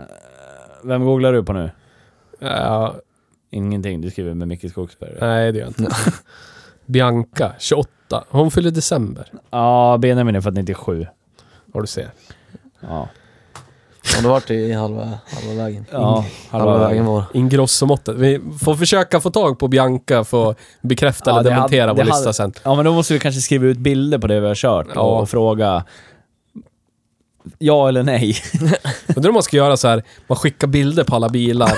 Speaker 2: vem googlar du på nu?
Speaker 1: Ja,
Speaker 2: Ingenting, du skriver med Micke Skogsberg. Ja,
Speaker 1: nej, det gör jag inte. Bianca, 28. Hon fyller i december.
Speaker 2: Benjamin är född 97.
Speaker 1: Vad du ser.
Speaker 2: Ja.
Speaker 3: Och då vart det ju halva, halva vägen.
Speaker 2: Mm. ja
Speaker 3: Halva, vägen var
Speaker 1: Ingrosso-måttet. Vi får försöka få tag på Bianca för att bekräfta
Speaker 2: Ja,
Speaker 1: eller
Speaker 2: det hade-
Speaker 1: dementera
Speaker 2: det
Speaker 1: vår lista
Speaker 2: hade-
Speaker 1: sen.
Speaker 2: Ja, men då måste vi kanske skriva ut bilder på det vi har kört
Speaker 1: Ja.
Speaker 2: och, och fråga Ja eller nej?
Speaker 1: Undrar om man ska göra så här, man skickar bilder på alla
Speaker 2: *laughs*
Speaker 1: bilar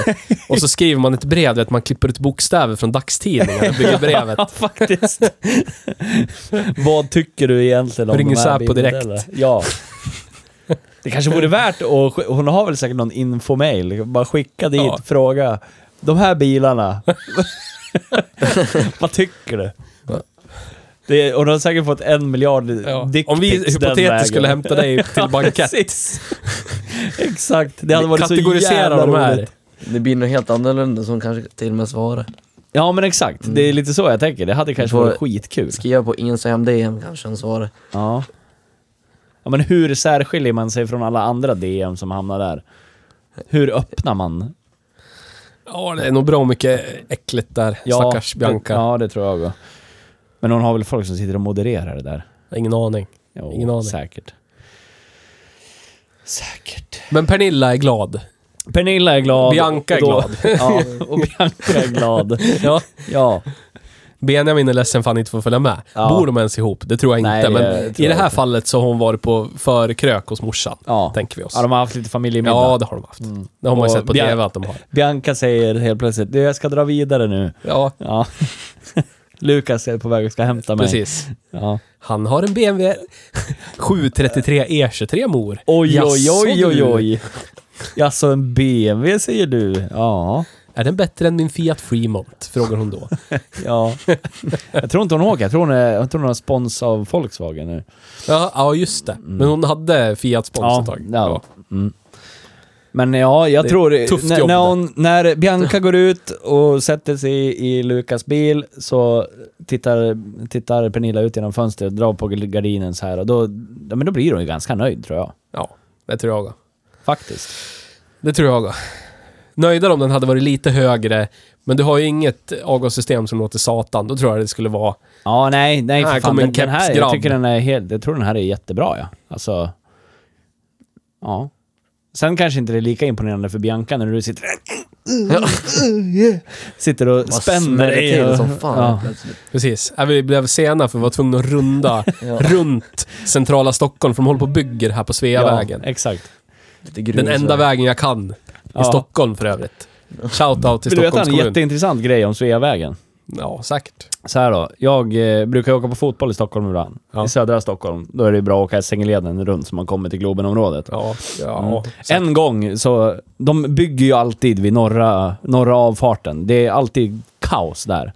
Speaker 1: och så skriver man ett brev, vet, man klipper ut bokstäver från dagstidningar och bygger *laughs* brevet.
Speaker 2: Ja, faktiskt. *laughs* Vad tycker du egentligen om
Speaker 1: Ringer
Speaker 2: de här
Speaker 1: Säpo
Speaker 2: bilderna,
Speaker 1: direkt.
Speaker 2: eller? Ja. Det kanske
Speaker 1: *laughs*
Speaker 2: vore värt att... sk- Hon har väl säkert någon infomail. Bara skicka dit,
Speaker 1: Ja.
Speaker 2: fråga. De
Speaker 1: *laughs*
Speaker 2: här bilarna. Vad tycker du? Det, är- hon har säkert fått en miljard
Speaker 1: Ja.
Speaker 2: dickpics
Speaker 1: Om vi
Speaker 2: den
Speaker 1: hypotetiskt skulle
Speaker 2: vägen.
Speaker 1: hämta dig till bankett.
Speaker 2: Precis. *laughs* Exakt. Det hade varit så
Speaker 1: Kategorisera
Speaker 2: jävla
Speaker 1: de här.
Speaker 2: roligt.
Speaker 3: Det blir nog helt annorlunda som kanske till och med svarar.
Speaker 2: Ja men exakt. Det
Speaker 1: Mm.
Speaker 2: är lite så jag tänker. Det hade kanske
Speaker 3: Får-
Speaker 2: varit skitkul.
Speaker 3: Skriva på Instagram DM kanske en svarar.
Speaker 2: Ja. ja. men hur särskiljer man sig från alla andra DM som hamnar där? Hur öppnar man?
Speaker 1: Ja, det är nog bra mycket äckligt där. Stackars Bianca.
Speaker 2: Det, ja, det tror jag också. Men hon har väl folk som sitter och modererar det där?
Speaker 1: Ingen aning.
Speaker 2: Jo,
Speaker 1: Ingen aning.
Speaker 2: Säkert. Säkert.
Speaker 1: Men Pernilla är glad.
Speaker 2: Pernilla är glad.
Speaker 1: Bianca är
Speaker 2: och då-
Speaker 1: glad.
Speaker 2: *laughs* ja, och Bianca är glad.
Speaker 1: *laughs* Ja.
Speaker 2: Ja.
Speaker 1: Benjamin är ledsen för han inte får följa med.
Speaker 2: Ja.
Speaker 1: Bor de ens ihop? Det tror jag inte.
Speaker 2: Nej, det
Speaker 1: men
Speaker 2: tror jag
Speaker 1: i det här
Speaker 2: inte.
Speaker 1: fallet så har hon varit på förkrök hos morsan.
Speaker 2: Ja.
Speaker 1: Tänker vi oss.
Speaker 2: ja, de har haft lite familjemiddag.
Speaker 1: Ja, det har de haft. Mm. Det har man ju
Speaker 2: Och
Speaker 1: sett på
Speaker 2: Bian-
Speaker 1: TV att de har.
Speaker 2: Bianca säger helt plötsligt du, jag ska dra vidare nu.
Speaker 1: Ja,
Speaker 2: Ja. *laughs* Lukas är på väg och ska hämta mig.
Speaker 1: precis.
Speaker 2: Ja.
Speaker 1: Han har en BMW *laughs* 733 E23 E mor.
Speaker 2: Oj,
Speaker 1: Jaså,
Speaker 2: oj, oj, oj,
Speaker 1: du.
Speaker 2: oj. Jaså, en BMW säger du? Ja.
Speaker 1: Är den bättre än min Fiat Fremont? Frågar hon då.
Speaker 2: ja. Jag tror inte hon åker. Jag tror hon, är, jag tror hon har spons av Volkswagen nu.
Speaker 1: Ja, ja just det. Men hon hade Fiat-spons ett tag.
Speaker 2: ja. Mm. Men ja, jag
Speaker 1: Det är
Speaker 2: tror...
Speaker 1: ett tufft
Speaker 2: när,
Speaker 1: jobb
Speaker 2: när,
Speaker 1: det.
Speaker 2: hon, när Bianca går ut och sätter sig i, i Lukas bil så tittar, tittar Pernilla ut genom fönstret, drar på gardinen så här och då, ja, men då blir hon ju ganska nöjd tror jag.
Speaker 1: Ja, det tror jag.
Speaker 2: Faktiskt.
Speaker 1: Det tror jag. Nöjdare om den hade varit lite högre, men du har ju inget avgassystem som låter satan. Då tror jag det skulle vara...
Speaker 2: Ja, nej, nej
Speaker 1: Här
Speaker 2: för fan.
Speaker 1: kommer en
Speaker 2: Den, den här, jag
Speaker 1: kepsgrabb.
Speaker 2: tycker den är helt, jag tror den här är jättebra ja. Alltså, ja. Sen kanske inte det är lika imponerande för Bianca när du sitter...
Speaker 1: *laughs*
Speaker 2: Sitter och
Speaker 3: Bara
Speaker 2: spänner
Speaker 3: smäller
Speaker 2: dig.
Speaker 3: till
Speaker 2: och-
Speaker 3: som fan
Speaker 2: Ja.
Speaker 3: plötsligt.
Speaker 1: Precis. Ja, vi blev sena för vi var tvungna att *laughs* runda
Speaker 3: Ja.
Speaker 1: runt centrala Stockholm, för de håller på och bygger här på Sveavägen.
Speaker 2: Ja, exakt.
Speaker 3: Lite grus
Speaker 1: Den enda
Speaker 3: och-
Speaker 1: vägen jag kan. I
Speaker 2: Ja.
Speaker 1: Stockholm för övrigt. Shoutout till
Speaker 2: Vill du veta
Speaker 1: Stockholms
Speaker 2: en
Speaker 1: kommun.
Speaker 2: jätteintressant grej om Sveavägen?
Speaker 1: Ja, säkert.
Speaker 2: Så här då, jag eh, brukar åka på fotboll i Stockholm ibland.
Speaker 1: Ja.
Speaker 2: I södra Stockholm. Då är det bra att åka Sängeleden runt så man kommer till Globenområdet.
Speaker 1: Ja, ja. säkert.
Speaker 2: En gång så, de bygger ju alltid vid norra, norra avfarten. Det är alltid kaos där.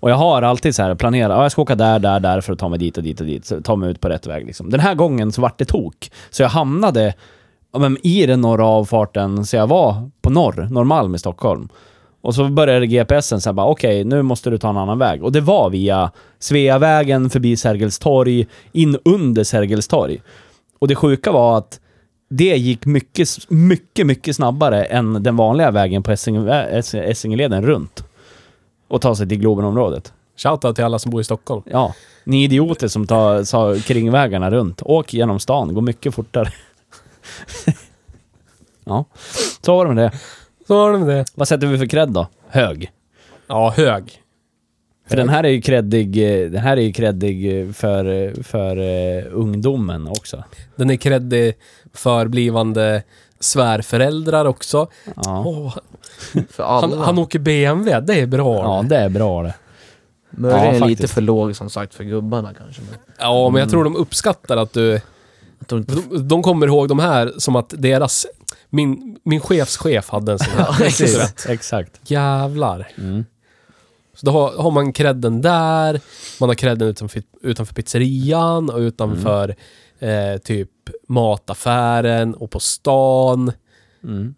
Speaker 2: Och jag har alltid så här planerat, ja, jag ska åka där, där, där för att ta mig dit och dit och dit. Så ta mig ut på rätt väg liksom. Den här gången så vart det tok. Så jag hamnade ja, men, i den norra avfarten, så jag var på norr, Norrmalm i Stockholm. Och så började GPSen säga bara okej, nu måste du ta en annan väg. Och det var via Sveavägen, förbi Sergels torg, in under Sergels torg. Och det sjuka var att det gick mycket, mycket, mycket snabbare än den vanliga vägen på Essingö- Ess- Essingeleden runt. Och ta sig till Globenområdet.
Speaker 1: Shoutout till alla som bor i Stockholm.
Speaker 2: Ja. Ni idioter som tar, tar kringvägarna runt. Åk genom stan, går mycket fortare. *laughs* ja, så var det med det.
Speaker 1: Så har de det.
Speaker 2: Vad sätter vi för cred då? Hög.
Speaker 1: Ja, hög.
Speaker 2: För den här är ju creddig, eh, den här är ju creddig eh, för, eh, för eh, ungdomen också.
Speaker 1: Den är kreddig för blivande svärföräldrar också.
Speaker 2: Ja.
Speaker 1: Åh,
Speaker 3: För alla.
Speaker 1: han, han åker BMW, det är bra.
Speaker 2: ja,
Speaker 1: Ja,
Speaker 2: det är bra det.
Speaker 3: Möjligen
Speaker 2: Ja,
Speaker 3: lite
Speaker 2: faktiskt.
Speaker 3: för låg som sagt för gubbarna kanske. Men
Speaker 1: men jag tror de uppskattar att du...
Speaker 3: jag tror *laughs* inte...
Speaker 1: De, de kommer ihåg de här som att deras... Min, min chefs chef hade en sån här. *laughs*
Speaker 2: Precis. Exakt.
Speaker 1: Jävlar.
Speaker 2: Mm.
Speaker 1: Så då har, har man credden där, man har credden utanför, utanför pizzerian och utanför eh, typ mataffären och på stan.
Speaker 2: Mm.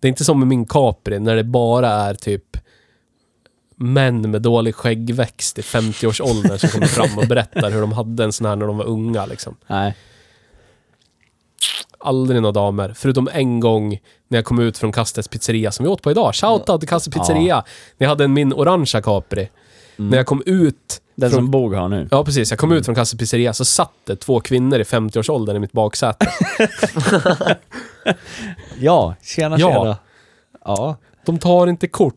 Speaker 1: Det är inte som med min Capri när det bara är typ män med dålig skäggväxt i 50-årsåldern som kommer fram och berättar hur de hade en sån här när de var unga. Liksom.
Speaker 2: Nej.
Speaker 1: Aldrig några damer, förutom en gång när jag kom ut från Kastes pizzeria som vi åt på idag. Shoutout till Kastes pizzeria. När jag hade en min orangea Capri. När jag kom ut
Speaker 2: Den
Speaker 1: från
Speaker 2: som Bog har nu.
Speaker 1: Ja, precis. Jag kom ut från Kasse pizzeria så satt det två kvinnor i 50-årsåldern i mitt baksäte.
Speaker 2: Ja, tjena
Speaker 1: Ja.
Speaker 2: tjena. Ja.
Speaker 1: De tar inte kort.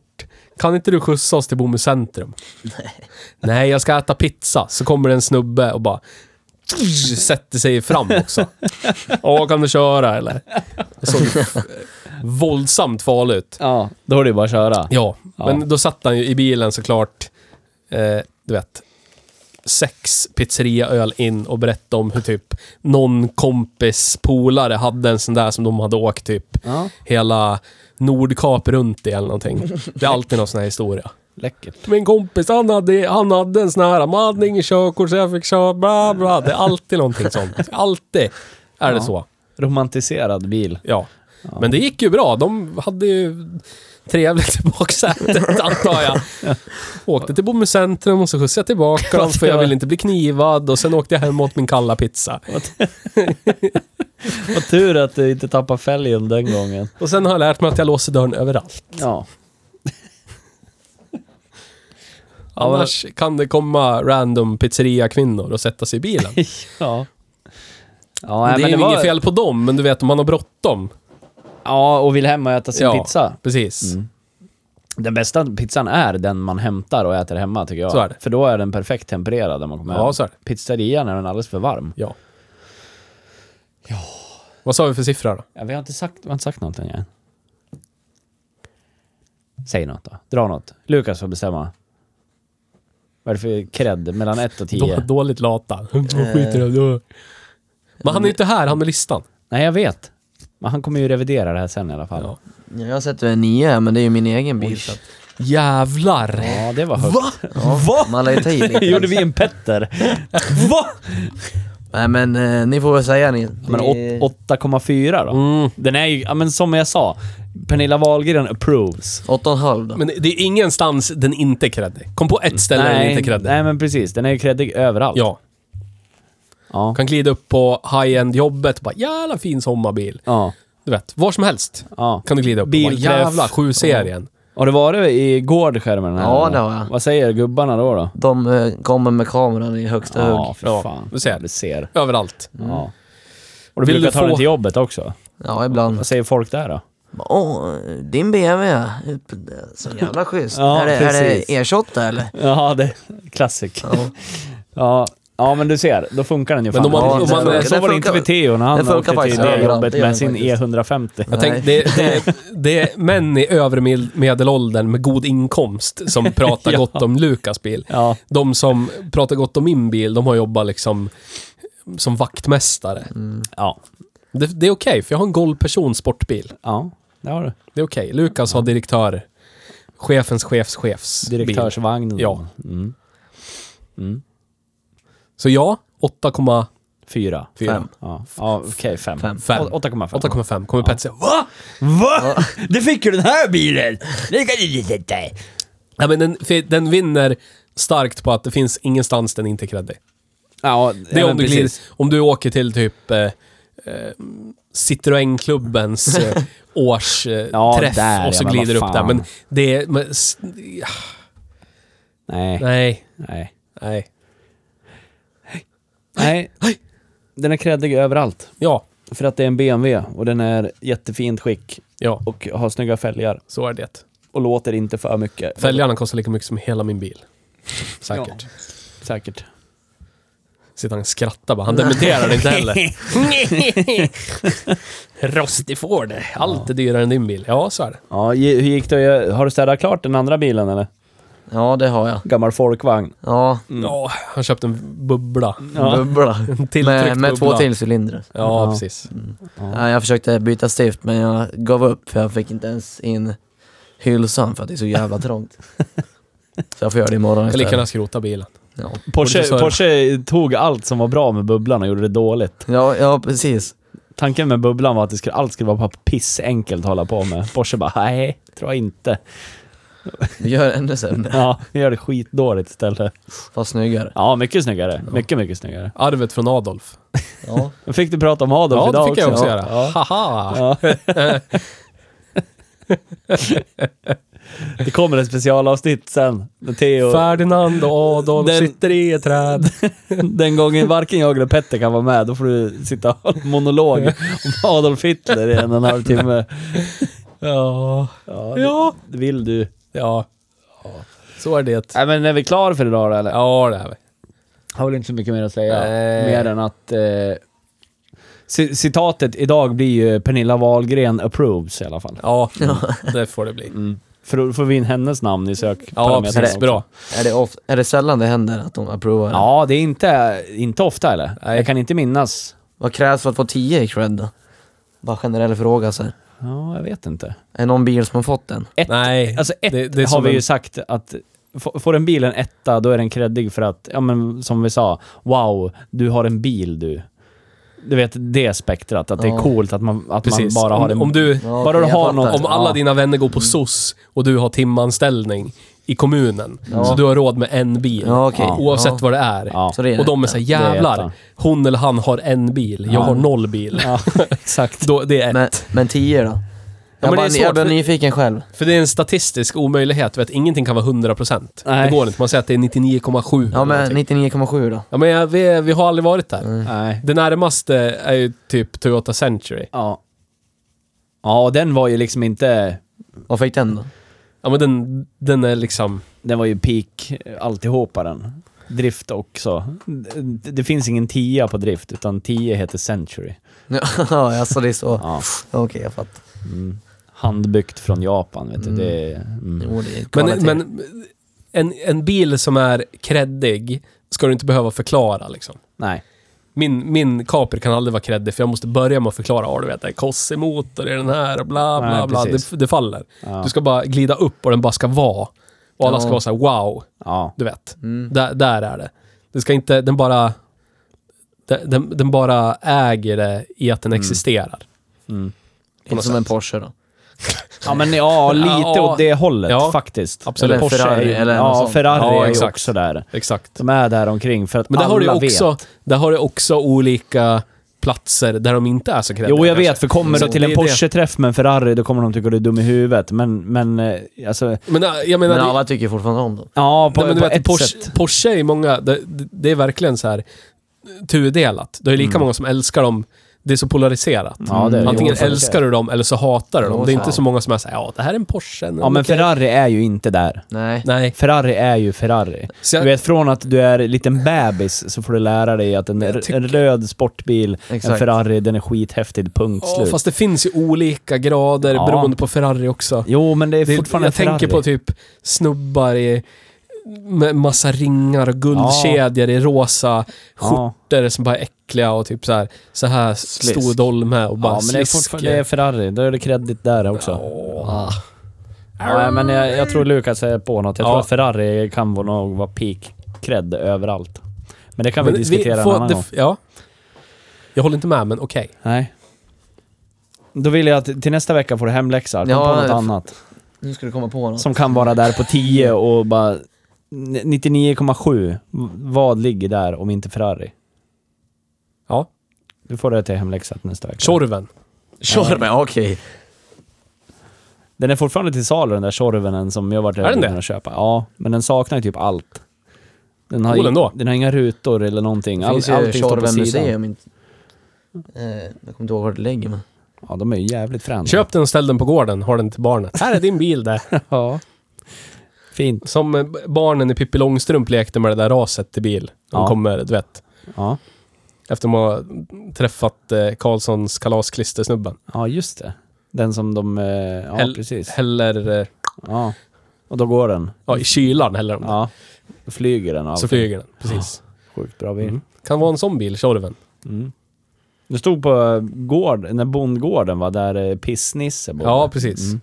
Speaker 1: Kan inte du skjutsa oss till Bomhus centrum? Nej. Nej, jag ska äta pizza. Så kommer det en snubbe och bara sätter sig fram också. Ja, kan du köra eller? Det såg ju våldsamt farligt ut.
Speaker 2: Ja, då är det ju bara att köra.
Speaker 1: Ja,
Speaker 2: Ja.
Speaker 1: men då satt han ju i bilen såklart, eh, du vet, sex pizzeriaöl in och berättade om hur typ någon kompis polare hade en sån där som de hade åkt typ
Speaker 2: Ja.
Speaker 1: hela Nordkap runt i eller någonting. Det är alltid någon sån här historia.
Speaker 2: Läckert.
Speaker 1: Min kompis, han hade, han hade en sån här, man hade ingen körkort så jag fick köra, bla bla. Det är alltid någonting sånt. Alltid är det
Speaker 2: Ja.
Speaker 1: så.
Speaker 2: Romantiserad bil.
Speaker 1: Ja. Men det gick ju bra. De hade ju trevligt i
Speaker 2: *laughs*
Speaker 1: baksätet, antar jag. Åkte till Bomhus centrum och så skjutsade jag tillbaka dem för jag ville inte bli knivad och sen åkte jag hem åt min kalla pizza.
Speaker 2: Vad tur att du inte tappade fälgen den gången.
Speaker 1: Och sen har jag lärt mig att jag låser dörren överallt.
Speaker 2: Ja.
Speaker 1: Annars kan det komma random pizzeria-kvinnor och sätta sig i bilen.
Speaker 2: *laughs* *laughs* ja. Ja, nej,
Speaker 1: det är
Speaker 2: men
Speaker 1: ju
Speaker 2: det var...
Speaker 1: inget fel på dem, men du vet om man har bråttom.
Speaker 2: Ja, och vill hem och äta sin
Speaker 1: Ja.
Speaker 2: pizza.
Speaker 1: Precis.
Speaker 2: Mm. Den bästa pizzan är den man hämtar och äter hemma tycker jag.
Speaker 1: Så är det.
Speaker 2: För då är den perfekt tempererad när man kommer
Speaker 1: Ja,
Speaker 2: hem.
Speaker 1: så är det.
Speaker 2: Pizzerian är den alldeles för varm.
Speaker 1: Ja. Vad sa vi för siffra då?
Speaker 2: Ja, vi har inte sagt, vi har inte sagt någonting än. Säg något då. Dra något. Lukas får bestämma. Vad är det för cred? Mellan 1 och 10?
Speaker 1: Då, dåligt lata. *laughs* Vad
Speaker 2: Eh.
Speaker 1: skiter jag i det. Men han är ju inte här, han med listan.
Speaker 2: Nej, jag vet. Men han kommer ju revidera det här sen i alla fall.
Speaker 1: Ja.
Speaker 2: Ja,
Speaker 3: Ja, Jag sätter en nio här, men det är ju min egen bil. Så att,
Speaker 1: Jävlar!
Speaker 2: det var högt. Va?
Speaker 3: ja, Man lär ju ta i
Speaker 2: *laughs*
Speaker 3: lite.
Speaker 2: Gjorde vi en Petter? Va?
Speaker 3: Nej men eh, ni får väl säga ni.
Speaker 2: Men
Speaker 3: Det-
Speaker 2: åt- 8,4 då?
Speaker 1: Mm.
Speaker 2: Den är ju, ja men som jag sa, Pernilla Wahlgren approves.
Speaker 3: åtta och en halv då.
Speaker 1: Men det är ingenstans den inte är creddig. Kom på ett ställe där den inte är creddig.
Speaker 2: nej men precis, den är ju creddig överallt.
Speaker 1: Ja.
Speaker 2: Ja.
Speaker 1: Kan glida upp på high-end-jobbet och bara jävla fin sommarbil.
Speaker 2: ja.
Speaker 1: Du vet, var som helst
Speaker 2: ja.
Speaker 1: kan du glida upp och bara,
Speaker 2: Bilträff.
Speaker 1: jävla sju serien.
Speaker 2: Har du varit i gårdskärmen? här,
Speaker 3: Ja,
Speaker 2: eller?
Speaker 3: det har jag.
Speaker 2: Vad säger gubbarna då? då?
Speaker 3: De eh, kommer med kameran i högsta
Speaker 2: Ja,
Speaker 3: hugg.
Speaker 2: för
Speaker 1: Ja,
Speaker 2: fan.
Speaker 1: du ser.
Speaker 2: Du ser.
Speaker 3: Mm.
Speaker 1: Överallt.
Speaker 2: Ja. Och du
Speaker 1: Vill du
Speaker 2: brukar ta den
Speaker 1: få-
Speaker 2: till jobbet också.
Speaker 3: Ja, ibland.
Speaker 2: Vad säger folk där då?
Speaker 3: Åh, din BMW. Så jävla schysst.
Speaker 2: Ja,
Speaker 3: är, det, är det
Speaker 2: precis.
Speaker 3: E28 eller?
Speaker 2: Ja, det klassik. Ja.
Speaker 3: Ja.
Speaker 2: ja. men du ser, då funkar den ju
Speaker 1: Men
Speaker 2: fan.
Speaker 1: om man-
Speaker 2: Ja,
Speaker 1: om
Speaker 2: det
Speaker 1: man-
Speaker 2: funkar.
Speaker 1: det
Speaker 2: så var
Speaker 3: funkar-
Speaker 2: det inte vid Theo när han
Speaker 3: det funkar
Speaker 2: åkte till
Speaker 3: faktiskt
Speaker 2: det
Speaker 3: överallt,
Speaker 2: jobbet
Speaker 3: det gör
Speaker 2: med
Speaker 3: det
Speaker 2: sin
Speaker 3: faktiskt.
Speaker 2: E150.
Speaker 1: Jag
Speaker 3: Nej.
Speaker 1: tänkte, det,
Speaker 2: *laughs*
Speaker 1: det, det är män i övre med- medelåldern med god inkomst som pratar
Speaker 2: *laughs* Ja.
Speaker 1: gott om Lukas bil.
Speaker 2: Ja,
Speaker 1: De som pratar gott om min bil, de har jobbat liksom som vaktmästare.
Speaker 2: Mm. ja,
Speaker 1: Det, det är okej, för jag har en golvperson sportbil.
Speaker 2: ja. Det har du.
Speaker 1: Det är okej. Lukas har direktör. Chefens chefs chefs bil.
Speaker 2: Direktörsvagnen.
Speaker 1: Ja.
Speaker 2: Mm. Mm.
Speaker 1: Så ja, 8,4.
Speaker 2: Fyra.
Speaker 3: Fem.
Speaker 2: Ja, ja okej, fem.
Speaker 3: Fem.
Speaker 1: Fem.
Speaker 2: Å- 8,5.
Speaker 1: 8,5. Kommer Pet säga va?
Speaker 2: Va? Det fick du den här bilen! Det kan du inte säga.
Speaker 1: Nej, men den, för den vinner starkt på att det finns ingenstans den inte är creddig.
Speaker 2: Ja,
Speaker 1: Det är
Speaker 2: ja,
Speaker 1: om, du glider, om du åker till typ eh, eh,
Speaker 2: *laughs*
Speaker 1: Citroën-klubbens eh, årsträff eh,
Speaker 2: Ja,
Speaker 1: träff
Speaker 2: där,
Speaker 1: och så
Speaker 2: ja, men
Speaker 1: glider du
Speaker 2: vad
Speaker 1: upp där.
Speaker 2: fan.
Speaker 1: Men det är... Men, s-
Speaker 2: Nej,
Speaker 1: nej,
Speaker 2: nej.
Speaker 1: nej.
Speaker 2: Nej. Den är creddig överallt.
Speaker 1: Ja,
Speaker 2: För att det är en BMW och den är jättefint skick
Speaker 1: ja.
Speaker 2: och har snygga fälgar
Speaker 1: Så är det.
Speaker 2: och låter inte för mycket.
Speaker 1: Fälgarna kostar lika mycket som hela min bil. Säkert.
Speaker 2: Säkert.
Speaker 1: Sitter han och skrattar bara. Han dementerar det inte heller. Rostig Ford. Allt är dyrare än din bil. Ja, så är det.
Speaker 2: Ja, gi- hur gick det? Har du städat klart den andra bilen eller?
Speaker 3: Ja, det har jag.
Speaker 2: Gammal folkvagn.
Speaker 3: Ja,
Speaker 1: Ja, han köpte en bubbla.
Speaker 2: Mm. Ja.
Speaker 3: bubbla.
Speaker 1: tilltryckt
Speaker 3: Med, med två
Speaker 1: bubbla.
Speaker 3: till cylindrar.
Speaker 1: Ja,
Speaker 2: Ja.
Speaker 1: precis.
Speaker 3: Ja, jag försökte byta stift men jag gav upp för jag fick inte ens in hylsan för att det är
Speaker 2: *laughs*
Speaker 3: så jävla trångt. Så jag får göra det imorgon
Speaker 1: Jag lika
Speaker 3: istället.
Speaker 1: gärna skrota bilen.
Speaker 3: Ja.
Speaker 2: Porsche,
Speaker 1: Borde köra.
Speaker 2: Porsche tog allt som var bra med bubblan och gjorde det dåligt.
Speaker 3: Ja, ja, precis.
Speaker 2: Tanken med bubblan var att det skulle, allt skulle vara bara pissenkelt att hålla på med. Porsche bara, nej, tror jag inte.
Speaker 3: Vi gör ännu sämre,
Speaker 2: Ja, vi gör det skitdåligt istället.
Speaker 3: fast snyggare.
Speaker 2: Ja, mycket snyggare. Mycket, mycket snyggare.
Speaker 1: Arvet från Adolf.
Speaker 2: *laughs*
Speaker 3: Ja.
Speaker 2: Men fick du prata om Adolf
Speaker 1: Ja,
Speaker 2: idag
Speaker 1: det fick jag också
Speaker 2: Ja.
Speaker 1: göra.
Speaker 2: Ja.
Speaker 1: Haha!
Speaker 2: Ja. det kommer ett specialavsnitt sen. när Theo,
Speaker 1: Ferdinand och Adolf
Speaker 2: Den-
Speaker 1: sitter i ett träd.
Speaker 2: den gången varken jag eller Petter kan vara med, då får du sitta och ha en monolog om Adolf Hitler i en och en halv timme.
Speaker 1: Ja.
Speaker 2: Ja, det,
Speaker 1: Ja.
Speaker 2: det vill du.
Speaker 1: Ja. Så är det.
Speaker 2: Nej, men är vi klara för idag då, eller?
Speaker 1: Ja, det är vi.
Speaker 2: Har väl inte så mycket mer att säga.
Speaker 1: Nej.
Speaker 2: Mer än att... Eh, ci- citatet idag blir ju Pernilla Wahlgren approves i alla fall.
Speaker 1: Ja, det får det bli.
Speaker 2: För då får vi in hennes namn i
Speaker 1: Mm. Ja,
Speaker 2: sökparametrarna
Speaker 1: precis.
Speaker 2: också.
Speaker 1: Bra.
Speaker 3: Är det, of- är det sällan det händer att de approvar?
Speaker 2: Ja, det är inte, inte ofta eller?
Speaker 1: Nej.
Speaker 2: Jag kan inte minnas.
Speaker 3: Vad krävs för att få 10 i cred då? Bara generell fråga så här.
Speaker 2: Ja, jag vet inte.
Speaker 3: Är det någon bil som har fått den?
Speaker 2: Ett,
Speaker 1: Nej,
Speaker 2: alltså ett
Speaker 1: det- det är
Speaker 2: har
Speaker 1: som
Speaker 2: vi ju
Speaker 1: en-
Speaker 2: sagt att f- får en bil en etta, då är den kreddig för att, ja men som vi sa, wow, du har en bil du. Du vet det spektrat, att det är
Speaker 3: Ja.
Speaker 2: coolt att man, att man
Speaker 1: Precis.
Speaker 2: bara har en
Speaker 1: om, om du...
Speaker 3: Ja,
Speaker 2: Bara du
Speaker 3: jag
Speaker 2: har
Speaker 3: fattar.
Speaker 2: något-
Speaker 1: Om alla
Speaker 2: Ja. Mm.
Speaker 1: dina vänner går på SOS och du har timanställning i kommunen,
Speaker 3: Ja.
Speaker 1: så du har råd med en bil.
Speaker 3: Ja, okej.
Speaker 1: Oavsett
Speaker 3: Ja.
Speaker 1: vad det är.
Speaker 2: Ja,
Speaker 3: Så det är
Speaker 1: Och de är
Speaker 3: ettan.
Speaker 1: såhär,
Speaker 2: Det är
Speaker 1: jävlar,
Speaker 2: ettan.
Speaker 1: hon eller han har en bil, jag
Speaker 2: Ja.
Speaker 1: har noll bil.
Speaker 2: ja *laughs* exakt.
Speaker 1: Då, det är ett.
Speaker 3: Men, men 10 då? Jag,
Speaker 1: men det är
Speaker 3: bara,
Speaker 1: svårt,
Speaker 3: jag blir
Speaker 1: för-
Speaker 3: nyfiken själv.
Speaker 1: För det är en statistisk omöjlighet, vet, ingenting kan vara 100%.
Speaker 2: Nej.
Speaker 1: Det går inte, man säger att det är 99,7.
Speaker 3: Ja
Speaker 1: eller
Speaker 3: men Mm.
Speaker 1: någonting.
Speaker 3: 99,7 då.
Speaker 1: ja, men jag- vi, vi har aldrig varit där.
Speaker 2: Nej.
Speaker 1: Det närmaste är ju typ Toyota Century.
Speaker 2: Ja. Ja, och den var ju liksom inte...
Speaker 3: Vad fick den då?
Speaker 1: Ja men den, den är liksom...
Speaker 2: Den var ju peak eh, alltihopa den. Drift också. Det, det finns ingen 10 på drift, utan 10 heter Century.
Speaker 3: *laughs* Ja, alltså det är så.
Speaker 2: Ja.
Speaker 3: Okej, jag fattar.
Speaker 2: Mm. Handbyggt från Japan, vet du.
Speaker 3: Mm.
Speaker 2: Det är... Mm.
Speaker 3: Jo, det är
Speaker 1: Men,
Speaker 3: kvalitet.
Speaker 1: men en, en bil som är kreddig ska du inte behöva förklara liksom.
Speaker 2: Nej.
Speaker 1: Min, min Capri kan aldrig vara kreddig för jag måste börja med att förklara. Ja, du vet, det är Cossi-motor, det är den här och bla bla
Speaker 2: Nej,
Speaker 1: bla.
Speaker 2: precis.
Speaker 1: Det, det faller.
Speaker 2: Ja.
Speaker 1: Du ska bara glida upp och den bara ska vara. Och alla ska
Speaker 3: Ja.
Speaker 1: vara såhär wow,
Speaker 2: ja.
Speaker 1: du vet.
Speaker 3: Mm.
Speaker 1: Där, där är det. Det ska inte, den bara... Den, den- den bara äger det i att den existerar.
Speaker 2: Mm.
Speaker 3: Inte som
Speaker 1: sätt.
Speaker 3: en Porsche då.
Speaker 2: Ja, men ja, lite
Speaker 1: Ja.
Speaker 2: åt det hållet
Speaker 1: Ja.
Speaker 2: faktiskt.
Speaker 1: Absolut.
Speaker 3: Eller en
Speaker 1: Porsche är
Speaker 3: Ferrari
Speaker 1: ju-
Speaker 3: eller något
Speaker 2: Ja,
Speaker 3: sånt.
Speaker 2: Ferrari
Speaker 1: Ja,
Speaker 2: är ju
Speaker 1: exakt.
Speaker 2: också där.
Speaker 1: Exakt.
Speaker 2: De är där omkring för att
Speaker 1: Men där har, du
Speaker 2: alla
Speaker 1: också,
Speaker 2: vet.
Speaker 1: där har du också olika platser där de inte är så kreddiga.
Speaker 2: Jo, jag
Speaker 1: kanske.
Speaker 2: vet, för kommer
Speaker 1: Så
Speaker 2: du till
Speaker 1: det
Speaker 2: en
Speaker 1: är det.
Speaker 2: Porsche-träff med en Ferrari, då kommer de tycka du är dum i huvudet. Men, men eh, alltså...
Speaker 1: Men äh, jag menar,
Speaker 3: Men
Speaker 1: det-
Speaker 3: alla tycker fortfarande om dem.
Speaker 2: Ja, på,
Speaker 1: Nej, men du
Speaker 2: på
Speaker 1: vet,
Speaker 2: ett
Speaker 1: Porsche,
Speaker 2: sätt.
Speaker 1: Porsche är ju många, det, det- det är verkligen så här tudelat. Det är lika
Speaker 2: Mm.
Speaker 1: många som älskar dem. Det är så polariserat.
Speaker 2: Ja, det är det.
Speaker 1: Antingen
Speaker 2: Jo, så är det.
Speaker 1: älskar du dem eller så hatar du dem.
Speaker 3: Jo,
Speaker 1: Det är
Speaker 3: så
Speaker 1: inte
Speaker 3: är
Speaker 1: så många som är såhär, ja det här är en Porsche.
Speaker 2: Ja, men Ferrari är ju inte där.
Speaker 3: Nej.
Speaker 1: Nej.
Speaker 2: Ferrari är ju Ferrari.
Speaker 1: Så
Speaker 2: Du
Speaker 1: jag,
Speaker 2: vet, från att du är en liten bebis så får du lära dig att en,
Speaker 1: Jag tycker-
Speaker 2: en röd sportbil, en
Speaker 3: Exakt.
Speaker 2: Ferrari, den är skithäftig, punkt
Speaker 1: Ja,
Speaker 2: slut.
Speaker 1: fast det finns ju olika grader
Speaker 2: Ja.
Speaker 1: beroende på Ferrari också.
Speaker 2: Jo, men det är
Speaker 1: Det,
Speaker 2: fortfarande
Speaker 1: jag tänker
Speaker 2: Ferrari.
Speaker 1: på typ snubbar i med massa ringar och guldkedjor i rosa
Speaker 2: Ja,
Speaker 1: skjortor som bara är äckliga och typ så här, så här stor
Speaker 3: Slisk.
Speaker 1: dolme och bara
Speaker 2: ja men det är
Speaker 1: slisk.
Speaker 2: fortfarande det är Ferrari. Då är det kredit där också.
Speaker 1: Ja.
Speaker 2: Ja, men jag, jag tror Lukas är på något. Jag tror
Speaker 1: Ja.
Speaker 2: att Ferrari kan vara- nog vara peak cred överallt. Men det kan
Speaker 1: Men
Speaker 2: vi diskutera
Speaker 1: får-
Speaker 2: en annan
Speaker 1: det-
Speaker 2: gång.
Speaker 1: Ja. Jag håller inte med, men okej.
Speaker 2: Nej. Då vill jag att till nästa vecka får du hemläxa. Kom
Speaker 3: Ja,
Speaker 2: på något
Speaker 3: f-
Speaker 2: annat.
Speaker 3: Nu ska du komma på något.
Speaker 2: Som kan vara där på 10 och bara... 99,7. Vad ligger där om inte Ferrari?
Speaker 1: Ja.
Speaker 2: Du får det till hemläxa till nästa vecka.
Speaker 1: Tjorven.
Speaker 3: Kör med, okej.
Speaker 2: Den är fortfarande till salu den där Tjorvenen som jag varit
Speaker 1: Är den
Speaker 2: erbjuden
Speaker 1: det?
Speaker 2: att köpa. Ja, men den saknar ju typ allt. Den har,
Speaker 1: Cool
Speaker 2: ju-
Speaker 1: ändå.
Speaker 2: den har inga rutor eller någonting.
Speaker 3: Det
Speaker 2: All,
Speaker 3: finns ju
Speaker 2: allting står på
Speaker 3: Tjorven
Speaker 2: sidan.
Speaker 3: museum. inte- Eh, Jag kommer inte ihåg var det ligger men.
Speaker 2: Ja, de är ju jävligt fräna.
Speaker 1: Köp den och ställ den på gården. Har den till barnet. Här är din bil där.
Speaker 2: *laughs* Ja. Fint.
Speaker 1: Som eh, barnen i Pippi Långstrump lekte med det där raset till bil. De
Speaker 2: Ja.
Speaker 1: kommer, du vet.
Speaker 2: Ja.
Speaker 1: Efter de har träffat eh, Karlssons kalasklistersnubben.
Speaker 2: ja, just det. Den som de... eh, Ja,
Speaker 1: Häll-
Speaker 2: precis.
Speaker 1: Häller... Eh,
Speaker 2: Ja. Och då går den.
Speaker 1: ja, i kylan häller de den.
Speaker 2: Ja. Då flyger den av.
Speaker 1: Så flyger den. Precis.
Speaker 2: Sjukt bra bil.
Speaker 1: Mm. Kan vara en sån bil, Tjorven.
Speaker 2: Mm. Det stod på eh, gård, när bondgården var där eh, Pissnisse bodde.
Speaker 1: Ja, precis.
Speaker 2: Mm.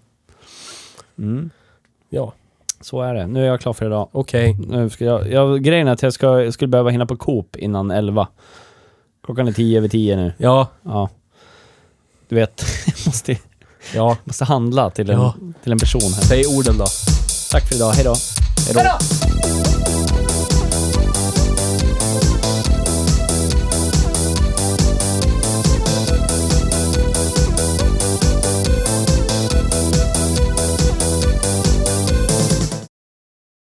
Speaker 2: Mm.
Speaker 1: Ja,
Speaker 2: Så är det. Nu är jag klar för idag.
Speaker 1: okej.
Speaker 2: Nu ska jag, jag, grejen är att jag, ska, jag skulle behöva hinna på Coop innan 11. Klockan är 10 över 10 nu.
Speaker 1: Ja,
Speaker 2: Ja. Du vet, *laughs* jag måste,
Speaker 1: ja.
Speaker 2: måste handla till en,
Speaker 1: Ja.
Speaker 2: till en person här.
Speaker 1: Säg orden då.
Speaker 2: Tack för idag, hejdå.
Speaker 3: Hejdå!